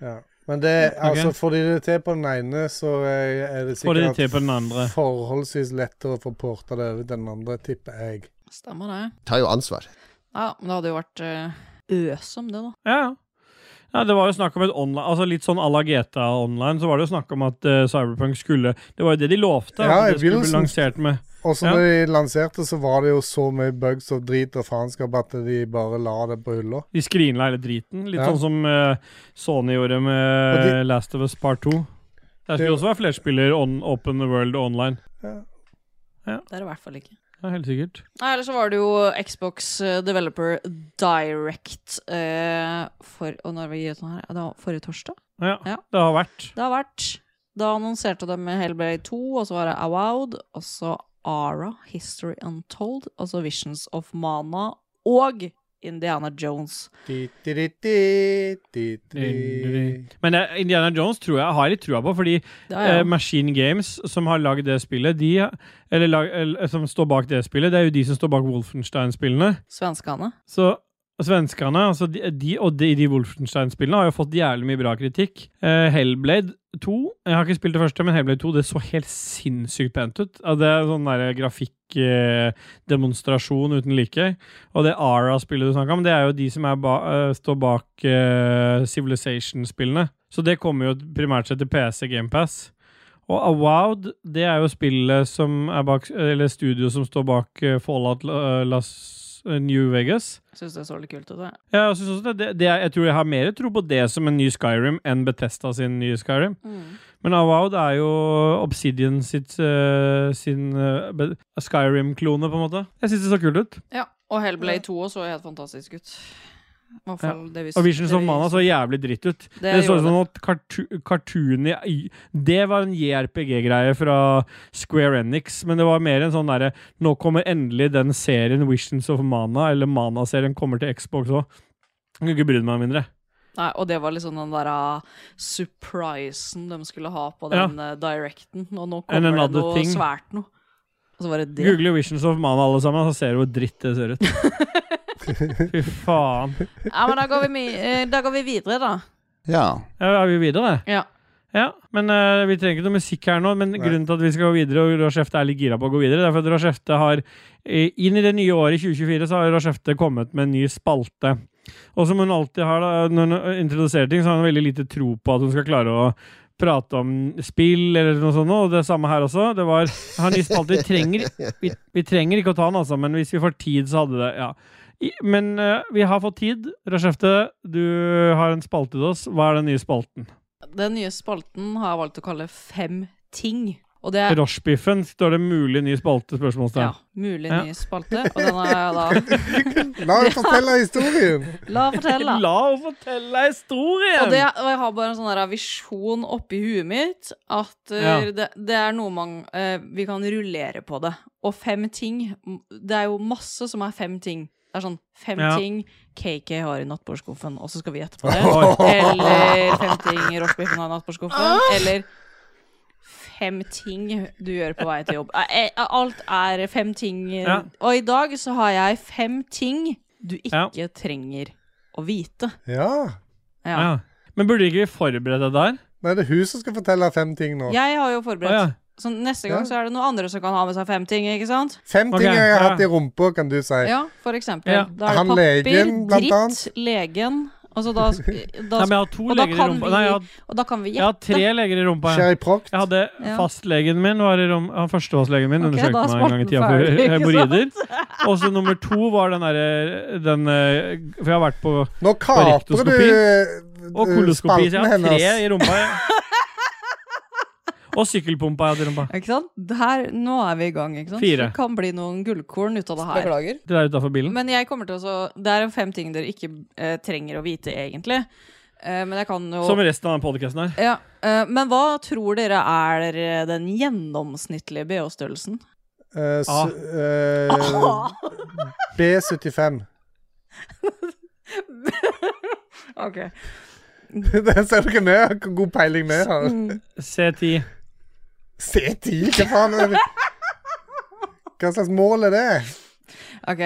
Speaker 1: Ja. Men det, altså, får de det til på den ene, så eh, er det
Speaker 2: Får de
Speaker 1: sikkert
Speaker 2: det til på den andre?
Speaker 1: forholdsvis lettere å få porta det over til den andre, tipper jeg.
Speaker 3: Stemmer det.
Speaker 6: Ta jo ansvar.
Speaker 3: Ja, men det hadde jo vært eh, øs om det, da.
Speaker 2: Ja. ja. Ja, det var jo snakk om et online, altså litt sånn à la GTA Online, så var det jo snakk om at eh, Cyberpunk skulle Det var jo det de lovte.
Speaker 1: Ja,
Speaker 2: at
Speaker 1: i
Speaker 2: det skulle bli
Speaker 1: begynnelsen.
Speaker 2: lansert med
Speaker 1: Og så når de lanserte, så var det jo så mye bugs og drit og faenskap at de bare la det på hylla.
Speaker 2: De skrinla hele driten. Litt
Speaker 1: Ja.
Speaker 2: sånn som eh, Sony gjorde med
Speaker 1: Og de-
Speaker 2: Last of Us Part 2. Der
Speaker 1: Det-
Speaker 2: skulle også være flerspiller on, open world og online.
Speaker 3: Det er det i hvert fall ikke.
Speaker 2: Ja, helt sikkert.
Speaker 3: Nei, Eller så var det jo Xbox eh, Developer Direct eh, for Og når vi gir ut den her? ja, Det var forrige torsdag?
Speaker 2: Ja,
Speaker 3: Ja.
Speaker 2: det har vært.
Speaker 3: Det har vært Da annonserte de med Hellblade 2, og så var det Awowed, og så Ara, History Untold, og så Visions of Mana og Indiana Jones.
Speaker 2: Men eh, Indiana Jones tror jeg har jeg litt trua på, fordi
Speaker 3: Det har jeg
Speaker 2: eh, Machine Games, som har lagd det spillet, de, eller, lag, eller som står bak det spillet, det er jo de som står bak Wolfenstein-spillene.
Speaker 3: svenskene.
Speaker 2: Så svenskene, altså de, de og de, de Wolfenstein-spillene, har jo fått jævlig mye bra kritikk. Eh, Hellblade 2 Jeg har ikke spilt det første, men Hellblade 2 det så helt sinnssykt pent ut. Ja, det er sånn der grafikkdemonstrasjon eh, demonstrasjon uten like. Og det Ara-spillet du snakka om, det er jo de som er ba, eh, står bak eh, Civilization-spillene. Så det kommer jo primært sett til PC GamePass. Og Awowed, det er jo spillet som er bak Eller studioet som står bak eh, Fallout eh, Las eh, New Vegas.
Speaker 3: Syns det så litt kult ut. det.
Speaker 2: Ja, jeg, synes også det, det, det er, jeg tror jeg har mer tro på det som en ny Skyrim enn Bethesda sin nye Skyrim.
Speaker 3: Mm.
Speaker 2: Men Avowed er jo Obsidian sitt, eh, sin eh, Be- Skyrim-klone, på en måte. Jeg syns det så kult ut.
Speaker 3: Ja, og Hellblade 2 også så helt fantastisk ut. I hvert fall det vi
Speaker 2: Og Visions
Speaker 3: det
Speaker 2: of
Speaker 3: vi-
Speaker 2: Mana så jævlig dritt ut. Det,
Speaker 3: Det
Speaker 2: så ut
Speaker 3: gjorde
Speaker 2: som at kartu- cartoon i- Det var en JRPG-greie fra Square Enix, men det var mer en sånn derre Nå kommer endelig den serien Visions of Mana, eller Mana-serien, kommer til Xbox òg. Jeg kan ikke bry meg mindre.
Speaker 3: Nei, og det var liksom den der ah, surprisen de skulle ha på den eh, directen, og nå
Speaker 2: And
Speaker 3: kommer det
Speaker 2: another
Speaker 3: noe
Speaker 2: thing.
Speaker 3: svært noe. Og så var det det.
Speaker 2: Google Visions of Mana, alle sammen, så ser du hvor dritt det ser ut. Fy faen.
Speaker 3: Ja, men da går, vi mi- eh, da går vi videre, da.
Speaker 5: Ja.
Speaker 2: Ja, er vi videre?
Speaker 3: Ja.
Speaker 2: Ja, men eh, Vi trenger ikke noe musikk her nå, men grunnen til at vi skal gå videre, og Rochefte er litt gira på å gå videre, det er for at Rochefte har eh, inn i det nye året 2024 så har Rochefte kommet med en ny spalte. Og som hun alltid har, da, når hun introduserer ting, så har hun veldig lite tro på at hun skal klare å prate om spill eller noe sånt, og det samme her også. Det var, jeg har en ny spalte. Vi trenger, vi, vi trenger ikke å ta den, altså, men hvis vi får tid, så hadde det Ja. I, men eh, vi har fått tid. Rochefte, du har en spalte til oss. Hva er den nye spalten?
Speaker 3: Den nye spalten har jeg valgt å kalle Fem ting. Og det er
Speaker 2: Rochebiffen står det mulig ny spalte?
Speaker 3: ja,
Speaker 2: spørsmålstegn.
Speaker 3: mulig
Speaker 2: Ja.
Speaker 3: ny spalte, og den har jeg da
Speaker 1: La meg fortelle historien!
Speaker 3: La fortelle.
Speaker 2: La henne fortelle historien!
Speaker 3: Og, det, og jeg har bare en sånn der visjon oppi huet mitt at eh,
Speaker 2: Ja.
Speaker 3: det, det er noe man eh, Vi kan rullere på det. Og fem ting m- Det er jo masse som er fem ting. Det er sånn fem
Speaker 2: Ja.
Speaker 3: ting KK har i nattbordskuffen, og så skal vi gjette på det.
Speaker 2: Oi.
Speaker 3: Eller fem ting rochebiffen har i nattbordskuffen. Eller fem ting du gjør på vei til jobb. Eh, eh, Alt er fem ting. eh,
Speaker 2: Ja.
Speaker 3: Og i dag så har jeg fem ting du
Speaker 2: Ja.
Speaker 3: ikke trenger å vite.
Speaker 1: Ja.
Speaker 3: Ja.
Speaker 2: ja. Men burde ikke vi forberede deg der?
Speaker 1: Nei, det er hun som skal fortelle fem ting nå.
Speaker 3: Jeg har jo
Speaker 2: Å,
Speaker 3: forberedt.
Speaker 2: ja.
Speaker 3: Så neste
Speaker 1: Ja.
Speaker 3: gang så er det noen andre som kan ha med seg fem ting, ikke sant?
Speaker 1: Fem
Speaker 2: Ok,
Speaker 1: ting jeg har
Speaker 2: ja.
Speaker 1: hatt i rumpa, kan du si.
Speaker 3: Ja, for eksempel.
Speaker 2: Ja.
Speaker 3: Da er det
Speaker 1: Han
Speaker 3: papir,
Speaker 1: legen, blant
Speaker 3: dritt,
Speaker 1: annet.
Speaker 3: legen. Og, så da, da,
Speaker 2: Nei, men jeg har to
Speaker 3: og da
Speaker 2: leger i
Speaker 3: kan
Speaker 2: rumpa.
Speaker 3: vi-
Speaker 2: Nei, jeg har,
Speaker 3: og da kan vi
Speaker 2: jeg har
Speaker 3: gjette.
Speaker 2: tre leger i rumpa. Jeg,
Speaker 1: Sherry Proct.
Speaker 2: jeg hadde
Speaker 3: Ja.
Speaker 2: Fastlegen min var i rom, ja, førstefastlegen min
Speaker 3: Ok, da
Speaker 2: undersøkte
Speaker 3: er
Speaker 2: meg en gang i tida
Speaker 3: smarten ferdig,
Speaker 2: for
Speaker 3: ikke
Speaker 2: hemoroider. Og så nummer to var den derre den, eh, For jeg har vært på
Speaker 1: Nå kaprer du
Speaker 2: rektoskopi.
Speaker 1: eh,
Speaker 2: Og koloskopi. Så jeg har
Speaker 1: spalten
Speaker 2: tre
Speaker 1: hennes.
Speaker 2: i rumpa. jeg. Og sykkelpumpa jeg hadde i rumpa.
Speaker 3: Ikke sant? Her, nå er vi i gang, ikke sant?
Speaker 2: Fire.
Speaker 3: Det kan bli noen gullkorn ut av det her. Beklager.
Speaker 2: Det der utafor bilen.
Speaker 3: Men jeg kommer til å så Det er fem ting dere ikke eh, trenger å vite, egentlig. Eh, men jeg kan jo
Speaker 2: Som resten av den podkasten her.
Speaker 3: ja, eh, men hva tror dere er eh, den gjennomsnittlige BH-størrelsen?
Speaker 1: Eh, s-
Speaker 2: Ah.
Speaker 1: eh, B75.
Speaker 3: Ok.
Speaker 1: Der ser du ikke ned. Hvor god peiling vi har.
Speaker 3: Mm.
Speaker 2: C10.
Speaker 1: C10? Hva faen er det? Hva slags mål er det?
Speaker 3: Ok,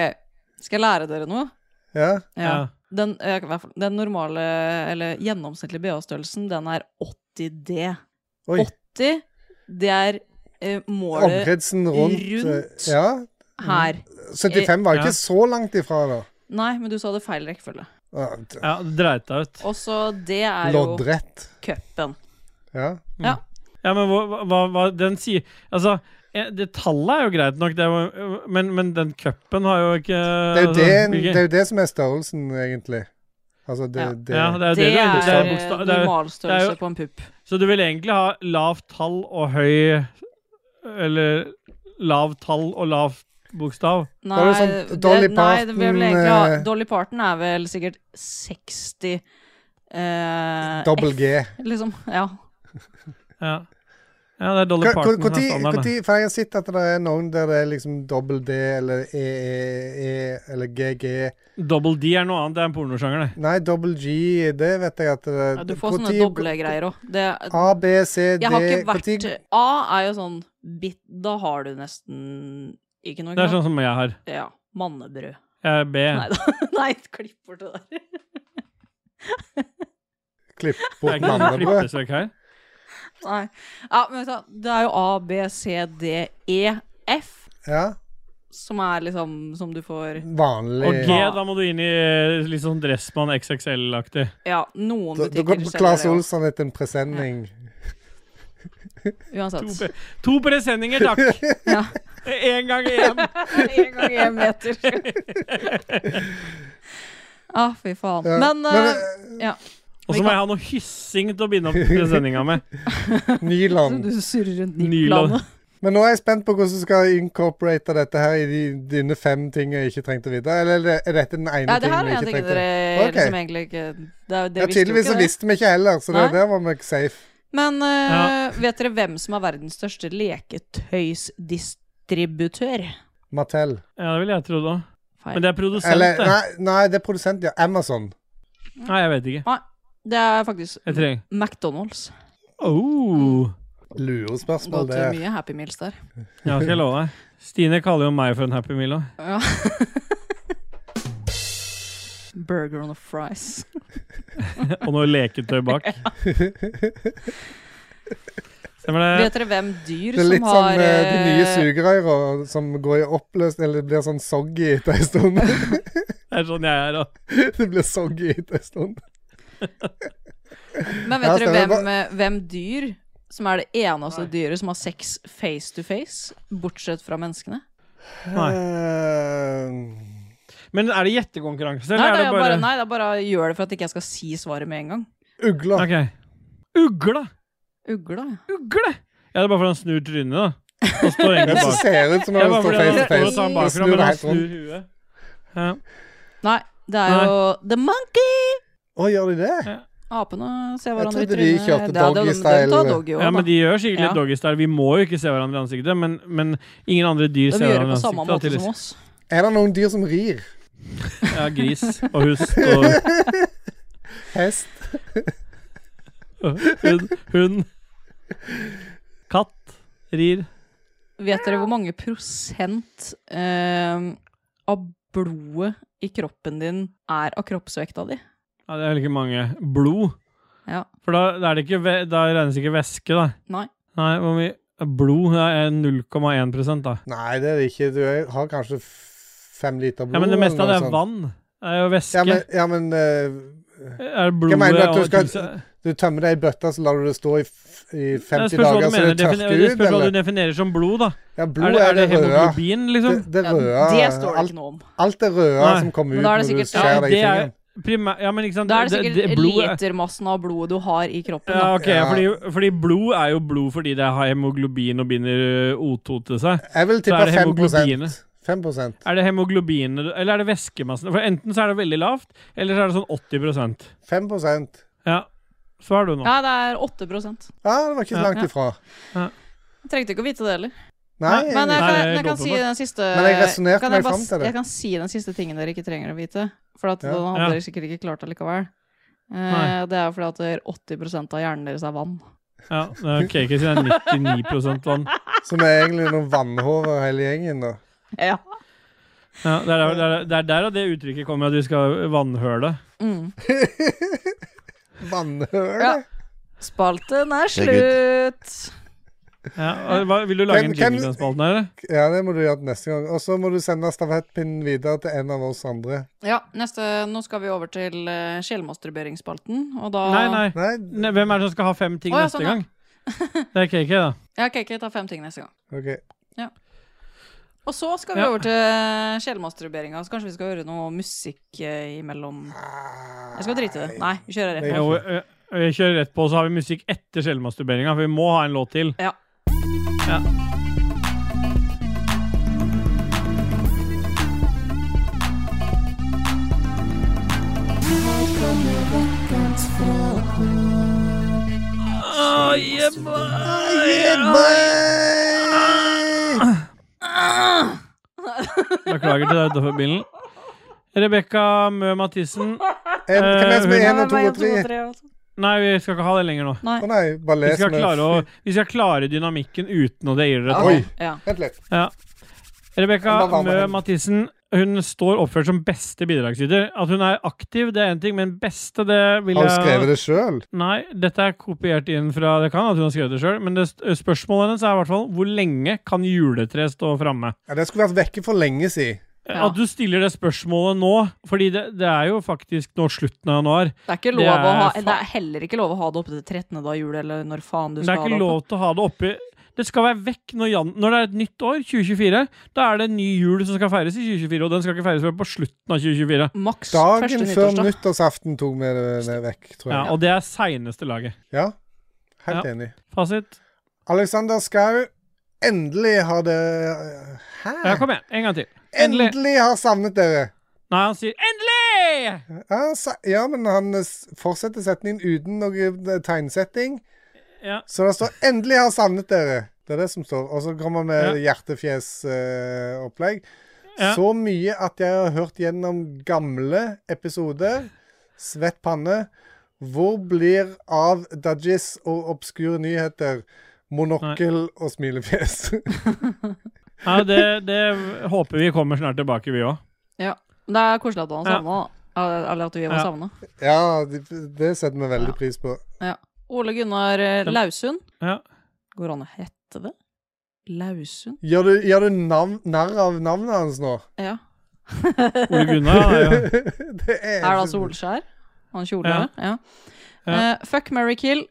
Speaker 3: Skal jeg lære dere noe?
Speaker 1: Ja.
Speaker 2: Ja.
Speaker 3: Den, eh, i hvert fall- den normale, eller gjennomsnittlige BH-størrelsen, den er 80D.
Speaker 1: Oi.
Speaker 3: 80, det er eh, målet
Speaker 1: Omkretsen rundt, eh,
Speaker 3: rundt.
Speaker 1: Ja.
Speaker 3: her.
Speaker 1: 75 var jo
Speaker 2: Ja.
Speaker 1: ikke så langt ifra, da.
Speaker 3: Nei, men du sa det feil rekkefølge.
Speaker 1: Ja, d-
Speaker 2: ja, det dreit deg ut.
Speaker 3: Og så det er jo
Speaker 1: Loddrett.
Speaker 3: cupen.
Speaker 1: Ja.
Speaker 3: Ja.
Speaker 2: Ja, men hva, hva, hva den sier Altså, eh, det tallet er jo greit nok, det, var- men, men den cupen har jo ikke
Speaker 1: Det er jo det,
Speaker 2: altså, ikke-
Speaker 1: det, er jo det som er størrelsen, egentlig. Altså, det,
Speaker 3: Ja.
Speaker 1: det,
Speaker 2: ja, det er jo
Speaker 3: Det
Speaker 2: det,
Speaker 3: er,
Speaker 2: det er
Speaker 3: eh,
Speaker 2: bokstav- det er jo- det er jo-
Speaker 3: normalstørrelse på en pupp.
Speaker 2: Så du vil egentlig ha lavt tall og høy Eller lavt tall og lavt bokstav?
Speaker 3: Nei,
Speaker 1: er jo sånn
Speaker 3: det,
Speaker 1: Dolly
Speaker 3: nei, det vil
Speaker 1: Parton,
Speaker 3: vel egentlig ha
Speaker 1: eh,
Speaker 3: Dolly Parton er vel sikkert 60 eh,
Speaker 1: Dobbel
Speaker 3: F,
Speaker 1: G.
Speaker 3: liksom. Ja.
Speaker 2: Ja. ja, det er Dolly Parton som er standarden. da.
Speaker 1: Når For jeg har sett at det er noen der det er liksom dobbel D eller EEE eller GG
Speaker 2: Double D er noe annet, det er en pornosjanger, det.
Speaker 1: Nei, dobbel G, det vet jeg at det
Speaker 3: Ja, Du får sånne
Speaker 1: Hvor tid-
Speaker 3: doble greier òg.
Speaker 1: A, B, C, D
Speaker 3: Jeg har ikke
Speaker 1: Hvor tid-
Speaker 3: vært A er jo sånn bit, Da har du nesten ikke noe.
Speaker 2: Det er
Speaker 3: ikke sant?
Speaker 2: sånn som jeg har.
Speaker 3: Ja. Mannebrød.
Speaker 2: Jeg er B.
Speaker 3: Nei da. Nei, klipp bort det der.
Speaker 1: Klipp
Speaker 2: Det er
Speaker 1: bort
Speaker 2: ikke noe sånn
Speaker 1: mannebrød.
Speaker 2: klippesøk her.
Speaker 3: Nei. Ja, men vet du, hva, det er jo A, B, C, D, E, F
Speaker 1: Ja,
Speaker 3: som er liksom Som du får
Speaker 1: vanlig
Speaker 2: Og G, da må du inn i eh, litt sånn Dressmann XXL-aktig.
Speaker 3: Ja, noen
Speaker 1: Da- Da
Speaker 3: butikker
Speaker 1: går
Speaker 3: selger
Speaker 1: Claes
Speaker 3: det. også.
Speaker 1: Olsson etter en presenning.
Speaker 2: To,
Speaker 3: Uansett.
Speaker 2: pre- to presenninger, takk!
Speaker 3: Ja.
Speaker 2: Én gang igjen.
Speaker 3: Én gang én meter. ah, fy faen.
Speaker 1: Ja.
Speaker 3: Men, eh,
Speaker 1: eh,
Speaker 2: Og så må jeg ha noe hyssing til å binde opp presenninga med.
Speaker 1: eh, Nyland.
Speaker 4: Du surrer rundt
Speaker 2: Nylon.
Speaker 4: Nikland.
Speaker 1: Men nå er jeg spent på hvordan du skal incorporate dette her i de- dine fem ting jeg ikke trengte å vite. Eller er dette den ene
Speaker 3: ja, det
Speaker 1: tingen
Speaker 3: her er
Speaker 1: vi
Speaker 3: en
Speaker 1: ikke
Speaker 3: ting
Speaker 1: trengte?
Speaker 3: dere
Speaker 1: Ok.
Speaker 3: liksom egentlig ikke Det, er- det
Speaker 1: Ja,
Speaker 3: visste jo
Speaker 1: tydeligvis så
Speaker 3: ikke det.
Speaker 1: visste vi ikke heller, så det
Speaker 3: Nei.
Speaker 1: der var vi ikke safe.
Speaker 3: Men eh, vet dere hvem som er verdens største leketøysdistributør?
Speaker 1: Mattel.
Speaker 2: Ja, det ville jeg trodd òg.
Speaker 3: Feil.
Speaker 2: Men det er produsent,
Speaker 1: Eller
Speaker 2: det.
Speaker 1: nei, nei, det er produsent, ja. Amazon.
Speaker 2: Nei, jeg vet ikke.
Speaker 3: Det er faktisk
Speaker 2: Jeg trenger
Speaker 3: McDonald's.
Speaker 2: oh.
Speaker 1: Lurespørsmål,
Speaker 3: Gått
Speaker 1: det.
Speaker 3: mye Happy Meals der.
Speaker 2: Ja, skal jeg love deg. Stine kaller jo meg for en Happy Meal òg.
Speaker 3: Ja. Burger on a fries.
Speaker 2: Og noe leketøy bak. Stemmer det?
Speaker 3: Vet dere hvem
Speaker 1: Det
Speaker 3: dyr
Speaker 1: er
Speaker 3: som
Speaker 1: litt
Speaker 3: har
Speaker 1: sånn eh, de nye
Speaker 3: eh,
Speaker 1: sugerøyra som går i oppløst Eller blir sånn soggy etter en stund.
Speaker 2: Det er sånn jeg er òg.
Speaker 1: det blir soggy etter en stund.
Speaker 3: Men
Speaker 1: Ja,
Speaker 3: vet dere
Speaker 1: stemmer.
Speaker 3: hvem, eh, hvem dyr som er det eneste dyret som har sex face to face, bortsett fra menneskene?
Speaker 2: Nei.
Speaker 1: Eh,
Speaker 2: Men er det gjettekonkurranse,
Speaker 3: Nei,
Speaker 2: eller
Speaker 3: det er
Speaker 2: er det
Speaker 3: bare,
Speaker 2: bare
Speaker 3: nei, det er bare gjør det for at ikke jeg skal si svaret med en gang.
Speaker 1: Ugla.
Speaker 2: Ok. Ugla!
Speaker 3: Ugla, ja.
Speaker 2: Ugle! Ja, det er bare fordi han snur trynet, da. Og står egentlig
Speaker 1: Det som
Speaker 2: bak.
Speaker 1: ser ut som
Speaker 2: Det
Speaker 1: når
Speaker 2: er
Speaker 1: det
Speaker 2: bare
Speaker 1: står
Speaker 2: fordi han
Speaker 1: face to
Speaker 2: står
Speaker 1: face.
Speaker 2: og tar den
Speaker 1: Da
Speaker 2: bakfra,
Speaker 1: snur
Speaker 2: men
Speaker 1: det
Speaker 2: han
Speaker 1: helt rundt.
Speaker 2: snur huet. Ja.
Speaker 3: Nei, det er
Speaker 2: Nei.
Speaker 3: jo The Monkey!
Speaker 1: Å, gjør de det?
Speaker 3: Apene ser hverandre
Speaker 1: trodde
Speaker 3: i
Speaker 1: de
Speaker 3: trynet.
Speaker 1: kjørte
Speaker 3: Ja, det er jo de-
Speaker 1: doggy-style.
Speaker 3: de tar doggy også,
Speaker 2: ja, men
Speaker 3: da.
Speaker 2: de gjør sikkert
Speaker 3: Ja.
Speaker 2: litt doggystyle. Vi må jo ikke se hverandre i ansiktet, men, men ingen andre dyr
Speaker 3: De
Speaker 2: ser
Speaker 3: gjør det
Speaker 2: hverandre i
Speaker 3: på samme
Speaker 2: ansiktet. da,
Speaker 3: måte som
Speaker 2: tydeligvis.
Speaker 3: oss.
Speaker 1: Er det noen dyr som rir?
Speaker 2: Ja, gris og hust og
Speaker 1: Hest?
Speaker 2: og hund. hund. Katt rir.
Speaker 3: Vet dere hvor mange prosent eh, av blodet i kroppen din er av kroppsvekta di?
Speaker 2: Ja, det er vel ikke mange. Blod.
Speaker 3: Ja.
Speaker 2: For da, da, er det ikke, ve- da regnes ikke væske, da.
Speaker 3: Nei.
Speaker 2: Nei, hvor mye Blod det er 0,1 da.
Speaker 1: Nei, det er det ikke. Du er- har kanskje f- fem liter blod.
Speaker 2: Ja, Men det meste av det
Speaker 1: eller noe
Speaker 2: er
Speaker 1: sånt.
Speaker 2: vann. Det er jo væske.
Speaker 1: Ja, men, ja, men eh,
Speaker 2: er blodet
Speaker 1: Hva mener du at du
Speaker 2: og-
Speaker 1: skal-
Speaker 2: tilsa-
Speaker 1: Du tømmer det i bøtta, så lar du det stå i, f i
Speaker 2: Det
Speaker 1: 50
Speaker 2: spørs hva
Speaker 1: dager,
Speaker 2: du
Speaker 1: så det
Speaker 2: mener. Defin-
Speaker 1: tørker
Speaker 2: det
Speaker 1: ut,
Speaker 2: spørs hva du
Speaker 1: eller?
Speaker 2: definerer som blod, da.
Speaker 1: Ja,
Speaker 2: er
Speaker 1: blod
Speaker 2: det, er det
Speaker 1: røde.
Speaker 2: hemoglobin, liksom?
Speaker 1: Det, det
Speaker 3: Ja,
Speaker 1: røde
Speaker 3: det står det
Speaker 1: alt,
Speaker 3: ikke noe om.
Speaker 1: alt det røde
Speaker 2: Nei.
Speaker 1: som kommer
Speaker 3: Men
Speaker 1: ut
Speaker 3: da
Speaker 1: når
Speaker 3: er
Speaker 1: du
Speaker 3: det sikkert-
Speaker 1: skjærer deg i
Speaker 2: det er-
Speaker 1: fingeren.
Speaker 2: Primæ- ja, men ikke sant
Speaker 3: Da er det sikkert
Speaker 2: blod er-
Speaker 3: litermassen av blodet du har i kroppen.
Speaker 2: Ja,
Speaker 3: da.
Speaker 2: ok,
Speaker 1: Ja.
Speaker 2: Fordi, fordi blod er jo blod fordi det har hemoglobin og binder ø, O2 til seg.
Speaker 1: Jeg vil
Speaker 2: er
Speaker 1: tippe
Speaker 2: det
Speaker 1: 5
Speaker 2: hemoglobinet.
Speaker 1: 5
Speaker 2: Er det hemoglobin eller er det væskemassen? For Enten så er det veldig lavt, eller så er det sånn 80
Speaker 1: 5
Speaker 2: Ja, så har du nå.
Speaker 3: Ja, det er 8 Jeg
Speaker 1: Ja, det var ikke så
Speaker 2: Ja.
Speaker 1: langt ifra.
Speaker 3: Trengte ikke å vite det heller.
Speaker 1: Nei,
Speaker 3: Men
Speaker 2: Nei,
Speaker 3: eh, jeg kan,
Speaker 2: det er
Speaker 3: jeg kan si
Speaker 2: åpenbart.
Speaker 3: den siste
Speaker 1: Men jeg resonerte
Speaker 3: kan
Speaker 1: meg
Speaker 3: bare
Speaker 1: fram
Speaker 3: s-
Speaker 1: til det.
Speaker 3: Jeg kan si den siste tingen dere ikke trenger å vite. For at
Speaker 1: Ja.
Speaker 3: den hadde
Speaker 2: Ja.
Speaker 3: dere sikkert ikke klart allikevel. Eh,
Speaker 2: Nei.
Speaker 3: det er fordi at dere- 80 av hjernen deres er vann.
Speaker 2: Ja, det er ok, ikke si det er 99 vann.
Speaker 1: som er egentlig noen vannhover hele gjengen, da.
Speaker 3: Ja.
Speaker 2: Ja, det, er, det, er, det er der det uttrykket kommer, at du skal vannhøle.
Speaker 3: Mm.
Speaker 1: Vannhøl?
Speaker 3: Ja. Spalten er
Speaker 5: Det er
Speaker 3: slutt!
Speaker 2: Ja, og hva, vil du lage
Speaker 1: Hvem-
Speaker 2: en jingle
Speaker 1: hvem-
Speaker 2: til den spalten her, eller?
Speaker 1: Ja, det må du gjøre til neste gang. Og så må du sende stafettpinnen videre til en av oss andre.
Speaker 3: Ja, neste, nå skal vi over til uh, sjelmasturberingsspalten, og da
Speaker 2: Nei, nei.
Speaker 1: Nei,
Speaker 2: Ne- Hvem er det som skal ha fem ting
Speaker 3: Å, ja,
Speaker 2: neste
Speaker 3: sånn, ja.
Speaker 2: gang? Det er cake, da.
Speaker 3: Ja, ok, ok, ta fem ting neste gang.
Speaker 1: Ok.
Speaker 3: Og så skal vi
Speaker 2: Ja.
Speaker 3: over til sjelmasturberinga, så kanskje vi skal høre noe musikk eh, imellom. Jeg skal drite i det. Nei, vi kjører rett
Speaker 1: Nei.
Speaker 3: på.
Speaker 2: Jo, ø- ø- vi kjører rett på, så har vi musikk etter selvmasturberinga, for vi må ha en låt til.
Speaker 3: Ja.
Speaker 2: Ja. Å, jebba. Beklager til deg utafor bilen. Rebekka Mø Mathisen.
Speaker 1: En, hvem er det som er
Speaker 2: Eh,
Speaker 1: én og to og tre?
Speaker 2: Nei, vi skal ikke ha det lenger nå.
Speaker 1: Å nei, bare
Speaker 2: Vi
Speaker 1: les
Speaker 2: skal,
Speaker 1: med-
Speaker 2: klare å, vi skal klare dynamikken uten å deile det.
Speaker 1: Oi.
Speaker 3: Ja.
Speaker 1: Vent litt.
Speaker 2: Rebekka
Speaker 1: Hva var det?
Speaker 2: Mø Mathisen hun står oppført som beste bidragsyter. At hun er aktiv, det er én ting, men beste, det vil
Speaker 1: Har
Speaker 2: jeg
Speaker 1: hun skrevet det sjøl?
Speaker 2: Nei, dette er kopiert inn fra Det kan at hun har skrevet det sjøl, men det, spørsmålet hennes er i hvert fall hvor lenge kan juletre stå framme?
Speaker 1: Ja, det skulle vært vekke for lenge siden.
Speaker 3: Ja.
Speaker 2: At du stiller det spørsmålet nå, fordi det, det er jo faktisk nå slutten av januar.
Speaker 3: Det er, ikke
Speaker 2: Det
Speaker 3: lov å ha,
Speaker 2: er fa-
Speaker 3: det er heller ikke lov å ha det oppe til 13. da jul, eller når faen du
Speaker 2: Det
Speaker 3: skal
Speaker 2: er
Speaker 3: ha
Speaker 2: ikke
Speaker 3: det oppe.
Speaker 2: lov til å ha det oppi Det skal være vekk når, jan når det er et nytt år, 2024. Da er det en ny jul som skal feires i 2024, og den skal ikke feires før på slutten av 2024.
Speaker 3: Maks første
Speaker 1: Dagen før
Speaker 3: nyttårsdag.
Speaker 1: nyttårsaften tok vi det det vekk, tror
Speaker 2: Ja,
Speaker 1: jeg.
Speaker 2: og det er seineste laget.
Speaker 1: Ja, helt
Speaker 2: Ja.
Speaker 1: enig.
Speaker 2: Fasit?
Speaker 1: Alexander Skau, endelig har det Hæ?
Speaker 2: Ja, kom igjen. En gang til.
Speaker 1: endelig.
Speaker 2: endelig.
Speaker 1: har savnet dere!
Speaker 2: Nei, han sier 'endelig'!
Speaker 1: Ja, sa- ja, men han eh, s- fortsetter setningen uten noe eh, tegnsetting.
Speaker 2: Ja.
Speaker 1: Så det står 'endelig har savnet dere'. Det er det som står. Og så kommer han med hjertefjes-opplegg.
Speaker 2: Ja.
Speaker 1: Så mye at jeg har hørt gjennom gamle episoder. Svett panne. Hvor blir av dudgies og obskure nyheter? Monokkel og smilefjes.
Speaker 2: Ja, det, det håper vi kommer snart tilbake, vi òg.
Speaker 3: Ja. Men det er koselig at han
Speaker 2: Ja.
Speaker 3: savna, da. Eller at vi var
Speaker 2: Ja.
Speaker 3: savna.
Speaker 1: ja, det, det setter vi veldig pris på.
Speaker 3: Ole Gunnar eh,
Speaker 2: Den-
Speaker 3: Lausund.
Speaker 2: Ja.
Speaker 3: Går an å hette det? Lausund?
Speaker 1: Gjør du, gjør du navn, narr av navnet hans nå?
Speaker 3: Ja.
Speaker 2: Ole Gunnar. han er jo-
Speaker 1: det altså er
Speaker 3: Er da Solskjær? altså Han kjolen? Ja.
Speaker 2: Ja.
Speaker 3: Eh, fuck Mary Kill,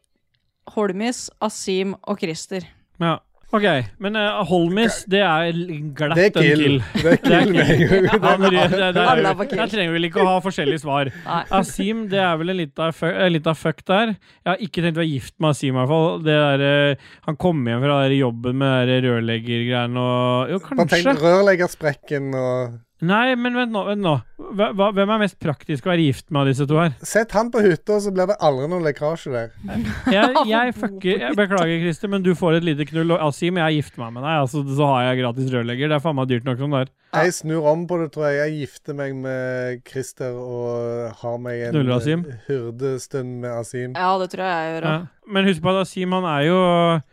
Speaker 3: Holmis, Asim og Christer.
Speaker 2: Ja. OK. Men eh, Holmis, det er glatt
Speaker 1: Det er
Speaker 2: en
Speaker 1: kill.
Speaker 2: kill.
Speaker 1: Det er
Speaker 2: Det er
Speaker 1: kill med en gang.
Speaker 2: Ja, men det, det, det,
Speaker 3: Alle er på kill.
Speaker 2: der trenger vi vel ikke å ha forskjellige svar.
Speaker 3: Nei.
Speaker 2: Asim, det er vel en lita fuck, fuck der. Jeg har ikke tenkt å være gift med Asim, i hvert fall. Det der, eh, han kom hjem fra der jobben med der rørleggergreiene og Jo,
Speaker 1: Bare
Speaker 2: kanskje.
Speaker 1: tenk rørleggersprekken og
Speaker 2: Nei, men vent nå. Vent nå. Hva, hva- hvem er mest praktisk å være gift med av disse to her?
Speaker 1: Sett han på hytta, så blir det aldri noen lekkasje der.
Speaker 2: Jeg, jeg fucker jeg Beklager, Christer, men du får et lite knull. Og Asim, jeg gifter meg med deg, altså, så har jeg gratis rørlegger. Det er faen meg dyrt nok som det er.
Speaker 1: Jeg snur om på det, tror jeg. Jeg gifter meg med Christer og har meg en
Speaker 2: Knuller Asim?
Speaker 1: hyrdestund med Asim.
Speaker 3: Ja, det tror jeg jeg gjør.
Speaker 2: Ja.
Speaker 3: Ja.
Speaker 2: Men husk på at Asim, han er jo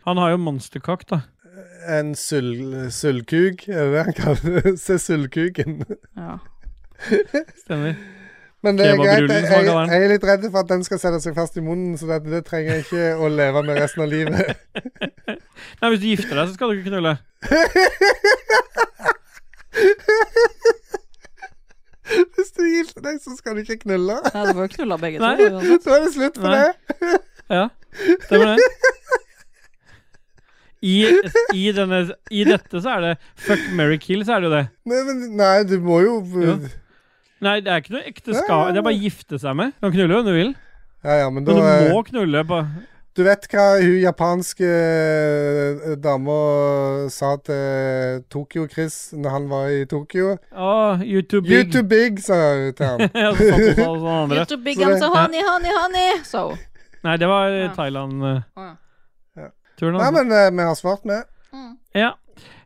Speaker 2: Han har jo monsterkakk, da.
Speaker 1: En sull- sullkuk, er det det han kaller det? Se sullkuken.
Speaker 3: Ja.
Speaker 2: Stemmer.
Speaker 1: Men det er greit.
Speaker 2: Kebabrullen,
Speaker 1: Jeg,
Speaker 2: som han
Speaker 1: jeg,
Speaker 2: kaller den.
Speaker 1: jeg er litt redd for at den skal sette seg fast i munnen, så det, det trenger jeg ikke å leve med resten av livet.
Speaker 2: Nei, hvis du gifter deg, så skal du ikke knulle.
Speaker 1: Hvis du gifter deg, så skal du ikke knulle.
Speaker 3: Nei, du får jo knulla begge
Speaker 2: Nei.
Speaker 3: to. uansett.
Speaker 1: Så er det slutt på
Speaker 2: Nei.
Speaker 1: det.
Speaker 2: Ja, stemmer det. I, i, denne, I dette så er det fuck, marry, kill, så er det jo det.
Speaker 1: Nei, men, nei, du må jo
Speaker 2: Jo. Nei, det er ikke noe ekteskap. Det er bare å gifte seg med. Du kan knulle hvem du vil,
Speaker 1: Ja, ja, men da
Speaker 2: men du
Speaker 1: eh,
Speaker 2: må knulle på
Speaker 1: Du vet hva hun japanske eh, dama sa til Tokyo-Chris når han var i Tokyo?
Speaker 2: Å, you too
Speaker 1: You
Speaker 2: big.
Speaker 1: too big, sa hun til ham.
Speaker 2: ja, så satt hun sånn og sånn andre.
Speaker 3: You're too big and so honey, honey, honey. So.
Speaker 2: Nei, det var
Speaker 3: Ja. Å, ja.
Speaker 2: Thailand-turen.
Speaker 1: Nei,
Speaker 2: altså.
Speaker 1: men eh, vi har svart, vi.
Speaker 2: Ja.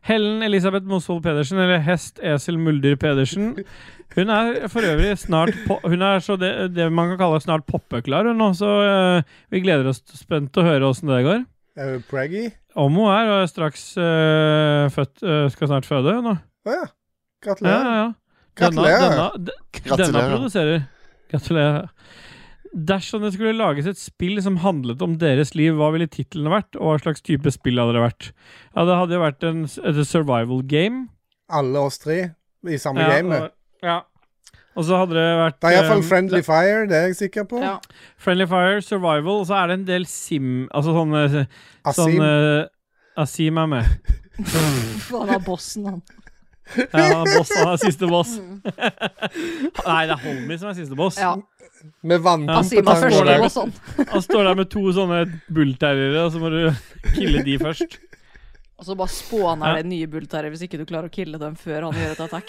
Speaker 2: Helen Elisabeth Mosvold Pedersen, eller Hest Esel Muldyr Pedersen. Hun er for øvrig snart på, Hun er så det, det man kan kalle snart poppeklar, hun nå, så eh, vi gleder oss spent til å høre åssen det går.
Speaker 1: Er hun praggy?
Speaker 2: Om hun er, og er straks eh, født eh, Skal snart føde, hun nå.
Speaker 1: Å ja.
Speaker 2: Ja,
Speaker 1: Gratulerer.
Speaker 2: ja, ja.
Speaker 1: Gratulerer.
Speaker 2: Denne, denne, d- denne
Speaker 5: Gratulerer.
Speaker 2: produserer. Gratulerer. Dersom det skulle lages et spill som handlet om deres liv, hva ville titlene vært, og hva slags type spill hadde det vært? Ja, det hadde jo vært en, s- et survival game.
Speaker 1: Alle oss tre i samme
Speaker 2: Ja,
Speaker 1: game. eh.
Speaker 2: og- Ja. Og så hadde det vært
Speaker 1: Det er iallfall
Speaker 2: eh,
Speaker 1: Friendly Fire, det er jeg sikker på.
Speaker 3: Ja.
Speaker 2: Friendly Fire, Survival, og så er det en del sim... Altså sånn eh,
Speaker 1: Asim.
Speaker 2: Sånn, eh, Asim er med.
Speaker 4: Han var bossen, han.
Speaker 2: Ja, boss, han er siste boss. Nei, det er Holmy som er siste boss.
Speaker 4: Ja. Asim var
Speaker 1: Med vannkompetanse.
Speaker 2: Står
Speaker 4: første
Speaker 2: der.
Speaker 4: og sånn.
Speaker 2: Han står der med to sånne bullterriere, og så må du kille de først.
Speaker 3: Og så bare spåner det nye bultarer hvis ikke du klarer å kille dem før han gjør et attack.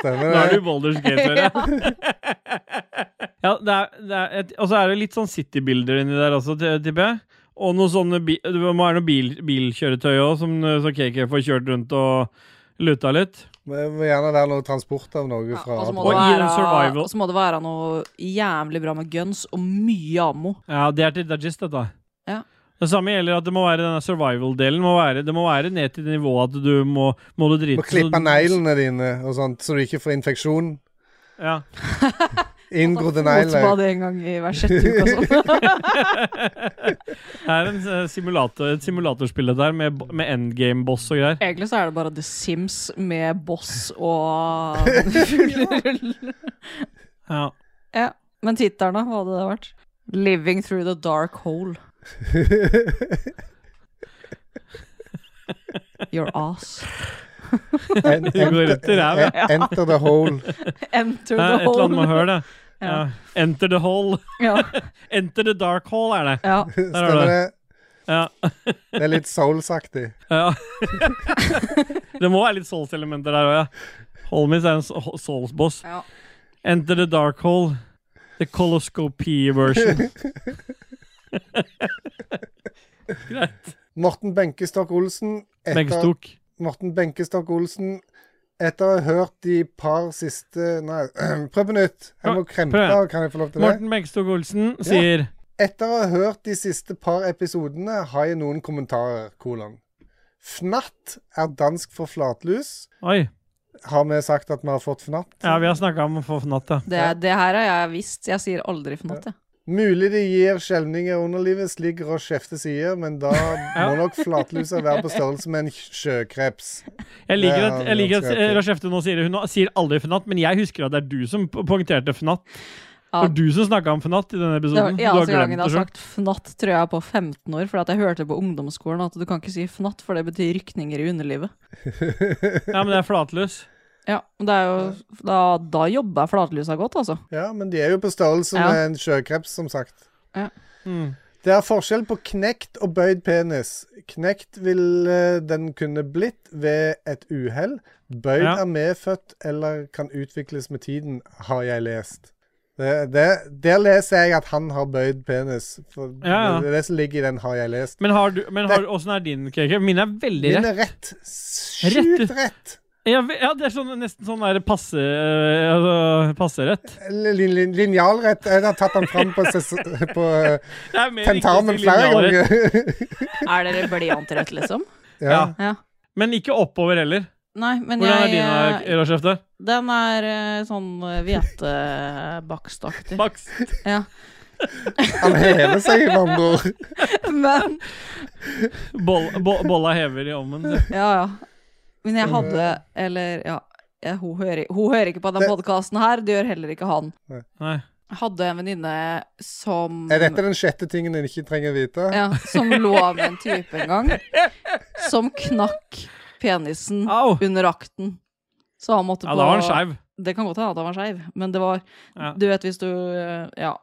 Speaker 1: Stemmer
Speaker 2: Da er
Speaker 1: det.
Speaker 2: du Boulders Gate, hører jeg. Ja, det er, det er et, og så er det litt sånn citybilder inni der også, t- tipper jeg. Og noe sånne bi, det må være noe bil, bilkjøretøy òg, som eh, så KK får kjørt rundt og luta litt.
Speaker 1: Vi må gjerne være noe transport av noe
Speaker 3: Ja,
Speaker 1: fra
Speaker 3: og så må
Speaker 2: Og
Speaker 3: det
Speaker 2: i en
Speaker 3: være-
Speaker 2: survival-
Speaker 3: og så må det være noe jævlig bra med guns og mye ammo.
Speaker 2: Ja, det er til Dajist, dette.
Speaker 3: Ja.
Speaker 2: Det samme gjelder at det må være denne survival-delen. Må være, det må være ned til det nivået at du må, må du drite
Speaker 1: Må klippe neglene dine og sånt, så du ikke får infeksjon.
Speaker 2: Ja.
Speaker 1: Inngrodde
Speaker 4: Måtte
Speaker 1: negler.
Speaker 4: bade en gang i hver sjette uke og sånn.
Speaker 2: Det er en eh, simulator, et simulatorspill det der, med, bo- med endgame-boss og greier.
Speaker 3: Egentlig så er det bare The Sims med boss og full rull.
Speaker 2: Ja.
Speaker 4: Ja. Men tittelen, da? Hva hadde det vært?
Speaker 3: Living through the dark hole. Your ass.
Speaker 1: En-
Speaker 2: Det går rett i ræva.
Speaker 1: en- Enter the hole.
Speaker 4: Enter
Speaker 2: Eh,
Speaker 4: the
Speaker 2: Et eller annet med
Speaker 4: hole.
Speaker 2: høl, det. Ja. Enter the hole.
Speaker 4: Ja.
Speaker 2: Enter the dark hole, er det.
Speaker 4: ja.
Speaker 2: har
Speaker 1: Stemmer
Speaker 2: du
Speaker 1: det.
Speaker 2: Ja.
Speaker 1: Det er litt soulsaktig.
Speaker 2: ja. det må være litt souls-elementer der òg, ja. Holmis er en so- souls-boss.
Speaker 3: Ja.
Speaker 2: Enter the dark hole. The coloscopy version. Greit.
Speaker 1: Morten Benkestok Olsen. Etter,
Speaker 2: Benkstok.
Speaker 1: Morten Benkestok Olsen. Etter å ha hørt de par siste Nei, prøv på nytt. Jeg må krempe.
Speaker 2: prøv.
Speaker 1: Kan jeg få lov til det?
Speaker 2: Morten Benkstok Olsen sier
Speaker 1: Etter å ha hørt de siste par episodene har jeg noen kommentarer, kolon. Fnatt er dansk for flatlus.
Speaker 2: Oi.
Speaker 1: Har vi sagt at vi har fått fnatt?
Speaker 2: Ja, vi har snakka om å få fnatt, ja.
Speaker 3: Det, er- det her har jeg visst. Jeg sier aldri for noe. jeg.
Speaker 1: Mulig det gir skjelvninger i underlivet, slik Roche Hefte sier, men da må nok flatlusa være på størrelse med en sjøkreps.
Speaker 2: Jeg liker
Speaker 1: Det
Speaker 2: at,
Speaker 1: er
Speaker 2: jeg liker at
Speaker 1: ganske
Speaker 2: eh,
Speaker 1: artig.
Speaker 2: Rashefte nå sier hun sier aldri fnatt, men jeg husker at det er du som po- poengterte fnatt. Det
Speaker 3: Ja. altså,
Speaker 2: var du som snakka om fnatt i denne
Speaker 4: Det var den
Speaker 2: episoden. Du har
Speaker 4: eneste gangen
Speaker 2: glemt
Speaker 4: jeg
Speaker 2: det
Speaker 4: har
Speaker 2: sjøl.
Speaker 4: sagt fnatt, tror jeg, på 15 år. For at jeg hørte på ungdomsskolen at du kan ikke si fnatt, for det betyr rykninger i underlivet.
Speaker 2: Ja, men det er flatløs.
Speaker 4: Ja, men det er jo Da, da jobber jeg flatlusa godt, altså.
Speaker 1: Ja, men de er jo på størrelse
Speaker 4: Ja.
Speaker 1: med en sjøkreps, som sagt.
Speaker 4: Ja.
Speaker 2: Mm.
Speaker 1: Det er forskjell på knekt og bøyd penis. Knekt vil eh, den kunne blitt ved et uhell. Bøyd
Speaker 2: Ja.
Speaker 1: er medfødt eller kan utvikles med tiden, har jeg lest. Det, det, der leser jeg at han har bøyd penis. For
Speaker 2: Ja, ja.
Speaker 1: Det er det som ligger i den 'har jeg lest'.
Speaker 2: Men har du, men har, åssen er din cake? Min er veldig
Speaker 1: Min
Speaker 2: rett.
Speaker 1: er rett. Sjukt
Speaker 2: Rett.
Speaker 1: rett.
Speaker 2: Ja, ve- ja, det er sånn, nesten sånn der passe, eh, altså, passerett.
Speaker 1: Eller lin- lin- Linjalrett. Jeg har tatt den fram på, ses på eh,
Speaker 2: Det er mer riktig å si
Speaker 1: tentamen flere
Speaker 2: linjalrett.
Speaker 1: ganger.
Speaker 3: Er dere blyantrett, liksom?
Speaker 1: ja.
Speaker 2: Ja. Men ikke oppover heller.
Speaker 3: Nei, men
Speaker 2: Hvordan er
Speaker 3: jeg eh,
Speaker 2: din, Rashefte?
Speaker 3: Den er eh, sånn eh, hvetebakstaktig.
Speaker 2: Max?
Speaker 3: Ja.
Speaker 1: Han hever seg, med andre ord.
Speaker 4: Men
Speaker 2: Boll, bo, bolla hever i ovnen.
Speaker 4: Ja, ja. Men jeg hadde Eller, ja. jeg- Hun hører, hun hører ikke på den
Speaker 1: Det-
Speaker 4: podkasten her. Det gjør heller ikke han.
Speaker 2: Nei.
Speaker 3: Jeg hadde en venninne som
Speaker 1: Er dette den sjette tingen en ikke trenger å vite?
Speaker 4: Ja, som lå med en type en gang, som knakk penisen
Speaker 2: Au!
Speaker 4: under akten. Så han måtte
Speaker 2: Ah. Ja,
Speaker 4: på
Speaker 2: da var den skeiv.
Speaker 4: Det kan godt hende at han var skeiv, men det var
Speaker 2: Ja.
Speaker 4: Du vet hvis du eh, ja,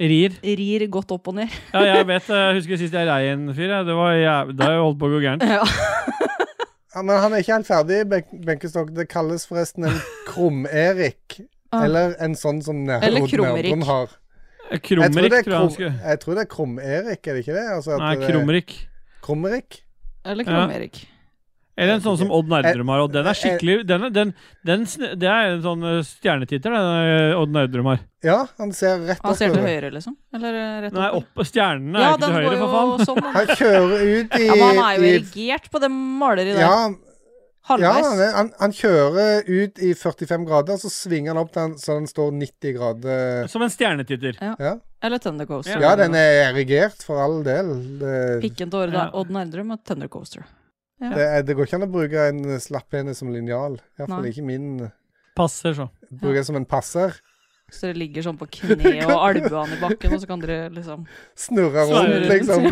Speaker 2: Rir.
Speaker 4: rir godt opp og ned.
Speaker 2: Ja, jeg vet, eh, jeg husker sist jeg rei en fyr. jeg. Det var jæv... Da har jeg holdt på å gå gærent.
Speaker 1: Ja, men han er ikke helt ferdig, Ben- Benkestokk. Det kalles forresten en krum-Erik.
Speaker 4: Ah.
Speaker 1: Eller en sånn som
Speaker 4: Eller
Speaker 1: Nerod
Speaker 4: Krum-Erik.
Speaker 1: Nerdrum har. Jeg tror
Speaker 2: Krumrik,
Speaker 1: det er
Speaker 2: tror jeg han
Speaker 1: Krum-
Speaker 2: skulle
Speaker 1: jeg tror det er Krum-Erik, er det ikke det? Altså at
Speaker 2: Nei,
Speaker 1: det er
Speaker 2: Krumrik.
Speaker 1: Krum-Erik?
Speaker 4: Eller
Speaker 2: Ja.
Speaker 4: Kram-Erik.
Speaker 2: Eller en sånn som Odd Nerdrum har. Og den er
Speaker 1: Jeg-
Speaker 2: skikkelig den, er- den, den, sn- Det er en sånn eh, stjernetitter, den eh, Odd Nerdrum har.
Speaker 1: Ja, han ser rett
Speaker 3: Han
Speaker 1: opp.
Speaker 3: ser til
Speaker 1: over.
Speaker 3: høyre, liksom? Eller eh, rett
Speaker 2: Nei,
Speaker 3: opp?
Speaker 2: opp, stjernene er
Speaker 3: ja,
Speaker 2: jo ikke
Speaker 3: den
Speaker 2: til
Speaker 3: går
Speaker 2: høyre,
Speaker 3: jo
Speaker 2: for faen.
Speaker 3: sånn. den.
Speaker 1: Han kjører ut i
Speaker 3: Ja, men han er jo
Speaker 1: i-
Speaker 3: erigert på det maleriet der.
Speaker 1: Ja, ja
Speaker 3: Halvveis.
Speaker 1: han, er- han, han kjører ut i 45 grader, så svinger han opp til han, så den står 90 grader.
Speaker 2: Som en stjernetitter.
Speaker 3: Eller Thunder Coaster.
Speaker 1: Ja, den er erigert, for all del. Det,
Speaker 3: Pikken til Odd
Speaker 2: Ja.
Speaker 3: Odd Nerdrum og Thunder Coaster.
Speaker 1: det, er- det går ikke an å bruke en slapp penis som linjal. Iallfall
Speaker 3: Nei.
Speaker 1: ikke min
Speaker 2: Passer, så.
Speaker 1: Bruker det som en passer.
Speaker 3: Så dere ligger sånn på kne og albuene i bakken, og så kan dere liksom
Speaker 1: Snurrer rundt,
Speaker 2: Snurrer
Speaker 1: liksom.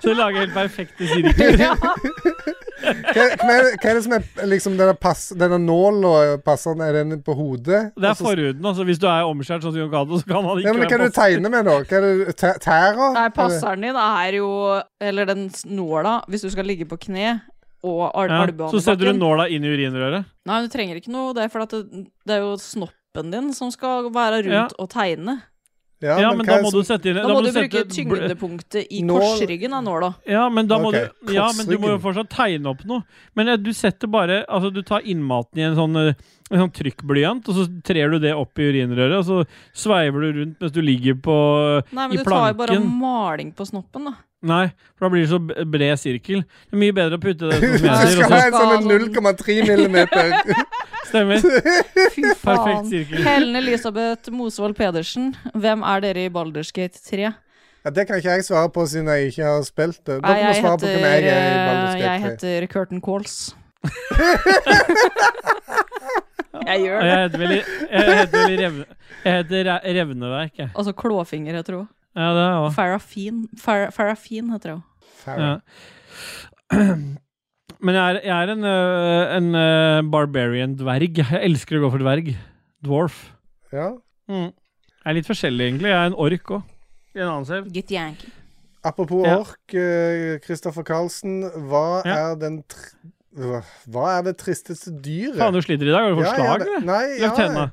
Speaker 2: Så du lager helt perfekte sirkler.
Speaker 1: Hva, hva er det- hva er det som er liksom denne, pass, denne nåla passeren, er den på hodet?
Speaker 2: Det
Speaker 1: Og
Speaker 2: er
Speaker 1: så-
Speaker 2: forhuden. altså Hvis du er omskjært, sånn som Jon Cato, så kan han ikke
Speaker 1: Ja, men Hva er
Speaker 2: være
Speaker 1: det du tegner med, da? Hva er det, tæ- Tæra?
Speaker 3: Nei, passeren din er jo Eller den s- nåla, hvis du skal ligge på kne og al
Speaker 2: Ja,
Speaker 3: albuene
Speaker 2: så
Speaker 3: i
Speaker 2: setter du
Speaker 3: bakken.
Speaker 2: nåla inn i urinrøret.
Speaker 3: Nei, du trenger ikke noe, det er fordi at det, det er jo snoppen din som skal være rundt
Speaker 2: Ja.
Speaker 3: og tegne.
Speaker 1: Ja,
Speaker 2: Ja, men da
Speaker 1: hva er
Speaker 2: må
Speaker 1: som-
Speaker 2: du sette inn
Speaker 3: Da må du bruke
Speaker 2: sette-
Speaker 3: tyngdepunktet i
Speaker 1: Nål-
Speaker 3: korsryggen av nåla.
Speaker 2: Ja, men da må
Speaker 1: Ok,
Speaker 2: du Ja, men du må jo
Speaker 1: korsryggen.
Speaker 2: fortsatt tegne opp noe. Men eh, du setter bare Altså, du tar innmaten i en sånn, eh, en sånn trykkblyant, og så trer du det opp i urinrøret, og så sveiver du rundt mens du ligger på
Speaker 3: Nei,
Speaker 2: I
Speaker 3: men du tar jo bare
Speaker 2: planken.
Speaker 3: maling på snoppen, da.
Speaker 2: Nei, for da blir det så b- bred sirkel. Det er mye bedre å putte det
Speaker 1: Du
Speaker 2: sånn som jeg
Speaker 1: skal
Speaker 2: sier,
Speaker 1: ha en sånn 0,3 millimeter.
Speaker 2: og så stemmer.
Speaker 3: Fy faen.
Speaker 2: Perfekt sirkel.
Speaker 3: Helen Elisabeth Mosvold Pedersen, hvem er dere i Baldersgate 3?
Speaker 1: Ja, det kan ikke jeg svare på, siden jeg ikke har spilt det.
Speaker 3: Nei,
Speaker 1: Dere må
Speaker 3: jeg
Speaker 1: svare på
Speaker 3: heter,
Speaker 1: hvem jeg er i
Speaker 3: eh, jeg
Speaker 1: Baldur's Gate 3.
Speaker 3: heter Curtain Calls. jeg
Speaker 2: Og
Speaker 3: gjør det.
Speaker 2: jeg heter vel, i- jeg heter vel i revne, jeg heter Re- Revneverk, jeg.
Speaker 3: Altså Klåfinger heter hun.
Speaker 2: Ja, det er jeg også.
Speaker 3: Farafin Far, Farafin heter hun.
Speaker 1: Fair.
Speaker 2: Ja. Men jeg er, jeg er en, øh, en øh, barbarian dverg. Jeg elsker å gå for dverg. Dwarf.
Speaker 1: Ja. Mm.
Speaker 2: Jeg er litt forskjellig, egentlig. Jeg er en ork òg. I en annen selv.
Speaker 3: Get yanked.
Speaker 1: Apropos
Speaker 2: Ja.
Speaker 1: ork, eh, Kristoffer Karlsen. Hva
Speaker 2: Ja.
Speaker 1: er den tr hva- Hva er det tristeste dyret?
Speaker 2: Faen, du sliter i dag. Har du fått
Speaker 1: Ja, ja,
Speaker 2: slag,
Speaker 1: det-
Speaker 2: eller?
Speaker 1: Nei,
Speaker 2: Løft
Speaker 1: ja.
Speaker 2: henda.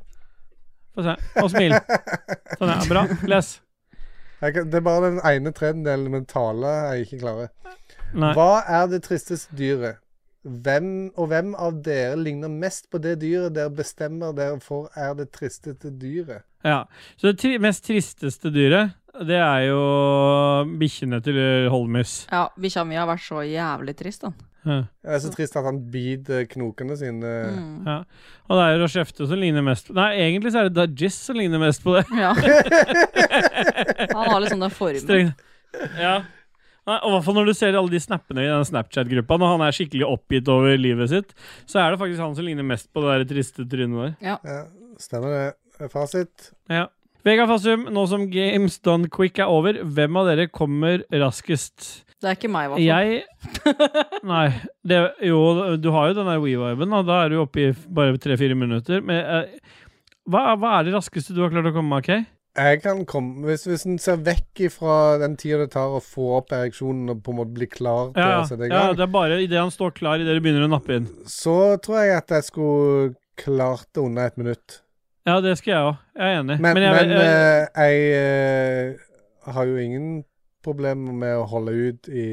Speaker 2: Få se. Og smil. Sånn, ja. Bra. Les.
Speaker 1: Jeg kan, det er bare den ene tredjedelen med tale jeg ikke klarer.
Speaker 2: Nei.
Speaker 1: Hva er det tristeste dyret? Hvem og hvem av dere ligner mest på det dyret dere bestemmer dere for er det tristeste dyret?
Speaker 2: Ja. Så det tri mest tristeste dyret, det er jo bikkjene til Holmis.
Speaker 3: Ja, bikkja mi har vært så jævlig trist, den.
Speaker 2: Ja.
Speaker 1: Det er så trist at han biter knokene sine.
Speaker 3: Mm.
Speaker 2: Ja. Og det er jo Rochefte som ligner mest Nei, egentlig så er det Dajis som ligner mest på det.
Speaker 3: Ja. Han har liksom den formen.
Speaker 2: Streng. Ja. Nei, og hvertfall når du ser alle de snappene i den Snapchat-gruppa, når han er skikkelig oppgitt over livet sitt, så er det faktisk han som ligner mest på det der triste trynet der.
Speaker 1: Ja, stemmer det. Fasit.
Speaker 2: Ja. Vegard Fassum, nå som Games Done Quick er over, hvem av dere kommer raskest?
Speaker 3: Det er ikke meg, i hvert fall.
Speaker 2: Jeg Nei. Det, jo, du har jo den der WeViben, da. Da er du oppe i bare tre-fire minutter. Men eh, hva, hva er det raskeste du har klart å komme, OK?
Speaker 1: Jeg kan komme Hvis, hvis en ser vekk ifra den tida det tar å få opp ereksjonen og på en måte bli klar til
Speaker 2: Ja,
Speaker 1: å sette i
Speaker 2: ja,
Speaker 1: gang,
Speaker 2: det er bare idet han står klar, idet du begynner å nappe inn.
Speaker 1: så tror jeg at jeg skulle klart det under et minutt.
Speaker 2: Ja, det skal jeg òg. Jeg er enig.
Speaker 1: Men, men,
Speaker 2: jeg,
Speaker 1: eh, jeg, eh, har jo ingen problemer med å holde ut i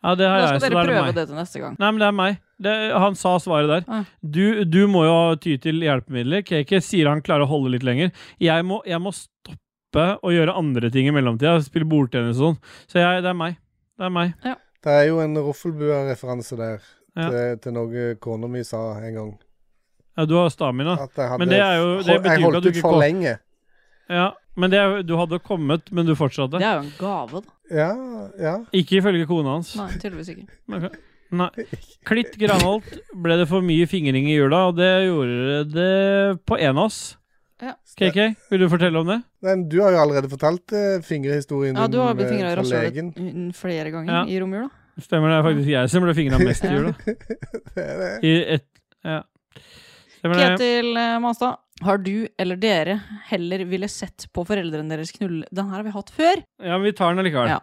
Speaker 2: Ja, det har
Speaker 3: Da
Speaker 2: jeg. Så da
Speaker 3: skal dere
Speaker 2: er det
Speaker 3: prøve
Speaker 2: meg.
Speaker 3: det til neste gang.
Speaker 2: Nei, men det er meg. Det, han sa svaret der.
Speaker 3: Ah.
Speaker 2: Du, du må jo ty til hjelpemidler. KK sier han klarer å holde litt lenger. Jeg må, jeg må stoppe og gjøre andre ting i mellomtida. Spille bordtennis og sånn. Så jeg, det er meg. Det er meg.
Speaker 1: Det er jo en Roffelbua-referanse der
Speaker 2: Ja.
Speaker 1: til, til noe kona mi sa en gang.
Speaker 2: Ja, du har stamina.
Speaker 1: At jeg hadde
Speaker 2: Ah, Men det er jo- det
Speaker 1: hol- Jeg
Speaker 2: betyr ikke at
Speaker 1: holdt
Speaker 2: du
Speaker 1: ut
Speaker 2: ikke
Speaker 1: for
Speaker 2: kom-
Speaker 1: lenge.
Speaker 2: Ja, men det, er- du hadde kommet, men du fortsatte.
Speaker 3: Det er jo en gave, da.
Speaker 1: Ja, ja.
Speaker 2: Ikke ifølge kona hans.
Speaker 3: Nei, tydeligvis ikke.
Speaker 2: Ok. Nei. Klitt Granholt ble det for mye fingring i jula, og det gjorde det på en av oss. KK, vil du fortelle om det?
Speaker 1: Men du har jo allerede fortalt eh, fingerhistorien
Speaker 3: Ja, du har
Speaker 1: din
Speaker 3: blitt fingra i
Speaker 1: eh, fra legen.
Speaker 3: rasshølet flere ganger
Speaker 2: Ja.
Speaker 3: i romjula.
Speaker 2: Stemmer det, er faktisk jeg som ble fingra mest i jula.
Speaker 1: Det er det.
Speaker 2: I et, ja. Stemmer det.
Speaker 3: Ketil eh, Manstad, har du eller dere heller ville sett på foreldrene deres knulle Den her har vi hatt før!
Speaker 2: Ja, men vi tar den allikevel.
Speaker 3: Ja.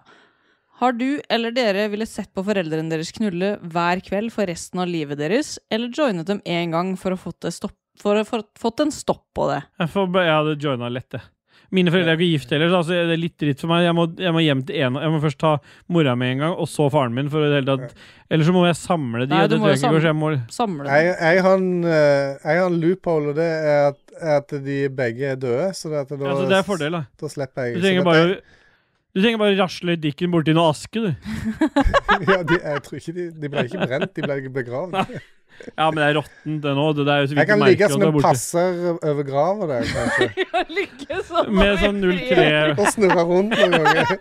Speaker 3: Har du eller dere ville sett på foreldrene deres knulle hver kveld for resten av livet deres, eller joinet dem én gang for å fått, det stopp, for å få- fått en stopp på det?
Speaker 2: Jeg, får, bare- jeg hadde joina lett, det. Mine foreldre er ikke gift heller, så altså, det er litt dritt for meg. Jeg må, jeg må hjem til en Jeg må først ta mora mi en gang, og så faren min, for i det hele tatt Eller så må jeg samle de,
Speaker 3: Nei,
Speaker 2: og
Speaker 3: du
Speaker 2: det
Speaker 3: må
Speaker 2: tror jeg
Speaker 3: jo
Speaker 2: ikke går,
Speaker 3: samle-
Speaker 2: så jeg må
Speaker 3: Samle
Speaker 1: Jeg,
Speaker 3: dem?
Speaker 1: jeg, har en, eh, jeg har en loophole, og det er at, at de begge er døde. Så det, at da,
Speaker 2: ja, så Altså, Det er fordel, da.
Speaker 1: da slipper jeg.
Speaker 2: Du
Speaker 1: Så
Speaker 2: trenger
Speaker 1: dette-
Speaker 2: bare å du trenger bare å rasle dikken borti noe aske, du.
Speaker 1: ja, de, jeg tror ikke de, de ble ikke brent, de ble ikke begravd.
Speaker 2: Ja, men det er råttent, det nå. Det der, så vi
Speaker 1: Jeg
Speaker 2: ikke
Speaker 1: kan
Speaker 2: merker
Speaker 1: ligge
Speaker 2: at
Speaker 1: som
Speaker 2: det er
Speaker 1: en
Speaker 2: borte.
Speaker 1: passer over grava der, kanskje.
Speaker 3: Lykke sånn!
Speaker 2: Med sånn 03
Speaker 1: Og snurre rundt noen ganger.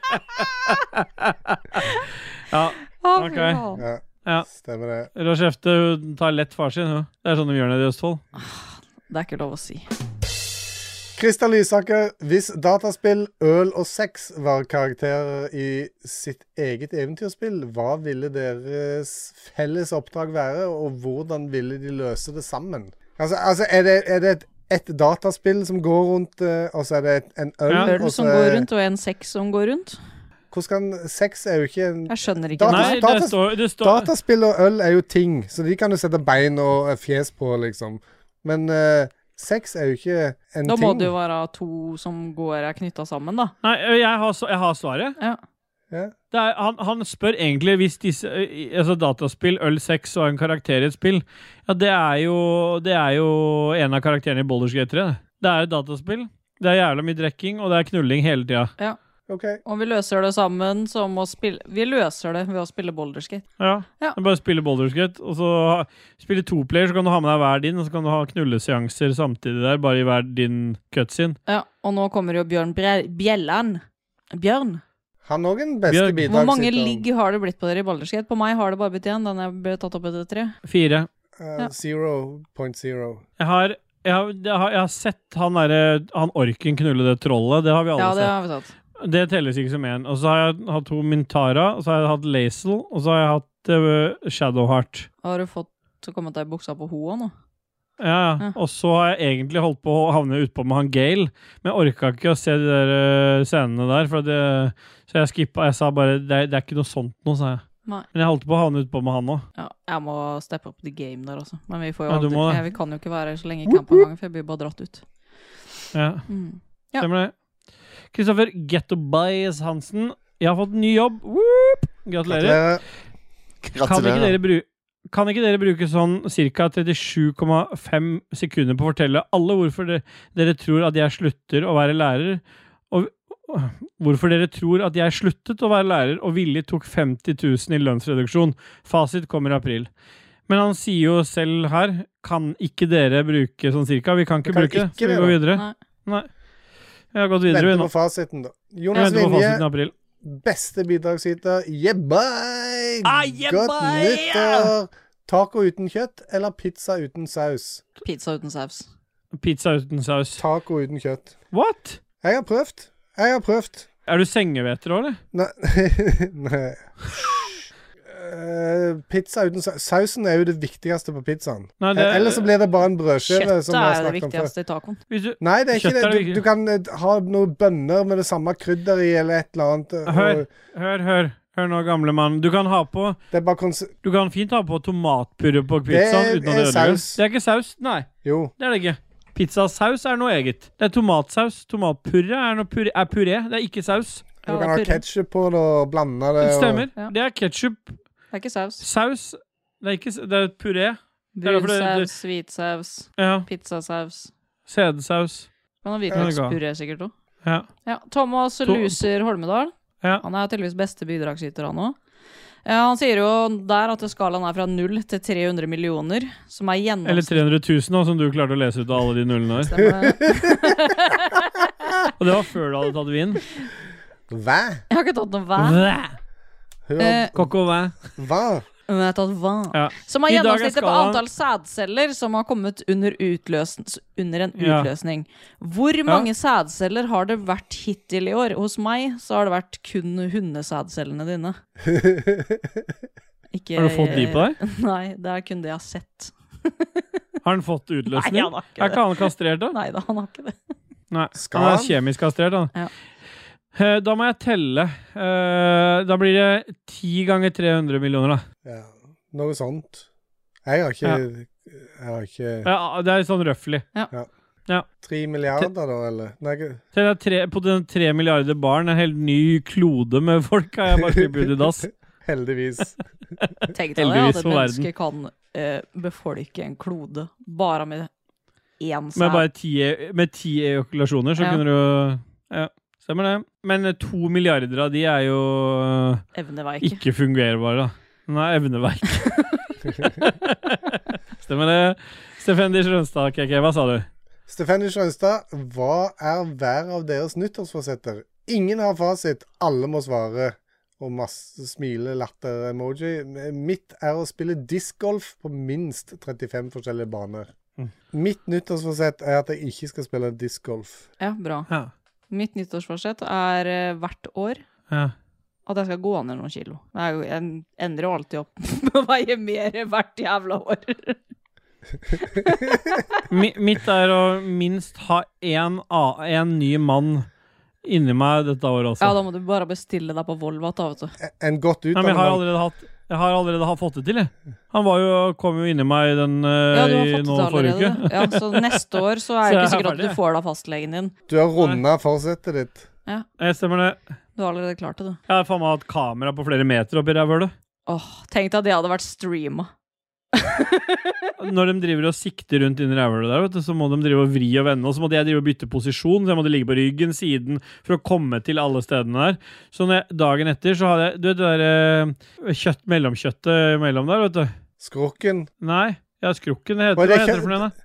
Speaker 2: Ja,
Speaker 3: Ah, fy
Speaker 2: Ok.
Speaker 3: faen.
Speaker 1: Ja,
Speaker 2: Ja.
Speaker 1: stemmer det.
Speaker 2: Rachefte tar lett far sin. hun. Det er sånn de gjør nede i Østfold.
Speaker 3: Det er ikke lov å si.
Speaker 1: Christer Lysaker, hvis dataspill, øl og sex var karakterer i sitt eget eventyrspill, hva ville deres felles oppdrag være, og hvordan ville de løse det sammen? Altså, altså er, det, er det et ett dataspill som går rundt, eh, og så er det et, en øl
Speaker 2: Ja.
Speaker 1: og
Speaker 3: Øl
Speaker 1: så
Speaker 3: som
Speaker 1: er-
Speaker 3: går rundt, og en sex som går rundt.
Speaker 1: Hvordan kan Sex er jo ikke en
Speaker 3: Jeg skjønner ikke.
Speaker 1: Da-
Speaker 3: det.
Speaker 2: Nei, det
Speaker 1: Datas-
Speaker 2: står, det står
Speaker 1: Dataspill og øl er jo ting, så de kan du sette bein og eh, fjes på, liksom. Men eh, sex er jo ikke en
Speaker 3: Da
Speaker 1: ting.
Speaker 3: må det jo være to som går er knytta sammen, da.
Speaker 2: Nei, jeg har, s- jeg har svaret.
Speaker 3: Ja.
Speaker 1: Ja.
Speaker 2: Det er, han, han spør egentlig hvis disse eh, altså dataspill, øl, sex og en karakter i et spill Ja, det er jo, det er jo en av karakterene i Baldur's Gate 3. det. Det er et dataspill. Det er jævla mye drikking, og det er knulling hele tida.
Speaker 1: OK.
Speaker 3: Og vi løser det sammen som å spille Vi løser det ved å spille boulderskate.
Speaker 2: Ja.
Speaker 3: Ja.
Speaker 2: Det er Bare spille Baldur's Gate, og så ha- spille to player, så kan du ha med deg hver din, og så kan du ha knulleseanser samtidig der, bare i hver din cutscene.
Speaker 3: Ja, og nå kommer jo Bjørn Bre Bjelland. Bjørn,
Speaker 1: Han òg en beste
Speaker 2: Bjørn, hvor
Speaker 1: bidragsyter.
Speaker 3: hvor mange ligg har det blitt på dere i boulderskate? På meg har det bare blitt én, den jeg ble tatt opp etter tre.
Speaker 2: Fire.
Speaker 1: Eh,
Speaker 3: Ja.
Speaker 1: Zero point zero.
Speaker 2: Jeg har, jeg har, jeg har, jeg har sett han derre Han orken knulle det trollet, det har vi alle
Speaker 3: Ja, det
Speaker 2: sett.
Speaker 3: har vi tatt.
Speaker 2: Det telles ikke som én. Og så har jeg hatt to Mintara, og så har jeg hatt Lazel, og så har jeg hatt eh, Shadowheart.
Speaker 3: Har du fått kommet deg i buksa på hoa nå?
Speaker 2: Ja, ja.
Speaker 3: Ja.
Speaker 2: Og så har jeg egentlig holdt på å havne utpå med han Gale, men jeg orka ikke å se de der eh, scenene der, for det, så jeg skippa. Jeg sa bare det, er- det er ikke noe sånt nå, sa jeg.
Speaker 3: Nei.
Speaker 2: Men jeg holdt på å havne utpå med han òg.
Speaker 3: Ja, jeg må steppe opp the game der, altså. Men vi får jo
Speaker 2: Ja, du
Speaker 3: aldri
Speaker 2: må det.
Speaker 3: jeg, Vi kan jo ikke være her så lenge i camp en gang, for jeg blir bare dratt ut.
Speaker 2: Ja,
Speaker 3: Mm. Ja.
Speaker 2: stemmer det. Kristoffer Gettobias Hansen, jeg har fått ny jobb. Whoop! Gratulerer.
Speaker 1: Gratulerer.
Speaker 2: Kan ikke,
Speaker 7: Gratulerer.
Speaker 2: dere bru kan ikke dere bruke sånn ca. 37,5 sekunder på å fortelle alle hvorfor dere, dere tror at jeg slutter å være lærer, og hvorfor dere tror at jeg sluttet å være lærer og villig tok 50 000 i lønnsreduksjon? Fasit kommer i april. Men han sier jo selv her Kan ikke dere bruke sånn cirka? Vi kan ikke
Speaker 1: Vi kan
Speaker 2: bruke det.
Speaker 1: ikke
Speaker 2: Skal vi
Speaker 1: det,
Speaker 2: gå
Speaker 1: da.
Speaker 2: videre?
Speaker 3: Nei.
Speaker 2: Nei. Vi har gått videre, vi
Speaker 1: Venter
Speaker 2: nå.
Speaker 1: på fasiten, da.
Speaker 2: Jeg
Speaker 1: Jonas
Speaker 2: venter på
Speaker 1: Linje,
Speaker 2: fasiten i april.
Speaker 1: beste bidragsyter. Yeah, bye!
Speaker 2: Ah, yeah,
Speaker 1: Godt
Speaker 2: bye!
Speaker 1: nyttår! Taco uten kjøtt eller pizza uten saus?
Speaker 3: Pizza uten saus.
Speaker 2: Pizza uten saus.
Speaker 1: Taco uten kjøtt.
Speaker 2: What?
Speaker 1: Jeg har prøvd. Jeg har prøvd.
Speaker 2: Er du sengeveter òg, eller?
Speaker 1: Nei, Nei. Eh, pizza uten saus Sausen er jo det viktigste på pizzaen.
Speaker 2: Nei, det-
Speaker 1: Ellers Eh, så blir det bare en brødskive.
Speaker 3: Kjøttet
Speaker 1: som vi har
Speaker 3: er jo det
Speaker 1: snakket om før.
Speaker 3: viktigste i tacoen.
Speaker 2: Hvis du
Speaker 1: Nei, det er ikke
Speaker 2: Kjøttet er
Speaker 1: det.
Speaker 2: det
Speaker 1: Du, du kan eh, ha noen bønner med det samme krydder i, eller et eller annet. eh, og-
Speaker 2: Hør, hør, hør. Hør nå, gamle mann. Du kan ha på
Speaker 1: Det er bare kons...
Speaker 2: Du kan fint ha på tomatpurre på pizzaen
Speaker 1: Det
Speaker 2: uten at
Speaker 1: er
Speaker 2: det ødelegger.
Speaker 1: saus.
Speaker 2: Det er ikke saus. Nei,
Speaker 1: Jo.
Speaker 2: det er det ikke. Pizzasaus er noe eget. Det er tomatsaus. Tomatpurre er, noe puré, er puré. Det er ikke saus.
Speaker 1: Du
Speaker 3: Ja,
Speaker 1: kan ha
Speaker 3: purre.
Speaker 1: ketsjup på det og blande det.
Speaker 2: Det
Speaker 1: og-
Speaker 2: stemmer.
Speaker 3: Ja.
Speaker 2: Det er ketsjup.
Speaker 3: Det er ikke saus.
Speaker 2: Saus Det er ikke s- Det er puré. Det er derfor
Speaker 3: Brun
Speaker 2: det- det-
Speaker 3: saus, hvit saus,
Speaker 2: Ja.
Speaker 3: pizzasaus.
Speaker 2: Sædsaus.
Speaker 3: Kan ha
Speaker 2: Ja, det er godt.
Speaker 3: hvitløkspuré sikkert òg.
Speaker 2: Ja.
Speaker 3: Ja, Thomas
Speaker 2: To-
Speaker 3: Luser Holmedal.
Speaker 2: Ja.
Speaker 3: Han er tydeligvis beste bidragsyter, han òg. Han sier jo der at skalaen er fra 0 til 300 millioner, som er
Speaker 2: Eller
Speaker 3: gjennomsnitt...
Speaker 2: 300 000, da, som du klarte å lese ut av alle de nullene der.
Speaker 3: Stemmer det?
Speaker 2: Og det var før du hadde tatt vin.
Speaker 1: Hva?
Speaker 3: Jeg har ikke tatt noe hver.
Speaker 2: Væ.
Speaker 1: Hør,
Speaker 3: Eh,
Speaker 2: Coco væ.
Speaker 1: hva?
Speaker 3: Men jeg har tatt hva?
Speaker 2: Ja.
Speaker 3: Som er
Speaker 2: I dag er
Speaker 3: gjennomsnittet på
Speaker 2: skalaen-
Speaker 3: antall sædceller som har kommet under, utløsen, under en
Speaker 2: Ja.
Speaker 3: utløsning. Hvor mange sædceller har det vært hittil i år? Hos meg så har det vært kun hundesædcellene dine. Ikke,
Speaker 2: Har du fått de på deg?
Speaker 3: Nei, det er kun det jeg har sett.
Speaker 2: Har han fått utløsning?
Speaker 3: Nei, han har ikke
Speaker 2: er ikke han kastrert, da?
Speaker 3: Nei da, han har ikke det.
Speaker 2: Nei,
Speaker 1: Skal
Speaker 2: han er
Speaker 1: han?
Speaker 2: kjemisk kastrert, han.
Speaker 3: Ja.
Speaker 2: Eh, Da må jeg telle. Eh, Da blir det 10 ganger 300 millioner, da.
Speaker 1: Ja, noe sånt. Jeg har ikke Jeg har ikke
Speaker 2: Ja, det er sånn røffelig.
Speaker 1: Tre milliarder, da, eller? Nei, ikke-
Speaker 2: Så det er tre, på den tre milliarder barn, en helt ny klode med folk, har jeg bare klippet ut i dass.
Speaker 1: heldigvis.
Speaker 3: Tenk deg det,
Speaker 2: Heldigvis
Speaker 3: at et
Speaker 2: for
Speaker 3: menneske kan eh, befolke en klode bare med én
Speaker 2: Med
Speaker 3: sæd.
Speaker 2: bare ti, e, med ti ejakulasjoner, så
Speaker 3: Ja.
Speaker 2: kunne du Ja, stemmer det. Men eh, to milliarder av de er jo eh,
Speaker 3: Evne var jeg ikke.
Speaker 2: ikke fungerbare, da. Nei, evneverk. stemmer det. Stefendi Sjønstad, KK, hva sa du?
Speaker 1: Stefanie Sjønstad, hva er hver av deres nyttårsforsetter? Ingen har fasit, alle må svare. Og masse smile, latter, emoji. Mitt er å spille discgolf på minst 35 forskjellige baner.
Speaker 2: Mm.
Speaker 1: Mitt nyttårsforsett er at jeg ikke skal spille discgolf.
Speaker 3: Ja, bra.
Speaker 2: Ja.
Speaker 3: Mitt nyttårsforsett er eh, hvert år
Speaker 2: Ja.
Speaker 3: at jeg skal gå ned noen kilo. Det er jo- Jeg endrer jo alltid opp på å veie mer hvert jævla år.
Speaker 2: Mi, mitt er å minst ha én a- en ny mann inni meg dette året også.
Speaker 3: Ja, da må du bare bestille deg på Volva, da, vet du.
Speaker 1: En godt
Speaker 2: Nei, men jeg har
Speaker 1: utdannet
Speaker 2: allerede hatt jeg har allerede ha- fått det til, jeg. Han var jo, kom jo inni meg den eh,
Speaker 3: Ja, du har
Speaker 2: i-
Speaker 3: fått det
Speaker 2: nå forrige
Speaker 3: allerede.
Speaker 2: uke.
Speaker 3: Ja, så neste år så
Speaker 2: Så
Speaker 3: er det
Speaker 2: jeg
Speaker 3: ikke
Speaker 2: er
Speaker 3: sikkert at
Speaker 2: ferdig,
Speaker 3: du
Speaker 2: jeg.
Speaker 3: får det av fastlegen din.
Speaker 1: Du har runda forsettet ditt.
Speaker 2: Eh, Stemmer det.
Speaker 3: Du har allerede klart det, du.
Speaker 2: Jeg har faen meg hatt kamera på flere meter oppi rævhølet.
Speaker 3: Åh, tenk deg at det hadde vært streama.
Speaker 2: Når de driver og sikter rundt inni rævhølet der, vet du, så må de drive og vri og vende, og så måtte jeg drive og bytte posisjon, så jeg måtte ligge på ryggen, siden, for å komme til alle stedene der. Så når jeg, dagen etter så hadde jeg Du vet det der eh, kjøtt, mellomkjøttet mellom der, vet du?
Speaker 1: Skrukken.
Speaker 2: Nei, jeg har skrukken, det heter
Speaker 1: Var
Speaker 2: hva
Speaker 1: det
Speaker 2: heter det
Speaker 1: kjøtt-
Speaker 2: for noe? da?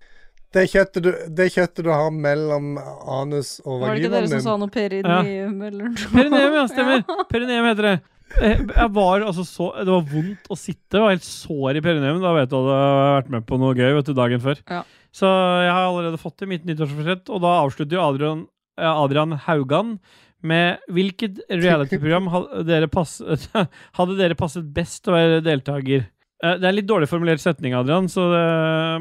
Speaker 1: Det kjøttet, du, det kjøttet du har mellom anus og
Speaker 3: Var det ikke
Speaker 1: vaginaen
Speaker 3: dere
Speaker 1: din.
Speaker 3: som sa noe perineum eller noe?
Speaker 2: Perineum, ja, stemmer. Perineum heter det. Eh, Jeg var altså så Det var vondt å sitte. Jeg var helt sår i perineum. Da vet du at jeg hadde vært med på noe gøy vet du, dagen før.
Speaker 3: Ja.
Speaker 2: Så jeg har allerede fått til mitt nyttårsforsett, og da avslutter jo Adrian, eh, Adrian Haugan med hvilket reality-program hadde dere, pass, hadde dere passet best å være deltaker? Eh, Det er en litt dårlig formulert setning, Adrian, så det,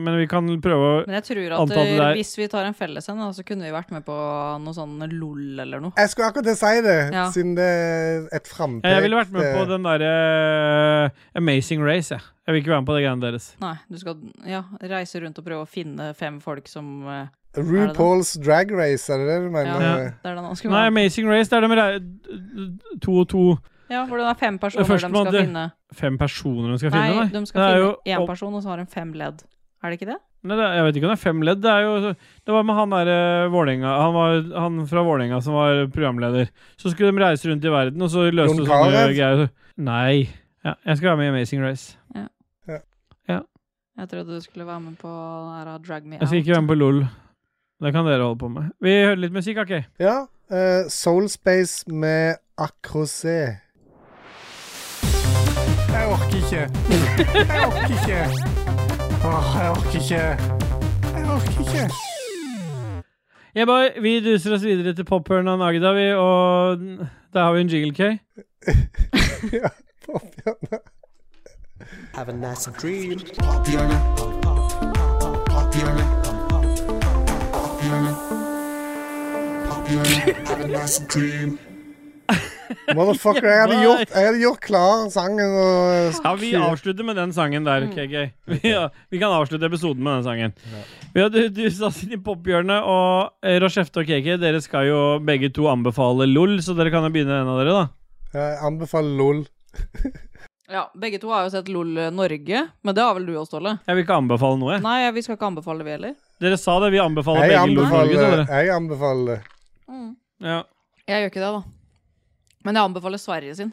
Speaker 2: men vi kan prøve å
Speaker 3: Men jeg tror at eh,
Speaker 2: Antall det der-
Speaker 3: hvis vi tar en felles en, da, så kunne vi vært med på noe sånn LOL eller noe.
Speaker 1: Jeg skulle akkurat til å si det,
Speaker 3: Ja.
Speaker 1: siden det er et frampek. eh,
Speaker 2: Jeg ville vært med
Speaker 1: det-
Speaker 2: på den derre Amazing Race, jeg. Jeg vil ikke være med på de greiene deres.
Speaker 3: Nei, du skal ja, reise rundt og prøve å finne fem folk som eh,
Speaker 1: RuPaul's Drag Race, er det det du
Speaker 3: Ja,
Speaker 1: mener?
Speaker 2: Ja.
Speaker 3: det er den han skulle
Speaker 2: Nei,
Speaker 3: være med
Speaker 2: Amazing Race, det er de rei- to og to
Speaker 3: på. Ja, for det er fem personer de
Speaker 2: Førstemann
Speaker 3: skal
Speaker 2: til-
Speaker 3: finne.
Speaker 2: Fem personer de skal
Speaker 3: Nei,
Speaker 2: finne,
Speaker 3: de
Speaker 2: Det
Speaker 3: skal
Speaker 2: er
Speaker 3: finne
Speaker 2: jo
Speaker 3: én
Speaker 2: opp-
Speaker 3: person, og så har de fem ledd. Er det ikke det?
Speaker 2: Nei, det, er- jeg vet ikke om det er fem ledd. Det, er jo, det var med han derre Vålerenga han, var- han fra Vålerenga som var programleder. Så skulle de reise rundt i verden, og så løste
Speaker 1: Jon
Speaker 2: de sånne
Speaker 1: Carew?
Speaker 2: greier. Nei. Ja, jeg skal være med i Amazing Race.
Speaker 3: Jeg trodde du skulle være med på den her Drag Me
Speaker 2: Jeg skal ikke være med på LOL. Det kan dere holde på med. Vi hører litt musikk, OK?
Speaker 1: Ja, eh, Soul Space med Acrosé.
Speaker 9: Jeg orker ikke. Jeg orker ikke. Åh, jeg orker ikke. Jeg orker ikke.
Speaker 2: Yeah, boy, vi duser oss videre til pophørnet av Agda, vi, og der har vi en jingle, K.
Speaker 1: ja, Torbjørn.
Speaker 10: Have a nice
Speaker 1: Motherfucker, jeg hadde, gjort, jeg hadde gjort klar sangen og eh,
Speaker 2: Ja, vi avslutter med den sangen der, KK. Vi, ja, vi kan avslutte episoden med den sangen. Vi har dusa oss inn i pophjørnet, og eh, Rochefte og KK, dere skal jo begge to anbefale LOL, så dere kan jo begynne, en av dere, da.
Speaker 1: Jeg anbefaler LOL.
Speaker 3: Ja, begge to har jo sett LOL Norge, men det har vel du også, Ståle?
Speaker 2: Jeg vil ikke anbefale noe. jeg.
Speaker 3: Nei, vi skal ikke anbefale vi heller.
Speaker 2: Dere sa det, vi anbefaler
Speaker 1: Jeg
Speaker 2: begge LOL Norge, sa
Speaker 1: anbefaler,
Speaker 2: dere.
Speaker 1: jeg anbefaler det.
Speaker 2: Ja.
Speaker 3: Mm. Jeg gjør ikke det, da. Men jeg anbefaler Sverige sin.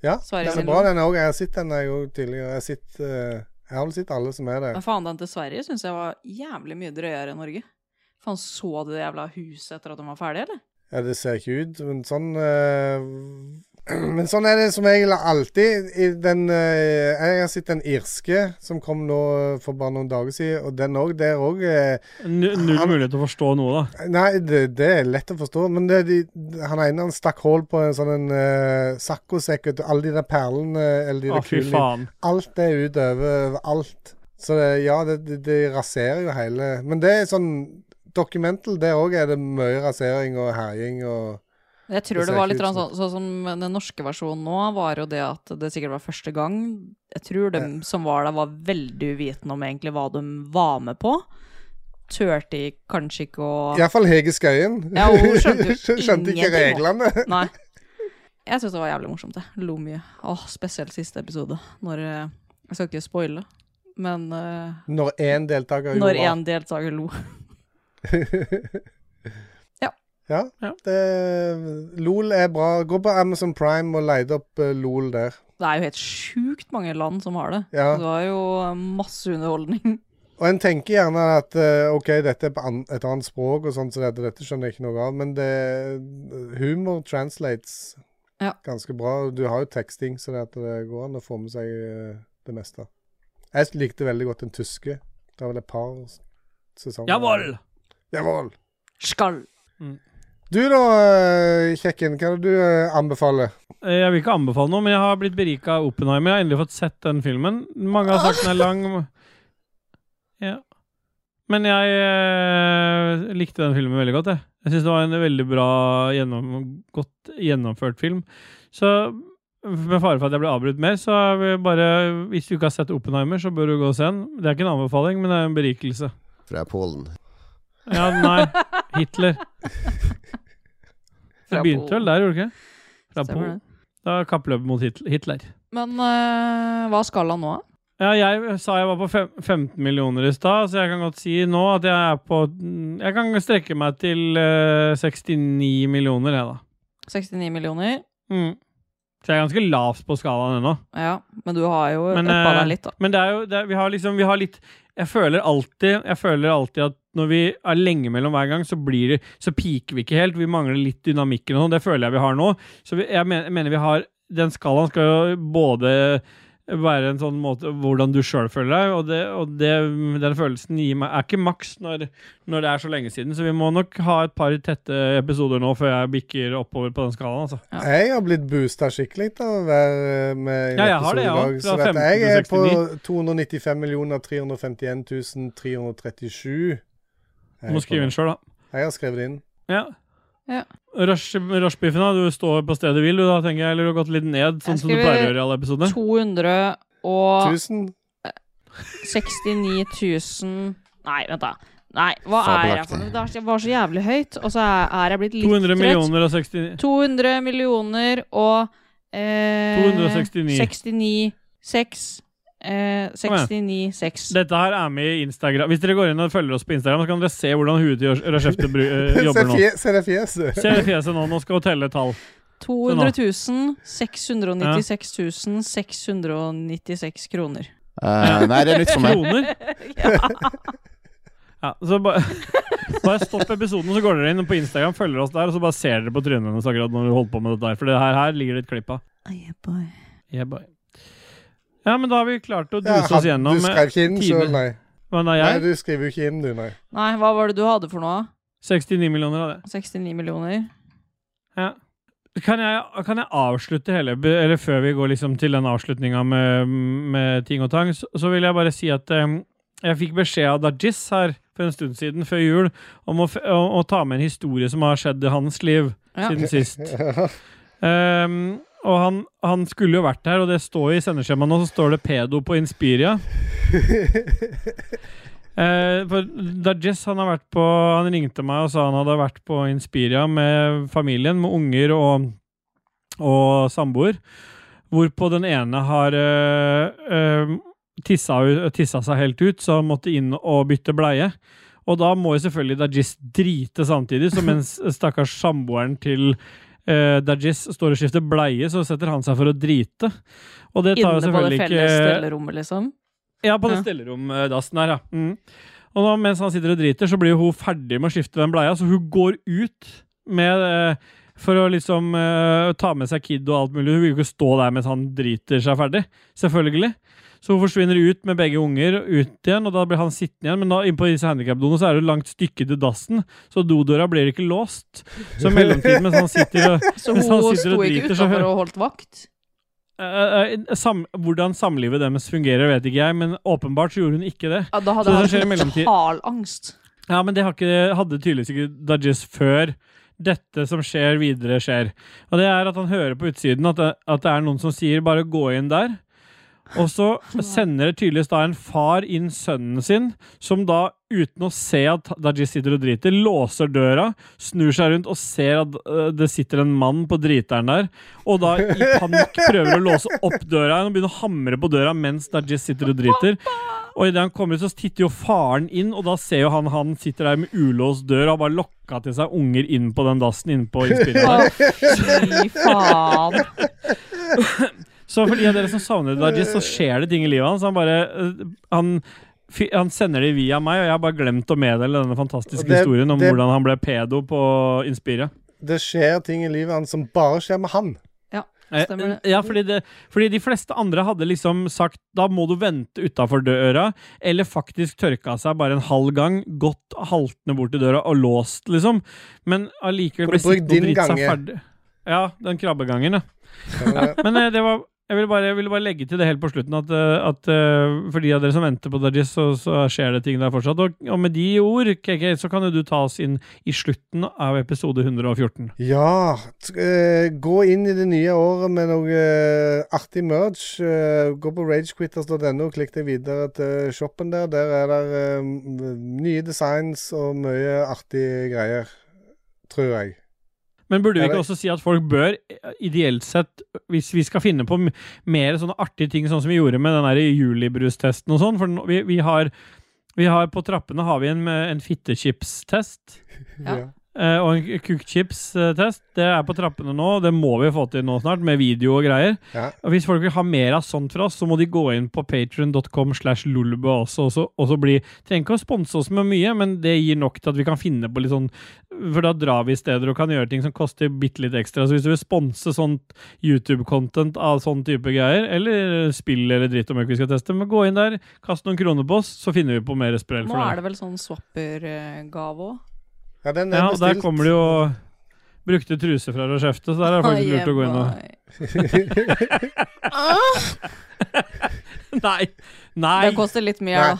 Speaker 1: Ja,
Speaker 3: Sverige
Speaker 1: den er
Speaker 3: sin
Speaker 1: bra,
Speaker 3: LOL.
Speaker 1: den òg. Jeg har sett den jeg jo tidligere. Jeg har sett, eh, jeg har vel sett alle som er der.
Speaker 3: Men faen, den til Sverige syns jeg var jævlig mye drøyere enn Norge. Faen, så du det jævla huset etter at de var ferdig, eller?
Speaker 1: Ja, det ser ikke ut, men sånn eh, Men sånn er det som regel alltid. I den, eh, jeg har sett den irske som kom nå eh, for bare noen dager siden, og den òg. Der òg
Speaker 2: Nu- Null mulighet til å forstå noe, da.
Speaker 1: Nei, det, det er lett å forstå, men det, de, han ene han stakk hull på en sånn en eh, saccosekk, vet du. Alle de der perlene eller de
Speaker 2: Å,
Speaker 1: der
Speaker 2: fy
Speaker 1: kulene.
Speaker 2: faen.
Speaker 1: Alt er utover alt. Så det, ja, det, det, det raserer jo hele Men det er sånn Documental, det òg er det mye rasering og herjing og
Speaker 3: Jeg
Speaker 1: Det
Speaker 3: tror
Speaker 1: ser
Speaker 3: det var
Speaker 1: ikke
Speaker 3: litt
Speaker 1: ut
Speaker 3: sånn,
Speaker 1: som-
Speaker 3: sånn som den norske versjonen nå, var jo det at det sikkert var første gang. Jeg tror dem som var der, var veldig uvitende om egentlig hva de var med på. Tørte de kanskje ikke å
Speaker 1: Iallfall Hege Skøyen.
Speaker 3: Ja, hun skjønte jo
Speaker 1: Skjønte ikke
Speaker 3: ingenting, hun.
Speaker 1: reglene.
Speaker 3: Nei. Jeg syns det var jævlig morsomt, jeg. Lo mye. Åh, spesielt siste episode, når eh, Jeg skal ikke spoile, men eh,
Speaker 1: Når én deltaker gjorde
Speaker 3: når
Speaker 1: alt.
Speaker 3: én deltaker lo. Ja.
Speaker 1: ja.
Speaker 2: Ja.
Speaker 1: Det, Eh, LOL er bra. Gå på Amazon Prime og leid opp eh, LOL der.
Speaker 3: Det er jo helt sjukt mange land som har det.
Speaker 1: Ja.
Speaker 3: Det var jo masse underholdning.
Speaker 1: Og en tenker gjerne at eh, OK, dette er på an et annet språk og sånn, så dette, dette skjønner jeg ikke noe av, men det humor translates
Speaker 3: Ja.
Speaker 1: ganske bra. Du har jo teksting, så det, at det går an å få med seg eh, det meste. Jeg likte veldig godt den tyske. Det er vel et par sesongen.
Speaker 2: Jawohl!
Speaker 1: Jawohl.
Speaker 4: Skal.
Speaker 1: Du da, eh, kjekken. Hva er det du eh, anbefaler?
Speaker 2: Eh, Jeg vil ikke anbefale noe, men jeg har blitt berika av Oppenheimer. Jeg har endelig fått sett den filmen. Mange har sagt den er lang. Ja. Men jeg eh, likte den filmen veldig godt. Jeg, jeg syns det var en veldig bra, gjennom, godt gjennomført film. Så med fare for at jeg blir avbrutt mer, så er vi bare Hvis du ikke har sett Oppenheimer, så bør du gå og se den. Det er ikke en anbefaling, men det er en berikelse.
Speaker 6: Fra Polen.
Speaker 2: Ja, nei. Hitler. Det begynte vel der, gjorde det ikke? Fra
Speaker 4: Stemmer
Speaker 2: Polen.
Speaker 4: det.
Speaker 2: Da er kappløpet mot Hitl- Hitler.
Speaker 4: Men eh, hva skal han nå? da?
Speaker 2: Ja, jeg sa jeg var på fem, 15 millioner i stad, så jeg kan godt si nå at jeg er på mm, Jeg kan strekke meg til eh, 69 millioner, jeg, da.
Speaker 4: 69 millioner?
Speaker 2: Mm. Så jeg er ganske lavt på skalaen ennå.
Speaker 4: Ja, men du har jo
Speaker 2: Men,
Speaker 4: uppa
Speaker 2: eh,
Speaker 4: deg litt, da.
Speaker 2: Men det er jo, det er, vi har liksom Vi har litt jeg føler, alltid, jeg føler alltid at når vi er lenge mellom hver gang, så, blir det, så peaker vi ikke helt. Vi mangler litt dynamikken og sånn. Det føler jeg vi har nå. Så vi, jeg men- mener vi har Den skalaen skal jo både være en sånn måte hvordan du sjøl føler deg, og, det, og det, den følelsen gir meg, er ikke maks når, når det er så lenge siden. Så vi må nok ha et par tette episoder nå før jeg bikker oppover på den skalaen. altså.
Speaker 4: Ja.
Speaker 1: Jeg har blitt boosta skikkelig til å være eh, med i en
Speaker 2: Ja, jeg har det,
Speaker 1: episode i dag,
Speaker 2: ja.
Speaker 1: så
Speaker 2: Fra
Speaker 1: vet jeg. Jeg er
Speaker 2: 15
Speaker 1: på
Speaker 2: til
Speaker 1: 295 351 337.
Speaker 2: Du må skrive inn sjøl, da.
Speaker 1: Jeg har skrevet det inn.
Speaker 2: Ja.
Speaker 4: Ja.
Speaker 2: Rush- Rushbiffen, da. Du står på stedet hvil, du da, tenker jeg. Eller du har gått litt ned, sånn
Speaker 4: Jeg
Speaker 2: som du
Speaker 4: skriver-
Speaker 2: pleier å gjøre i alle episodene.
Speaker 3: Ah.
Speaker 4: 269
Speaker 1: 1000?
Speaker 4: 000 Nei, vent, da. Nei, hva er jeg for noe?
Speaker 6: Fabelaktig.
Speaker 4: Det var så jævlig høyt, og så er er jeg blitt litt
Speaker 2: 200
Speaker 4: trøtt.
Speaker 2: millioner og 60
Speaker 4: 200 millioner og eh,
Speaker 2: 269.
Speaker 4: 69 6 eh, 69 6.
Speaker 2: Dette her er med i Instagram. Hvis dere går inn og følger oss på Instagram, så kan dere se hvordan huet til Rashefte
Speaker 1: Se,
Speaker 2: eh, jobber nå.
Speaker 1: fje, se det fjeset.
Speaker 2: Se fjeset nå. Nå skal hun telle tall.
Speaker 4: 200 000 696 696 kroner.
Speaker 5: Eh, nei, det er nytt for meg.
Speaker 2: Kroner. Ja, så bare, bare stopp episoden, så går dere inn på Instagram, følger oss der, og så bare ser dere på trynet hennes akkurat når hun holder på med dette her. For det her, her ligger det et klipp av.
Speaker 4: Ai, boy.
Speaker 2: Yeah, boy. ja, men da har vi klart å
Speaker 1: Ja,
Speaker 2: duse oss gjennom eh,
Speaker 1: du skrev ikke inn
Speaker 2: time.
Speaker 1: sjøl, nei.
Speaker 2: Hva da,
Speaker 1: Nei,
Speaker 2: jeg?
Speaker 1: du skriver jo ikke inn, du, nei.
Speaker 4: Nei, hva var det du hadde for noe?
Speaker 2: 69 millioner av det.
Speaker 4: 69 millioner?
Speaker 2: Ja. Kan jeg, kan jeg avslutte hele Eller før vi går liksom til den avslutninga med, med ting og tang, så, så vil jeg bare si at eh, jeg fikk beskjed av Dajis her for en stund siden, før jul, om å, f- å, å ta med en historie som har skjedd i hans liv
Speaker 4: Ja.
Speaker 2: siden sist. Ehm, og han, han skulle jo vært her, og det står i sendeskjemaet nå, så står det 'pedo' på Inspiria. Eh, for Dajess han har vært på Han ringte meg og sa han hadde vært på Inspiria med familien, med unger og, og samboer. Hvorpå den ene har eh, eh, tissa, ut- tissa seg helt ut, så han måtte inn og bytte bleie. Og da må jo selvfølgelig Dajis drite samtidig, så mens stakkars samboeren til eh, Dajis står og skifter bleie, så setter han seg for å drite. Og det tar jo
Speaker 4: Inne på det
Speaker 2: selvfølgelig ikke
Speaker 4: felles stellerommet, liksom?
Speaker 2: ja, på det
Speaker 4: Ja.
Speaker 2: stelleromdassen her, ja. Mm. Og nå, mens han sitter og driter, så blir hun ferdig med å skifte den bleia, så hun går ut med eh, For å liksom eh, ta med seg kid og alt mulig. Hun vil jo ikke stå der mens han driter seg ferdig. Selvfølgelig. Så hun forsvinner ut med begge unger, ut igjen, og da blir han sittende igjen. Men da, innpå disse handikapdoene så er det et langt stykke til dassen, så dodøra blir ikke låst. Så i mellomtiden mens han sitter og
Speaker 4: Så hun
Speaker 2: Mens han sitter
Speaker 4: sto
Speaker 2: og
Speaker 4: ikke
Speaker 2: driter, så-
Speaker 4: utafor og holdt vakt?
Speaker 2: eh, eh, sam, Hvordan samlivet deres fungerer, vet ikke jeg, men åpenbart så gjorde hun ikke det.
Speaker 4: Ja, da
Speaker 2: Så
Speaker 4: hadde
Speaker 2: det skjer i
Speaker 4: jeg hatt
Speaker 2: mellomtid-
Speaker 4: total angst.
Speaker 2: Ja, men det har ikke, hadde tydeligvis ikke Dajis før dette som skjer videre skjer. Og det er at han hører på utsiden at det, at det er noen som sier bare gå inn der. Og så sender det tydeligvis da en far inn sønnen sin, som da uten å se at Dajis sitter og driter, låser døra, snur seg rundt og ser at øh, det sitter en mann på driteren der, og da i panikk prøver å låse opp døra og begynner å hamre på døra mens Dajis sitter og driter. Og idet han kommer ut, så titter jo faren inn, og da ser jo han han sitter der med ulåst dør og har bare lokka til seg unger inn på den dassen inne på innspillet.
Speaker 4: Å, fy faen.
Speaker 2: Så for de av dere som savner Dajis, så skjer det ting i livet hans. Han bare øh, han, fy- han sender det via meg, og jeg har bare glemt å meddele denne fantastiske
Speaker 1: Og det-
Speaker 2: historien om
Speaker 1: det-
Speaker 2: hvordan han ble pedo på Inspira.
Speaker 1: Det skjer ting i livet hans som bare skjer med han.
Speaker 4: Ja.
Speaker 3: Stemmer det. Mm.
Speaker 2: Eh, Ja, fordi, det, fordi de fleste andre hadde liksom sagt da må du vente utafor døra, eller faktisk tørka seg bare en halv gang, gått haltende bort til døra og låst, liksom. Men allikevel
Speaker 1: Kan du
Speaker 2: ble
Speaker 1: bruke
Speaker 2: sittende og
Speaker 1: din
Speaker 2: drite seg
Speaker 1: gange?
Speaker 2: ferdig. Ja, den krabbegangen, ja.
Speaker 1: Stemmer det.
Speaker 2: Men eh, det var jeg ville, bare, jeg ville bare legge til det helt på slutten, at, eh, at eh, for de av dere som venter på Dajis, så, så skjer det ting der fortsatt. Og, og med de ord, KK, så kan jo du ta oss inn i slutten av episode 114.
Speaker 1: Ja, t- eh, gå inn i det nye året med noe eh, artig merch. Eh, gå på ragequitters.no, klikk deg videre til shoppen der. Der er det eh, m- nye designs og mye artige greier, tror jeg.
Speaker 2: Men burde vi
Speaker 1: Jeg
Speaker 2: ikke
Speaker 1: vet-
Speaker 2: også si at folk bør, eh, ideelt sett, hvis vi skal finne på m- mer sånne artige ting, sånn som vi gjorde med den der julibrustesten og sånn, for nå- vi, vi, har, vi har på trappene har vi en, med en fittechips-test.
Speaker 3: Ja.
Speaker 2: eh, og en cookchips-test. eh, Det er på trappene nå, og det må vi få til nå snart, med video og greier.
Speaker 1: Ja.
Speaker 2: Og Hvis folk vil ha mer av sånt fra oss, så må de gå inn på patreon.com slash lulba også, og så, og så bli Trenger ikke å sponse oss med mye, men det gir nok til at vi kan finne på litt sånn For da drar vi steder og kan gjøre ting som koster bitte litt ekstra. Så hvis du vil sponse sånt YouTube-content av sånn type greier, eller spill eller dritt og møkk vi skal teste, men gå inn der, kast noen kroner på oss, så finner vi på mer sprell
Speaker 3: Nå
Speaker 2: for deg.
Speaker 3: er det vel sånn swapper-gave òg.
Speaker 1: Ja, den er
Speaker 2: Ja, og
Speaker 1: bestilt.
Speaker 2: der kommer det jo brukte truser fra Rashefte, så der er det faktisk lurt å gå inn og Nei!
Speaker 3: Det
Speaker 2: Nei!
Speaker 3: koster litt mye,
Speaker 1: Nei.
Speaker 3: da.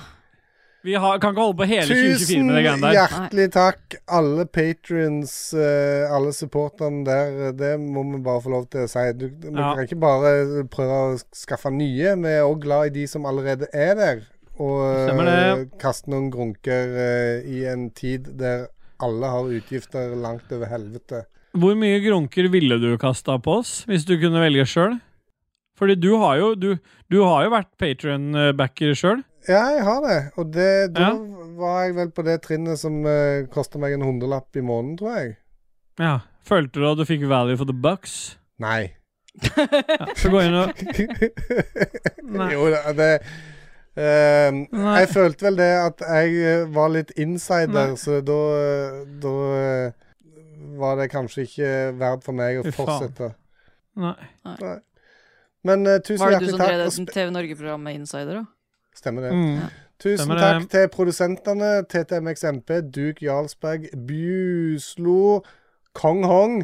Speaker 2: Vi har, kan ikke holde på hele 2024
Speaker 1: Tusen
Speaker 2: med det greiene der.
Speaker 1: hjertelig takk, alle patrions, eh, alle supporterne der. Det må vi bare få lov til å si. Du, vi
Speaker 2: Ja.
Speaker 1: kan ikke bare prøve å skaffe nye. Vi er òg glad i de som allerede er der. Og
Speaker 2: Stemmer
Speaker 1: eh,
Speaker 2: det.
Speaker 1: kaste noen grunker eh, i en tid der alle har utgifter langt over helvete.
Speaker 2: Hvor mye grunker ville du kasta på oss, hvis du kunne velge sjøl? Fordi du har jo, du, du har jo vært patrion-backer sjøl.
Speaker 1: Ja, jeg har det. Og det, da
Speaker 2: Ja.
Speaker 1: var jeg vel på det trinnet som uh, kosta meg en hundrelapp i måneden, tror jeg.
Speaker 2: Ja. Følte du at du fikk value for the bucks?
Speaker 1: Nei.
Speaker 2: Ja. Så gå inn og Nei.
Speaker 1: jo da, det ehm,
Speaker 2: Nei.
Speaker 1: Jeg følte vel det at jeg eh, var litt insider,
Speaker 2: Nei.
Speaker 1: så da eh, Da eh, var det kanskje ikke verdt for meg å
Speaker 2: Fy faen.
Speaker 1: fortsette.
Speaker 2: Nei.
Speaker 1: Men eh, tusen
Speaker 3: Var det du
Speaker 1: hjertelig
Speaker 3: som
Speaker 1: takk. og
Speaker 3: drev det TV Norge-programmet Insider, da?
Speaker 1: sp- Stemmer det.
Speaker 2: Mm.
Speaker 1: Tusen
Speaker 2: Stemmer
Speaker 1: takk
Speaker 2: det.
Speaker 1: til produsentene TTMXMP, Duke Jarlsberg, Bjuslo, Kong Hong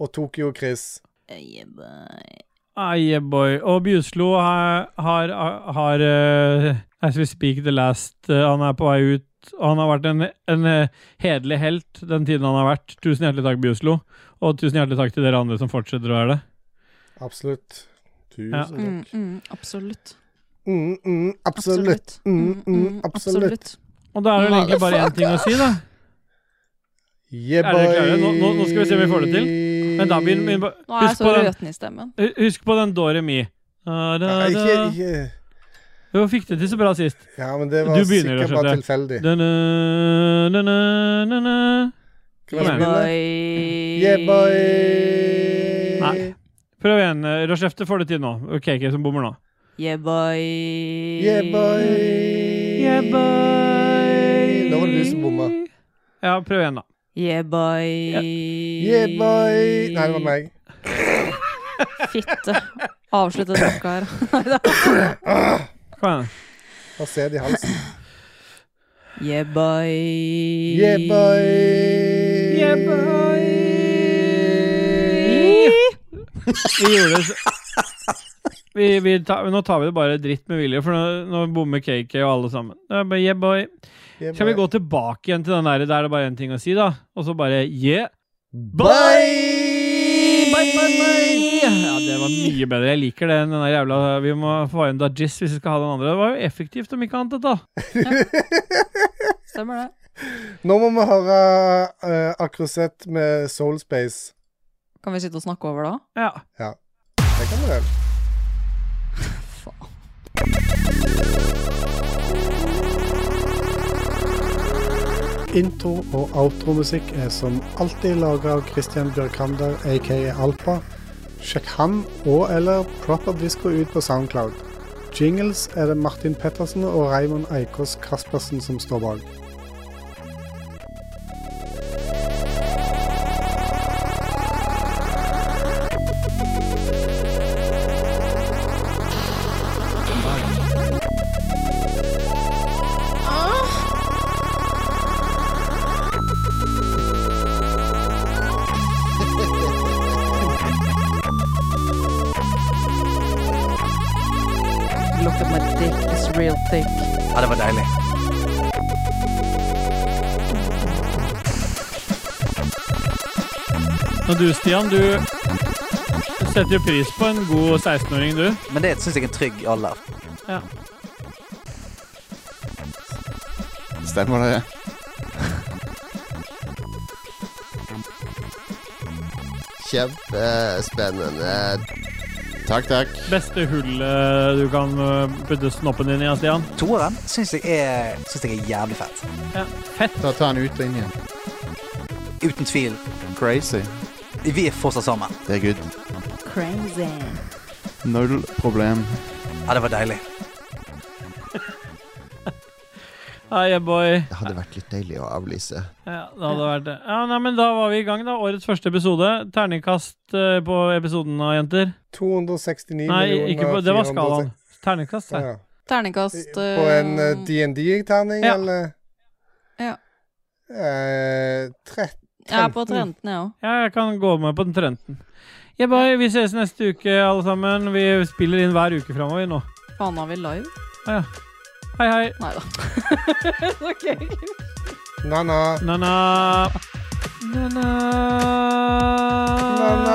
Speaker 1: og Tokyo Chris.
Speaker 3: Eh, bye.
Speaker 2: Ai, yeah, boy. Og Bjuslo har, har, har eh, As we speak the last eh, Han er på vei ut. og Han har vært en, en eh, hederlig helt den tiden han har vært. Tusen hjertelig takk, Bjuslo. Og tusen hjertelig takk til dere andre som fortsetter å være det.
Speaker 1: Absolutt. Tusen
Speaker 2: Ja.
Speaker 1: takk.
Speaker 3: Mm, mm, absolutt.
Speaker 1: Mm, mm, absolutt. Mm, mm, absolutt.
Speaker 2: Og da er det vel egentlig bare én ting å si, da.
Speaker 1: Yeah,
Speaker 2: Er dere klare?
Speaker 1: boy.
Speaker 2: Nå- nå- nå skal vi se om vi får det til. Men da begynner vi
Speaker 3: Nå er jeg
Speaker 2: Husk
Speaker 3: så
Speaker 2: på den,
Speaker 3: røten i stemmen.
Speaker 2: husk på den Dore Mi. Da, da,
Speaker 1: Nei,
Speaker 2: da.
Speaker 1: ikke, ikke.
Speaker 2: Jo, fikk det til så bra sist.
Speaker 1: Ja, men det
Speaker 2: Du
Speaker 1: var
Speaker 2: begynner,
Speaker 1: sikkert
Speaker 2: Rashid,
Speaker 1: bare
Speaker 2: det.
Speaker 1: tilfeldig.
Speaker 2: Da, da, da, da, da, da.
Speaker 1: Skal vi
Speaker 2: Nei.
Speaker 1: begynne? Yeah, boy.
Speaker 2: Nei. Prøv igjen. eh, Rochefte får det til nå. Ok, ok, som bommer nå.
Speaker 3: Yeah, boy.
Speaker 1: Yeah, boy.
Speaker 2: Yeah, boy.
Speaker 1: Nå var det du som bomma.
Speaker 2: Ja, prøv igjen, da.
Speaker 3: Yeah, boy.
Speaker 1: Yeah, boy. Nei, det var meg.
Speaker 3: Fitte. Avslutte dokka her.
Speaker 2: Kom igjen.
Speaker 1: Har sæd i halsen.
Speaker 3: Yeah, boy.
Speaker 1: Yeah, boy.
Speaker 2: Yeah, boy. Vi gjorde det så vi, vi tar- Nå tar vi det bare dritt med vilje, for nå, nå bommer KK og alle sammen. Det er bare yeah, boy.
Speaker 1: Yeah,
Speaker 2: Skal vi
Speaker 1: boy.
Speaker 2: gå tilbake igjen til den der, der er det bare én ting å si, da? Og så bare yeah.
Speaker 1: Bye!
Speaker 2: Bye, bye, bye. Ja, det var mye bedre. Jeg liker det. Den der jævla Vi må få inn Dajis hvis vi skal ha den andre. Det var jo effektivt om ikke annet, dette.
Speaker 3: Stemmer det.
Speaker 1: Nå må vi høre uh, Akrosett med Soul Space.
Speaker 3: Kan vi sitte og snakke over da?
Speaker 2: Ja.
Speaker 1: Det kan vi vel. Intro- og outromusikk er som alltid laga av Christian Bjørkander, aka Alpa. Sjekk han og eller Proper Disco ut på Soundcloud. Jingles er det Martin Pettersen og Raymond Eikås Kaspersen som står bak.
Speaker 11: real thick.
Speaker 7: Ja, det var deilig.
Speaker 2: Og du, Stian, du setter jo pris på en god 16-åring, du.
Speaker 7: Men det syns jeg er en trygg alder.
Speaker 2: Ja.
Speaker 8: Stemmer det?
Speaker 5: Kjempespennende.
Speaker 8: Takk, takk.
Speaker 2: Beste hullet du kan eh, putte snoppen din i, Stian.
Speaker 7: Toeren syns jeg, er- synes jeg er jævlig fett.
Speaker 2: Ja. Fett.
Speaker 8: Da tar han ut linjen.
Speaker 7: Uten tvil.
Speaker 8: Crazy.
Speaker 7: Vi er fortsatt sammen.
Speaker 8: Det er good.
Speaker 11: Crazy.
Speaker 8: Null problem.
Speaker 7: Ja, det var deilig.
Speaker 2: Hei, yeah, boy.
Speaker 5: Det hadde vært litt deilig å avlyse.
Speaker 2: Ja, det hadde vært det. Ja, nei, men da var vi i gang, da. Årets første episode. Terningkast eh, på episoden, da, jenter.
Speaker 1: 269
Speaker 2: Nei,
Speaker 1: millioner
Speaker 2: ikke på, det var
Speaker 1: 400
Speaker 2: skalaen. Terningkast, ja.
Speaker 1: Ja.
Speaker 11: Terningkast
Speaker 1: På en eh,
Speaker 11: eh,
Speaker 1: DND-terning,
Speaker 2: Ja.
Speaker 1: eller?
Speaker 11: Ja.
Speaker 1: Eh, 13
Speaker 11: Jeg er på 13, jeg òg.
Speaker 2: Ja, jeg kan gå med på den trenden. Yeah, boy, vi ses neste uke, alle sammen. Vi spiller inn hver uke framover nå.
Speaker 11: Faen, har vi live?
Speaker 2: Hei, hei.
Speaker 11: Nei da. OK.
Speaker 1: Na-na.
Speaker 2: Na-na. Na-na.
Speaker 1: Na-na.